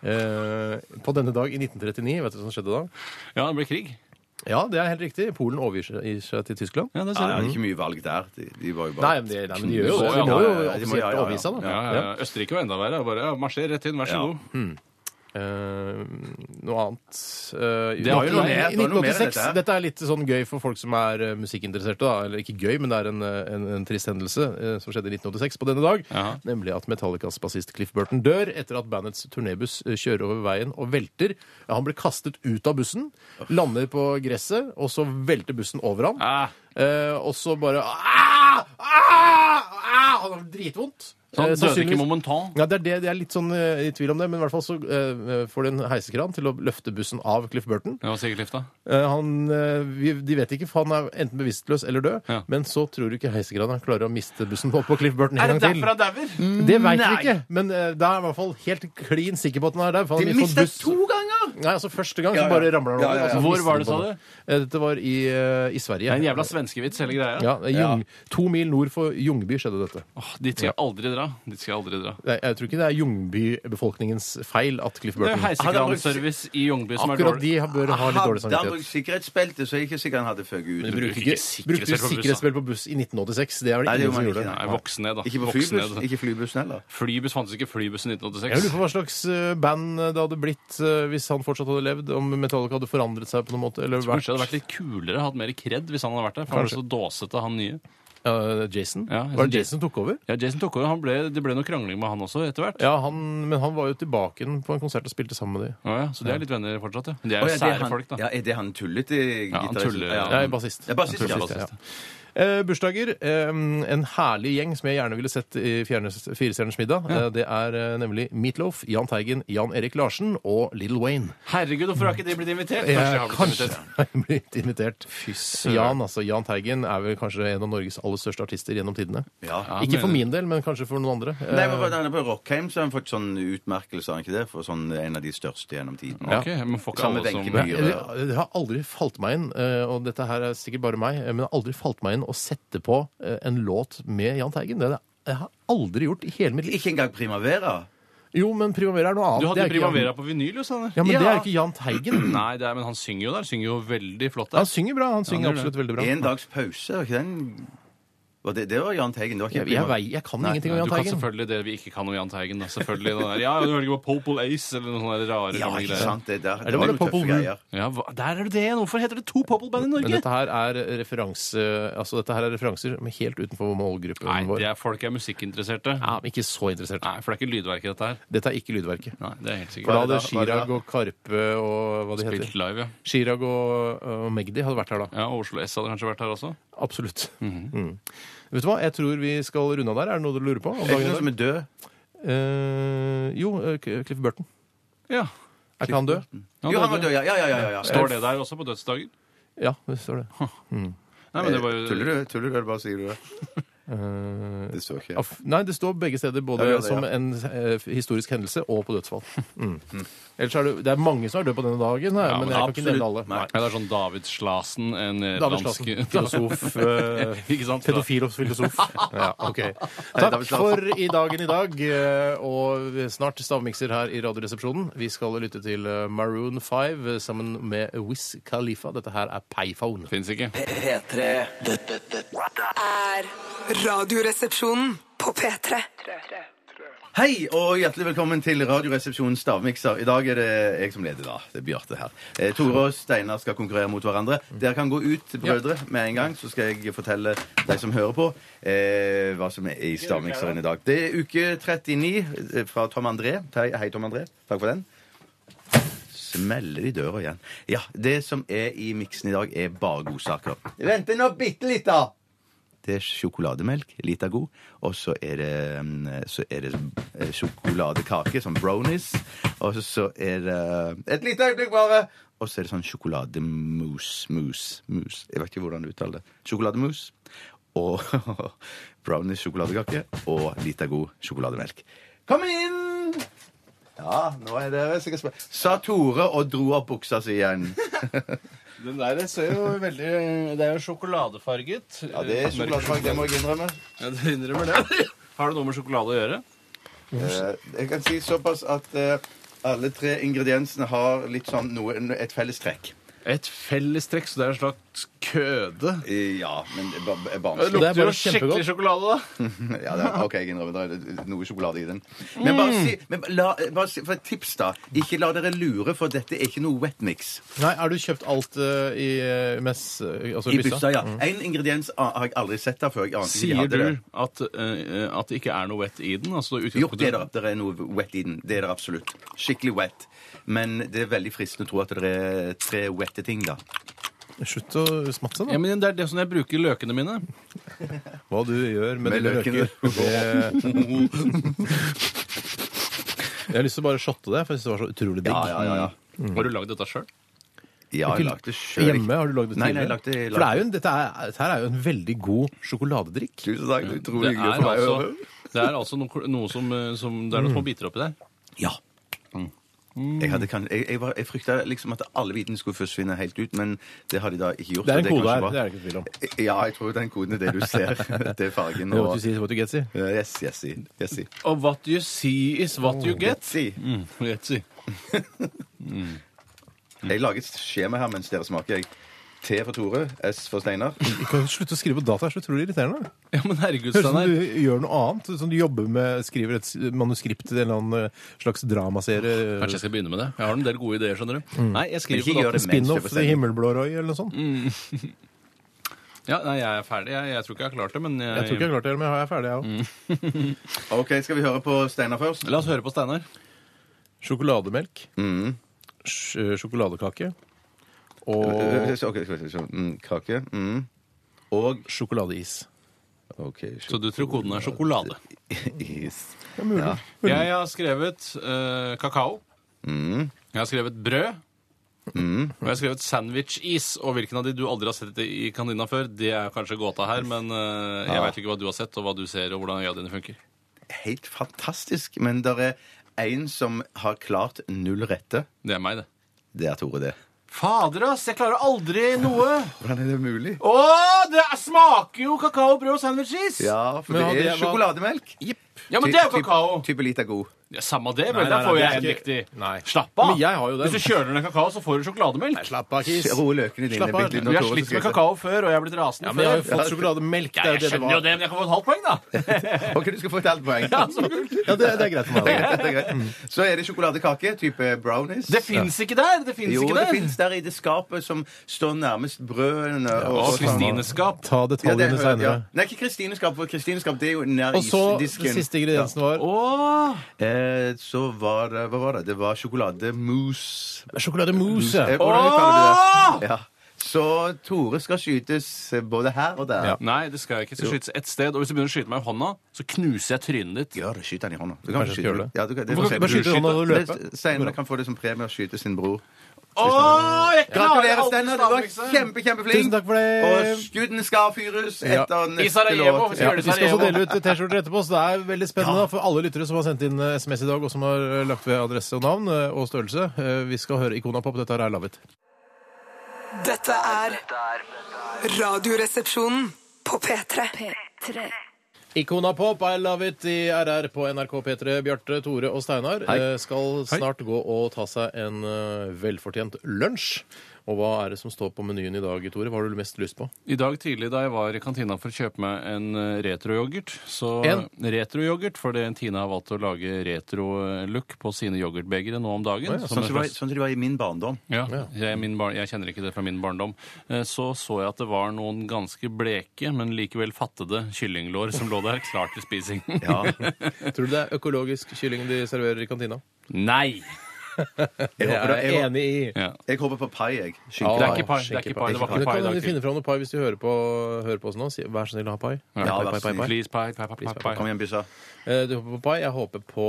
Speaker 2: Eh, på denne dag i 1939, vet du hva som skjedde da?
Speaker 1: Ja, det ble krig.
Speaker 2: Ja, det er helt riktig. Polen overgir seg- gir seg til Tyskland.
Speaker 1: Ja, det
Speaker 3: Ja,
Speaker 1: ser
Speaker 3: ja,
Speaker 1: du.
Speaker 3: det er ikke mye valg der. De, de var jo bare
Speaker 2: Nei, men de, nei, men de gjør jo det.
Speaker 1: Ja,
Speaker 2: De må jo
Speaker 3: ja, ja, de må- ja, ja, ja.
Speaker 2: offisielt overgi seg, da.
Speaker 1: Ja, ja, ja. Østerrike var enda verre. Bare ja, marsjer rett inn, vær så
Speaker 3: Ja.
Speaker 1: god.
Speaker 2: Eh, noe annet eh,
Speaker 1: Det var jo
Speaker 2: i-
Speaker 1: noe
Speaker 2: i-
Speaker 3: mer- det
Speaker 2: I
Speaker 3: var noe mer enn
Speaker 2: 1986.
Speaker 3: dette her.
Speaker 2: Dette, er litt sånn gøy for folk som er eh, musikkinteresserte. da, Eller ikke gøy, men det er en, eh, en, en trist hendelse eh, som skjedde i 1986 på denne dag.
Speaker 1: Jaha.
Speaker 2: Nemlig at Metallicas bassist Cliff Burton dør etter at bandets turnébuss eh, kjører over veien og velter. Ja, Han blir kastet ut av bussen, lander på gresset, og så velter bussen over ham.
Speaker 1: Ah.
Speaker 2: Eh, og så bare ah, ah, ah, ah, Han har dritvondt.
Speaker 1: Så han
Speaker 2: Eh,
Speaker 1: Sånn døde
Speaker 2: sannsynligvis-
Speaker 1: ikke momentant.
Speaker 2: Ja, det er det, Jeg er litt sånn eh, i tvil om det, men i hvert fall så eh, får de en heisekran til å løfte bussen av Cliff Burton.
Speaker 1: Det var sikkert lifta.
Speaker 2: Eh, han, eh, vi, de vet ikke, for han er enten bevisstløs eller død,
Speaker 1: Ja.
Speaker 2: men så tror du ikke heisekranen klarer å miste bussen opp på Cliff Burton
Speaker 1: Er
Speaker 2: en gang
Speaker 1: det
Speaker 2: til.
Speaker 1: derfor han dauer?
Speaker 2: Det veit vi ikke, men eh, da er jeg i hvert fall helt klin sikker på at den er der. for han
Speaker 3: De
Speaker 2: gikk på en
Speaker 3: mistet
Speaker 2: buss-
Speaker 3: to ganger!
Speaker 2: Nei, altså Første gang
Speaker 3: Ja,
Speaker 2: så
Speaker 3: ja.
Speaker 2: bare ramler han
Speaker 3: Ja,
Speaker 2: over.
Speaker 3: ja, ja.
Speaker 2: og så
Speaker 1: Hvor
Speaker 2: mister
Speaker 1: var
Speaker 2: han
Speaker 1: det,
Speaker 2: på
Speaker 1: sa
Speaker 2: den. Eh, Dette var i, eh, i Sverige.
Speaker 1: Det er en jævla svenskevits, hele greia.
Speaker 2: ja, det er Ljung, To mil nord for Ljungby skjedde dette.
Speaker 1: Åh, dit skal jeg aldri dra. Dit skal jeg aldri dra.
Speaker 2: Jeg, jeg tror ikke det er Ljungby-befolkningens feil at Cliff
Speaker 1: Det er
Speaker 2: Burton
Speaker 1: heisekranservice i Ljungby som er
Speaker 2: Akkurat
Speaker 1: dårlig.
Speaker 2: de har- bør ha litt
Speaker 3: Hadde
Speaker 2: dårlig
Speaker 3: han
Speaker 2: samvittighet.
Speaker 3: brukt sikkerhetsbelte, så er jeg ikke sikker han hadde føket ut.
Speaker 1: bruker ikke sikkerhetsbelt
Speaker 2: Brukte
Speaker 1: på buss, da.
Speaker 2: sikkerhetsbelt på buss i 1986. Det er vel
Speaker 3: Nei, det
Speaker 2: ingen
Speaker 3: gjorde
Speaker 2: som
Speaker 3: man
Speaker 2: gjorde
Speaker 3: ikke,
Speaker 2: det.
Speaker 1: Nei, voks ned, da.
Speaker 3: Ikke på
Speaker 1: Voks
Speaker 3: flybussen,
Speaker 1: ned.
Speaker 3: ikke flybussen heller.
Speaker 1: Flybuss fantes ikke. Flybussen
Speaker 2: Jeg lurer på
Speaker 1: 1986.
Speaker 2: hva slags eh, band det hadde blitt eh, hvis han fortsatt hadde levd. Om Metallica hadde forandret seg på noen måte. Eller vært
Speaker 1: Kanskje det hadde vært litt kulere, hatt mer kred hvis han hadde vært der. For han var så dåsete, han nye.
Speaker 2: Eh, Jason?
Speaker 1: Ja, jeg
Speaker 2: var
Speaker 1: synes
Speaker 2: det Jason som tok over?
Speaker 1: Ja, Jason tok over. Han ble, det ble noe krangling med han også etter hvert.
Speaker 2: Ja, han, Men han var jo tilbake igjen på en konsert og spilte sammen med de.
Speaker 1: Å ja, så de er litt venner fortsatt, ja. De er
Speaker 3: Å, ja,
Speaker 1: jo
Speaker 3: det er
Speaker 1: sære
Speaker 3: han-
Speaker 1: folk, da.
Speaker 3: Ja, er det han tullete
Speaker 1: Ja, han
Speaker 3: gitarist?
Speaker 1: tuller.
Speaker 3: Ja,
Speaker 2: Jeg er bassist.
Speaker 3: Ja, bassist,
Speaker 2: Jeg tror
Speaker 3: ja,
Speaker 2: bassist,
Speaker 3: bassist,
Speaker 2: ja. Eh, bursdager. Eh, en herlig gjeng som jeg gjerne ville sett i Fjernes- Firestjerners middag. Eh, det er eh, nemlig Meatloaf, Jahn Teigen, Jan Erik Larsen og Little Wayne.
Speaker 1: Herregud, hvorfor har ikke de blitt invitert?
Speaker 2: Jeg
Speaker 1: Kanskje de har blitt
Speaker 2: kanskje
Speaker 1: invitert.
Speaker 2: har blitt invitert. Jan, altså, Jan Teigen er vel kanskje en av Norges aller største artister gjennom tidene.
Speaker 3: Ja.
Speaker 2: Ikke for
Speaker 1: men-
Speaker 2: min del, men kanskje for noen andre.
Speaker 3: Nei,
Speaker 2: Eh,
Speaker 3: men han er På Rockheim så har han fått sånn utmerkelse, har han ikke det? For sånn en av de største gjennom tiden.
Speaker 1: Ok, men får ikke
Speaker 3: Samme
Speaker 1: alle som
Speaker 3: benkeby.
Speaker 2: det, Eh, det har aldri falt meg inn, eh, og dette her er sikkert bare meg, eh, men det har aldri falt meg inn å sette på eh, en låt med Jahn Teigen. Det, er det jeg har aldri gjort i hele mitt liv.
Speaker 3: Ikke engang Primavera.
Speaker 2: Jo, men Primavera er noe annet.
Speaker 1: Du hadde
Speaker 2: Det er
Speaker 1: jo
Speaker 2: ikke Jan-
Speaker 1: Primavera på vinyl, jo, Sanner.
Speaker 2: Ja, men det
Speaker 3: Ja.
Speaker 2: er jo ikke Jahn Teigen.
Speaker 1: Nei, det er, men han synger jo der. Synger jo veldig flott der.
Speaker 2: Han synger bra. Han synger
Speaker 1: gjør det.
Speaker 2: absolutt veldig bra.
Speaker 3: En dags pause, var ikke den var det, det var Jahn Teigen. Det var ikke
Speaker 2: Jeg, jeg,
Speaker 3: Primavera.
Speaker 2: vei- jeg kan ingenting om
Speaker 1: Ja,
Speaker 2: Jahn
Speaker 1: Du kan
Speaker 2: Teigen.
Speaker 1: selvfølgelig det vi ikke kan om Jahn Teigen. Da. Selvfølgelig den der, Ja, du velger på Popol Ace eller noen sånne rare
Speaker 3: Ja,
Speaker 1: gamle
Speaker 3: ikke
Speaker 1: greier.
Speaker 3: sant? Det, der,
Speaker 2: var det
Speaker 3: noen
Speaker 2: Popol
Speaker 3: tøffe
Speaker 2: Vuh?
Speaker 3: greier.
Speaker 1: Ja, hva, der er det det! Hvorfor heter det to Popol-band i
Speaker 2: Men
Speaker 1: Norge?
Speaker 2: dette her er referanse Altså dette her er referanser men helt utenfor målgruppen
Speaker 1: Nei,
Speaker 2: vår.
Speaker 1: det er folk er musikkinteresserte.
Speaker 2: Ja, men ikke så interessert.
Speaker 1: Nei, for det er ikke lydverk i dette her.
Speaker 2: Dette er ikke lydverket.
Speaker 1: Nei, det er helt
Speaker 2: For da
Speaker 1: sikkert.
Speaker 3: Hva er
Speaker 2: hadde
Speaker 3: det da? Hva er det
Speaker 2: Chirag
Speaker 3: da?
Speaker 2: og Karpe og hva de heter.
Speaker 1: Spilt live, ja.
Speaker 2: Chirag og, og Magdi hadde vært her da.
Speaker 1: Ja, og Oslo S hadde kanskje vært her også.
Speaker 2: Absolutt.
Speaker 1: Mhm.
Speaker 2: Mm. Vet du hva, jeg tror vi skal runde av der. Er det noe du lurer på? om
Speaker 3: Er det
Speaker 2: dagen i
Speaker 3: ikke noen
Speaker 2: dag?
Speaker 3: som er død?
Speaker 2: Eh, jo, eh, Cliff Burton.
Speaker 1: Ja.
Speaker 2: Er ikke han død?
Speaker 1: Ja,
Speaker 3: Jo, han var
Speaker 1: det-
Speaker 3: død, ja. ja, ja, ja, ja, ja.
Speaker 1: Står det der også på dødsdagen?
Speaker 2: Ja, det står det.
Speaker 1: Nei, men det var
Speaker 3: Tuller
Speaker 1: jo
Speaker 3: du?
Speaker 1: Eh,
Speaker 3: Tuller du, eller bare sier du det? Det står ikke.
Speaker 2: Aff- Nei, det står begge steder, både
Speaker 3: Ja, det gjør det,
Speaker 2: som
Speaker 3: ja.
Speaker 2: en eh, historisk hendelse og på dødsfall. Mm. Ellers er det, det er mange som er døde på denne dagen, her,
Speaker 1: Ja,
Speaker 2: men
Speaker 1: men
Speaker 2: jeg kan ikke
Speaker 3: absolutt.
Speaker 2: nevne alle.
Speaker 3: Nei.
Speaker 1: Nei, det er sånn David Slasen, en eh,
Speaker 2: David
Speaker 1: nederlandsk
Speaker 2: Slassen, filosof. eh,
Speaker 1: Ikke sant?
Speaker 2: Pedofil og filosof. Ja, ok. Takk
Speaker 3: David Slassen.
Speaker 2: for i dagen i dag, eh, og snart stavmikser her i Radioresepsjonen. Vi skal lytte til eh, Maroon 5 eh, sammen med Wiz Khalifa. Dette her er Payphone.
Speaker 1: Fins ikke.
Speaker 6: P3 Dette, dette,
Speaker 4: Er Radioresepsjonen på P3.
Speaker 3: Hei og hjertelig velkommen til Radioresepsjonens stavmikser. I dag er det jeg som leder, da. Det er Bjarte her. Eh, Tore og Steinar skal konkurrere mot hverandre. Dere kan gå ut, brødre, med en gang, så skal jeg fortelle de som hører på, eh, hva som er i stavmikseren i dag. Det er uke 39 fra Tom André. Hei, hei, Tom André. Takk for den. Smeller i døra igjen. Ja, det som er i miksen i dag, er bare godsaker. Vent nå bitte litt, da! Det er sjokolademelk, litt av god. Og så er det, mm, så er det eh, sjokoladekake, sånn brownies. Og så er det eh, Et lite øyeblikk, bare! Og så er det sånn sjokolademousse. Mousse. Mousse. Jeg vet ikke hvordan du uttaler det. Sjokolademousse. Og brownies sjokoladekake. Og litt av god sjokolademelk. Kom inn! Ja, nå er dere sikkert spent. Sa Tore og dro opp buksa si igjen.
Speaker 1: Den der ser jo veldig Det er jo sjokoladefarget.
Speaker 3: Ja, det er sjokoladefarge, det må jeg innrømme.
Speaker 1: Ja, du innrømmer det. Har det noe med sjokolade å gjøre?
Speaker 3: Eh, jeg kan si såpass at eh, alle tre ingrediensene har litt sånn noe, et felles trekk.
Speaker 1: Et fellestrekk, så det er en slags køde.
Speaker 3: Eh, ja, men det er ba- er
Speaker 1: Det
Speaker 3: barnslig.
Speaker 2: lukter
Speaker 1: lukter
Speaker 2: jo
Speaker 1: jo skikkelig
Speaker 2: kjempegodt.
Speaker 1: sjokolade, da.
Speaker 3: Ja, det er, OK, jeg innrømmer det er noe sjokolade i den. Men bare
Speaker 2: Mm.
Speaker 3: si, men la, bare si for et tips, da. Ikke la dere lure, for dette er ikke noe wet mix.
Speaker 2: Nei, er du kjøpt alt eh, i eh, mess... eh, Altså
Speaker 3: I byssa, ja. En ingrediens a- har jeg aldri sett der før. Jeg ante ikke de
Speaker 1: Sier
Speaker 3: hadde
Speaker 1: du
Speaker 3: det.
Speaker 1: at, eh, at det ikke er noe wet i den? Altså,
Speaker 3: Jo, det er det. Det er noe wet i den. Det er det absolutt. Skikkelig wet. Men det er veldig fristende å tro at det er tre wette ting, da.
Speaker 2: Slutt å smatte, da.
Speaker 1: Ja, men Det er det som jeg bruker løkene mine.
Speaker 2: Hva du gjør med,
Speaker 3: Med
Speaker 2: dine
Speaker 3: løkene.
Speaker 2: løker. Det- Jeg har lyst til å bare shotte det, for jeg syns det var så utrolig digg.
Speaker 3: Ja, ja, ja. ja.
Speaker 1: Har du lagd dette sjøl?
Speaker 3: ja jeg lagde det selv.
Speaker 2: Hjemme har du lagd det
Speaker 3: Nei, nei, jeg
Speaker 2: tidligere?
Speaker 3: lagde det-
Speaker 2: For det er jo en, dette, er, dette her er jo en veldig god sjokoladedrikk.
Speaker 3: Tusen takk. det er
Speaker 1: Mm. Det
Speaker 3: Utrolig
Speaker 1: er
Speaker 3: hyggelig for meg å
Speaker 1: altså,
Speaker 3: høre.
Speaker 1: det er altså noe, noe som, eh, som Det er noen små
Speaker 2: Mm.
Speaker 1: biter oppi der.
Speaker 3: Ja. Mm. Jeg, hadde kan, jeg, jeg, var, jeg frykta liksom at alle vitene skulle forsvinne helt ut, men det har de da ikke gjort.
Speaker 2: Det er
Speaker 3: så
Speaker 2: en kode
Speaker 3: kanskje
Speaker 2: her,
Speaker 3: bra.
Speaker 2: det er det ikke tvil om.
Speaker 3: Ja, jeg tror den koden er det du ser. det er fargen.
Speaker 2: What
Speaker 3: Og,
Speaker 2: you see is what you get, si.
Speaker 3: Ja, yes, yes, yes, yes.
Speaker 1: Og what you see is what
Speaker 2: Oh.
Speaker 1: you get.
Speaker 3: Si.
Speaker 1: Mm, get si.
Speaker 3: Jeg lager et skjema her mens dere smaker. jeg. T for Tore, S for Steinar.
Speaker 2: Du kan jo slutte å skrive på data, det er så utrolig irriterende.
Speaker 1: Ja, men herregud,
Speaker 3: Sånn
Speaker 2: Høres ut som
Speaker 1: Steinar.
Speaker 2: du gjør noe annet. Som du jobber med, skriver et s- manuskript til en eller annen eh, slags dramaserie.
Speaker 1: Kanskje jeg skal begynne med det? Jeg har en del gode ideer, skjønner du.
Speaker 2: Mm.
Speaker 1: Nei, jeg
Speaker 3: Men
Speaker 1: skriver
Speaker 3: ikke
Speaker 1: på
Speaker 3: gjør
Speaker 1: datten.
Speaker 3: det mens du er
Speaker 2: Spin-off
Speaker 3: på
Speaker 2: i
Speaker 3: sending. Mm,
Speaker 2: Himmelblå Roy eller noe sånt.
Speaker 1: Ja, nei, jeg er ferdig. Jeg, jeg tror ikke jeg har klart det, men jeg,
Speaker 2: Jeg tror ikke jeg har klart det, men jeg er ferdig, jeg òg.
Speaker 3: OK, skal vi høre på Steinar først?
Speaker 1: La oss høre på Steinar.
Speaker 3: Mm.
Speaker 2: Sjokolademelk. sj- Sjokoladekake.
Speaker 3: Ok,
Speaker 2: Og
Speaker 3: skal vi se. Mm, Kake. Mm. Og
Speaker 2: sjokoladeis.
Speaker 3: OK.
Speaker 1: Så du tror koden er sjokolade?
Speaker 3: Is.
Speaker 1: Jeg har skrevet eh, kakao. Jeg har skrevet brød. Og jeg har skrevet sandwich-is. Og hvilken av de du aldri har sett i kantina før, det er kanskje gåta her, men eh, jeg vet ikke hva du har sett, og hva du ser, og hvordan øya dine funker.
Speaker 3: Helt fantastisk. Men det er én som har klart null rette.
Speaker 1: Det er meg, det.
Speaker 3: Det er Tore, det.
Speaker 1: Fader, ass! Jeg klarer aldri noe!
Speaker 3: Hvordan er det mulig?
Speaker 1: Å, det er- smaker jo kakao, brød og sandwich is!
Speaker 3: Ja, for det
Speaker 2: Men
Speaker 3: er
Speaker 2: hadde jeg valgt-
Speaker 3: sjokolademelk.
Speaker 1: Ja, men det er jo kakao!
Speaker 3: Type lite god.
Speaker 1: Ja, samme det,
Speaker 2: Nei,
Speaker 1: vel.
Speaker 2: nei,
Speaker 1: Der
Speaker 2: nei,
Speaker 1: får
Speaker 2: det
Speaker 1: jeg
Speaker 2: er
Speaker 1: en
Speaker 2: ikke-
Speaker 1: riktig.
Speaker 2: Nei.
Speaker 1: Slapp av!
Speaker 2: Men jeg har jo den.
Speaker 1: Hvis du kjøler ned kakao, så får du sjokolademelk.
Speaker 2: Slapp av,
Speaker 3: Ro løkene dine.
Speaker 2: Slapp av.
Speaker 3: bitte litt nå,
Speaker 1: Vi har
Speaker 3: Tore,
Speaker 1: slitt
Speaker 3: så
Speaker 1: med
Speaker 3: skal
Speaker 1: kakao før, og jeg har blitt rasende
Speaker 2: Ja, men jeg har jo
Speaker 1: før.
Speaker 2: fått sjokolademelk.
Speaker 1: Ja,
Speaker 2: Det er
Speaker 1: jeg
Speaker 2: jo det det
Speaker 1: skjønner jo
Speaker 2: var.
Speaker 1: det, men jeg kan få et halvt poeng, da.
Speaker 3: jeg- Ok, du skal få et halvt poeng.
Speaker 1: Ja, så kult.
Speaker 2: Ja, det, det er greit for meg.
Speaker 3: Det er greit, det er greit. Så er det sjokoladekake, type brownies.
Speaker 1: Det fins ikke der! Det fins
Speaker 3: jo,
Speaker 1: ikke
Speaker 3: det
Speaker 1: der.
Speaker 3: fins der i det skapet som står nærmest brødene.
Speaker 1: Å,
Speaker 3: og- sånn.
Speaker 1: Kristines skap.
Speaker 2: Ta
Speaker 3: Ja, det,
Speaker 2: detaljene
Speaker 3: ja.
Speaker 2: seinere.
Speaker 3: Nei, ikke Kristines skap, for Kristines skap det er jo nær
Speaker 2: Og så
Speaker 3: isdisken.
Speaker 2: den siste ingrediensen var
Speaker 1: Åh,
Speaker 3: Eh, så var det Hva var det? Det var sjokolademousse.
Speaker 2: sjokolademousse.
Speaker 3: Eh,
Speaker 2: Ja.
Speaker 3: hvordan uttaler
Speaker 1: Åh!
Speaker 3: du det? Ja. Så Tore skal skytes eh, både her og der.
Speaker 2: Ja.
Speaker 1: Nei, det skal jeg ikke. Jeg skal skytes ett sted. Og hvis du begynner å skyte meg i hånda, så knuser jeg trynet ditt.
Speaker 3: Gjør det. Skyt han i hånda. Du
Speaker 2: Kanskje jeg skal gjøre det.
Speaker 3: Ja, du kan, det
Speaker 2: Hvorfor kan du ikke bare skyte i hånda og løpe?
Speaker 3: Steinar kan få det som premie å skyte sin bror.
Speaker 1: Åh, jeg klarer
Speaker 3: Gratulerer,
Speaker 1: aldri
Speaker 3: Steinar. Du var
Speaker 1: stavmikser.
Speaker 3: kjempe, kjempeflink.
Speaker 2: liksom. Tusen takk for det.
Speaker 3: Og skuddene skal fyres
Speaker 2: Ja.
Speaker 3: etter neste
Speaker 1: I Sarajevo,
Speaker 3: låt.
Speaker 1: hvis vi
Speaker 3: Ja.
Speaker 2: Vi
Speaker 1: gjør det sånn. i
Speaker 2: skal også
Speaker 1: Sarajevo.
Speaker 2: dele ut T-skjorter etterpå, så det er veldig spennende da, for alle lyttere som har sendt inn eh, SMS i dag, og som har eh, lagt ved adresse og navn eh, og størrelse. Eh, Vi skal høre Ikonapop. Dette her er lavet.
Speaker 4: Dette er Radioresepsjonen på P3.
Speaker 2: Ikonapop, I love it, i RR på NRK P3. Bjarte, Tore og Steinar eh, skal snart gå og ta seg en eh, velfortjent lunsj. Og hva er det som står på menyen i dag, Tore? Hva har du mest lyst på?
Speaker 1: I dag tidlig da jeg var i kantina for å kjøpe meg en eh, retroyoghurt så
Speaker 2: En?
Speaker 1: Retroyoghurt, fordi Tina har valgt å lage retrolook på sine yoghurtbegre nå om dagen.
Speaker 3: Sånn
Speaker 1: som en
Speaker 3: som det var-
Speaker 1: slags-
Speaker 3: sånn som det var i min barndom.
Speaker 1: Ja, jeg, min barn, jeg kjenner ikke det fra min barndom. Eh, Så så jeg at det var noen ganske bleke, men likevel fattede kyllinglår som lå der, klar til spising.
Speaker 2: Tror du det er økologisk kylling de serverer i kantina?
Speaker 1: Nei!
Speaker 3: Jeg
Speaker 2: Det
Speaker 3: håper,
Speaker 2: er
Speaker 3: det,
Speaker 2: jeg
Speaker 3: jeg,
Speaker 2: enig i.
Speaker 1: Ja.
Speaker 3: jeg håper på pai, jeg.
Speaker 1: Det er
Speaker 3: Skinkepai.
Speaker 1: ikke pai. Det er ikke pai. Det var
Speaker 2: Men
Speaker 1: ikke pai
Speaker 2: kan
Speaker 1: i dag.
Speaker 2: hende finne fram noe pai hvis du hører på, hører på oss nå. Si, Vær så snill å ha pai.
Speaker 3: Ja, vær
Speaker 2: pai, pai, pai,
Speaker 3: snill.
Speaker 2: pai.
Speaker 1: Please, pai, pai, pai, pai, pai.
Speaker 3: Kom igjen, byssa.
Speaker 2: Eh, Du håper på pai. Jeg håper på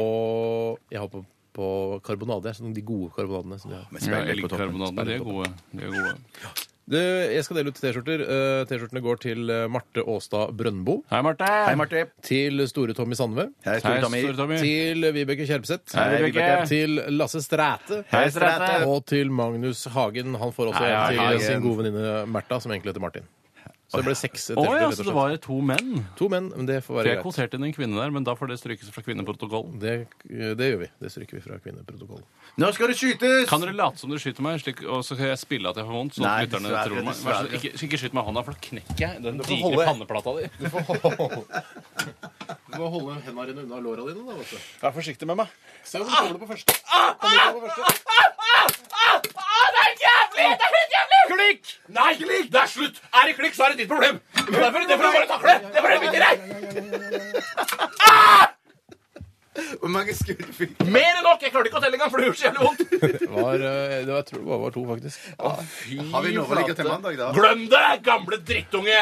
Speaker 2: Jeg håper på karbonade. Sånn de gode karbonadene. Som de har.
Speaker 1: Ja, Elgkarbonadene, de er gode. De er gode.
Speaker 2: Du, jeg skal dele ut T-skjorter. Eh, T-skjortene går til eh, Marte Aastad Brøndbo.
Speaker 1: Hei, Marte!
Speaker 3: Hei, Marte.
Speaker 2: Til Store Tommy Sandve.
Speaker 3: Hei, Tore Tommy.
Speaker 1: Store Tommy.
Speaker 2: Til Vibeke Kjerpseth.
Speaker 1: Hei, Vibeke.
Speaker 2: Til Lasse Stræte.
Speaker 3: Hei, Stræte.
Speaker 2: Og til Magnus Hagen. Han får også
Speaker 1: Hei,
Speaker 2: en til
Speaker 1: Hagen.
Speaker 2: sin gode venninne Märtha, som egentlig heter Martin. Så det ble seks
Speaker 1: Å
Speaker 2: T-skjorter.
Speaker 1: ja,
Speaker 2: rett
Speaker 1: så
Speaker 2: og
Speaker 1: det
Speaker 2: slett.
Speaker 1: var to menn.
Speaker 2: To menn, men det får
Speaker 1: For
Speaker 2: være
Speaker 1: jeg
Speaker 2: greit.
Speaker 1: kvoterte inn en kvinne der, men da får det strykes fra kvinneprotokollen.
Speaker 2: Det, eh, det gjør vi. Det stryker vi fra kvinneprotokollen.
Speaker 3: Nå skal det skytes!
Speaker 1: Kan dere late som dere skyter meg, slik, og så kan jeg spille at jeg får vondt? Sånn
Speaker 3: Nei,
Speaker 1: at lytterne
Speaker 3: dessverre,
Speaker 1: tror meg. Vær så snill, Ikke, ikke skyt meg i hånda, for da knekker jeg den digre
Speaker 2: holde.
Speaker 1: panneplata di.
Speaker 2: Du må holde hendene dine unna låra dine. da, vet du.
Speaker 1: Vær forsiktig med meg.
Speaker 2: Se om du kommer på første.
Speaker 1: Ah,
Speaker 2: Kan du komme på første?
Speaker 1: Det er jævlig! Det er helt jævlig! Klikk! Nei, klikk! Det er slutt! Er det klikk, så er det ditt problem. Det får du bare takle. Det får du bite i deg.
Speaker 3: Hvor mange skudd fikk du?
Speaker 1: Mer enn nok! Jeg klarte ikke å telle engang, for det gjorde så jævlig vondt.
Speaker 2: Det var, eh, det var, jeg tror det bare var to, faktisk.
Speaker 3: Har vi noe å ligge til mandag, da?
Speaker 1: Glem det, gamle drittunge!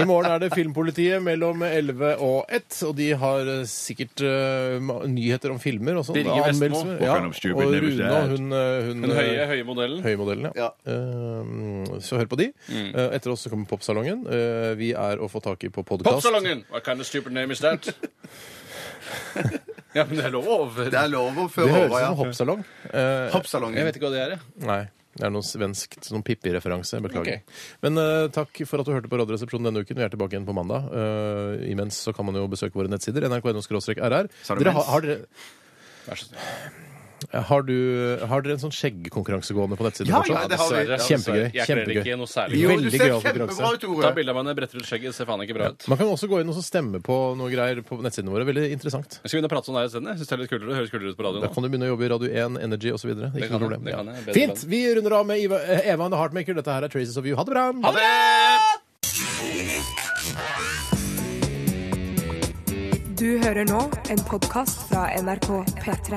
Speaker 2: I morgen er det Filmpolitiet mellom 11 og 1, og de har eh, sikkert eh, ma- nyheter om filmer og sånn.
Speaker 1: Birger
Speaker 2: anmeldelser.
Speaker 1: Vestmo.
Speaker 2: Ja,
Speaker 8: What kind of stupid
Speaker 2: og
Speaker 8: name is
Speaker 2: Rune,
Speaker 8: that?
Speaker 2: hun, eh, hun
Speaker 1: Den høye,
Speaker 2: eh,
Speaker 1: høye modellen.
Speaker 2: Høymodellen, ja.
Speaker 3: Ja.
Speaker 2: Eh, så hør på de.
Speaker 3: Mm.
Speaker 2: Eh, etter oss så kommer Popsalongen. Eh, vi er å få tak i på podkast.
Speaker 1: Popsalongen! What kind of stupid name is that? ja, men det er lov å overføre.
Speaker 3: Det er lov å
Speaker 2: Det
Speaker 3: føre
Speaker 2: høres
Speaker 3: over,
Speaker 2: ut
Speaker 3: ja.
Speaker 2: som hoppsalong. Eh,
Speaker 1: Jeg
Speaker 3: Hoppsalongen.
Speaker 1: vet ikke hva det er, jeg.
Speaker 2: Nei. Det er noe svensk, noen Pippi-referanse. Beklager.
Speaker 1: Ok.
Speaker 2: Men eh, takk for at du hørte på Radioresepsjonen denne uken. Vi er tilbake igjen på mandag. Eh, imens så kan man jo besøke våre nettsider. nrk.no-rr.
Speaker 3: Sa du
Speaker 2: Dere har,
Speaker 3: mens?
Speaker 2: har, dere,
Speaker 1: Vær så snill.
Speaker 2: har, du- har dere en sånn skjeggkonkurranse gående på nettsiden?
Speaker 3: Ja,
Speaker 2: fortsatt?
Speaker 3: ja, det har vi.
Speaker 1: Dessverre.
Speaker 2: Kjempegøy,
Speaker 1: Jeg kler
Speaker 2: kjempegøy.
Speaker 1: ikke noe særlig.
Speaker 3: Jo, du
Speaker 2: Veldig
Speaker 3: ser
Speaker 2: gøy å få
Speaker 3: kjempebra
Speaker 2: konkurranse.
Speaker 3: ut,
Speaker 1: Ta
Speaker 3: Tore.
Speaker 1: bilde av meg når jeg bretter ut skjegget. Ser faen ikke bra ut.
Speaker 2: Man kan også gå inn og så stemme på noe greier på nettsidene våre. Veldig interessant.
Speaker 1: Skal vi begynne å prate sånn her isteden? Jeg synes det er litt kulere. Det høres kulere ut på radioen.
Speaker 2: Da
Speaker 1: nå.
Speaker 2: kan du begynne å jobbe i Radio 1, Energy osv. Ikke
Speaker 1: kan
Speaker 2: noe
Speaker 1: jeg,
Speaker 2: problem.
Speaker 1: det
Speaker 2: Ja.
Speaker 1: kan jeg. Bedre
Speaker 2: Fint!
Speaker 1: plan.
Speaker 2: Vi runder av med Eva, Eva and the Heartmaker. Dette her er Traces of You. Ha det bra!
Speaker 1: Ha det!
Speaker 5: Du hører nå en podkast fra NRK P3.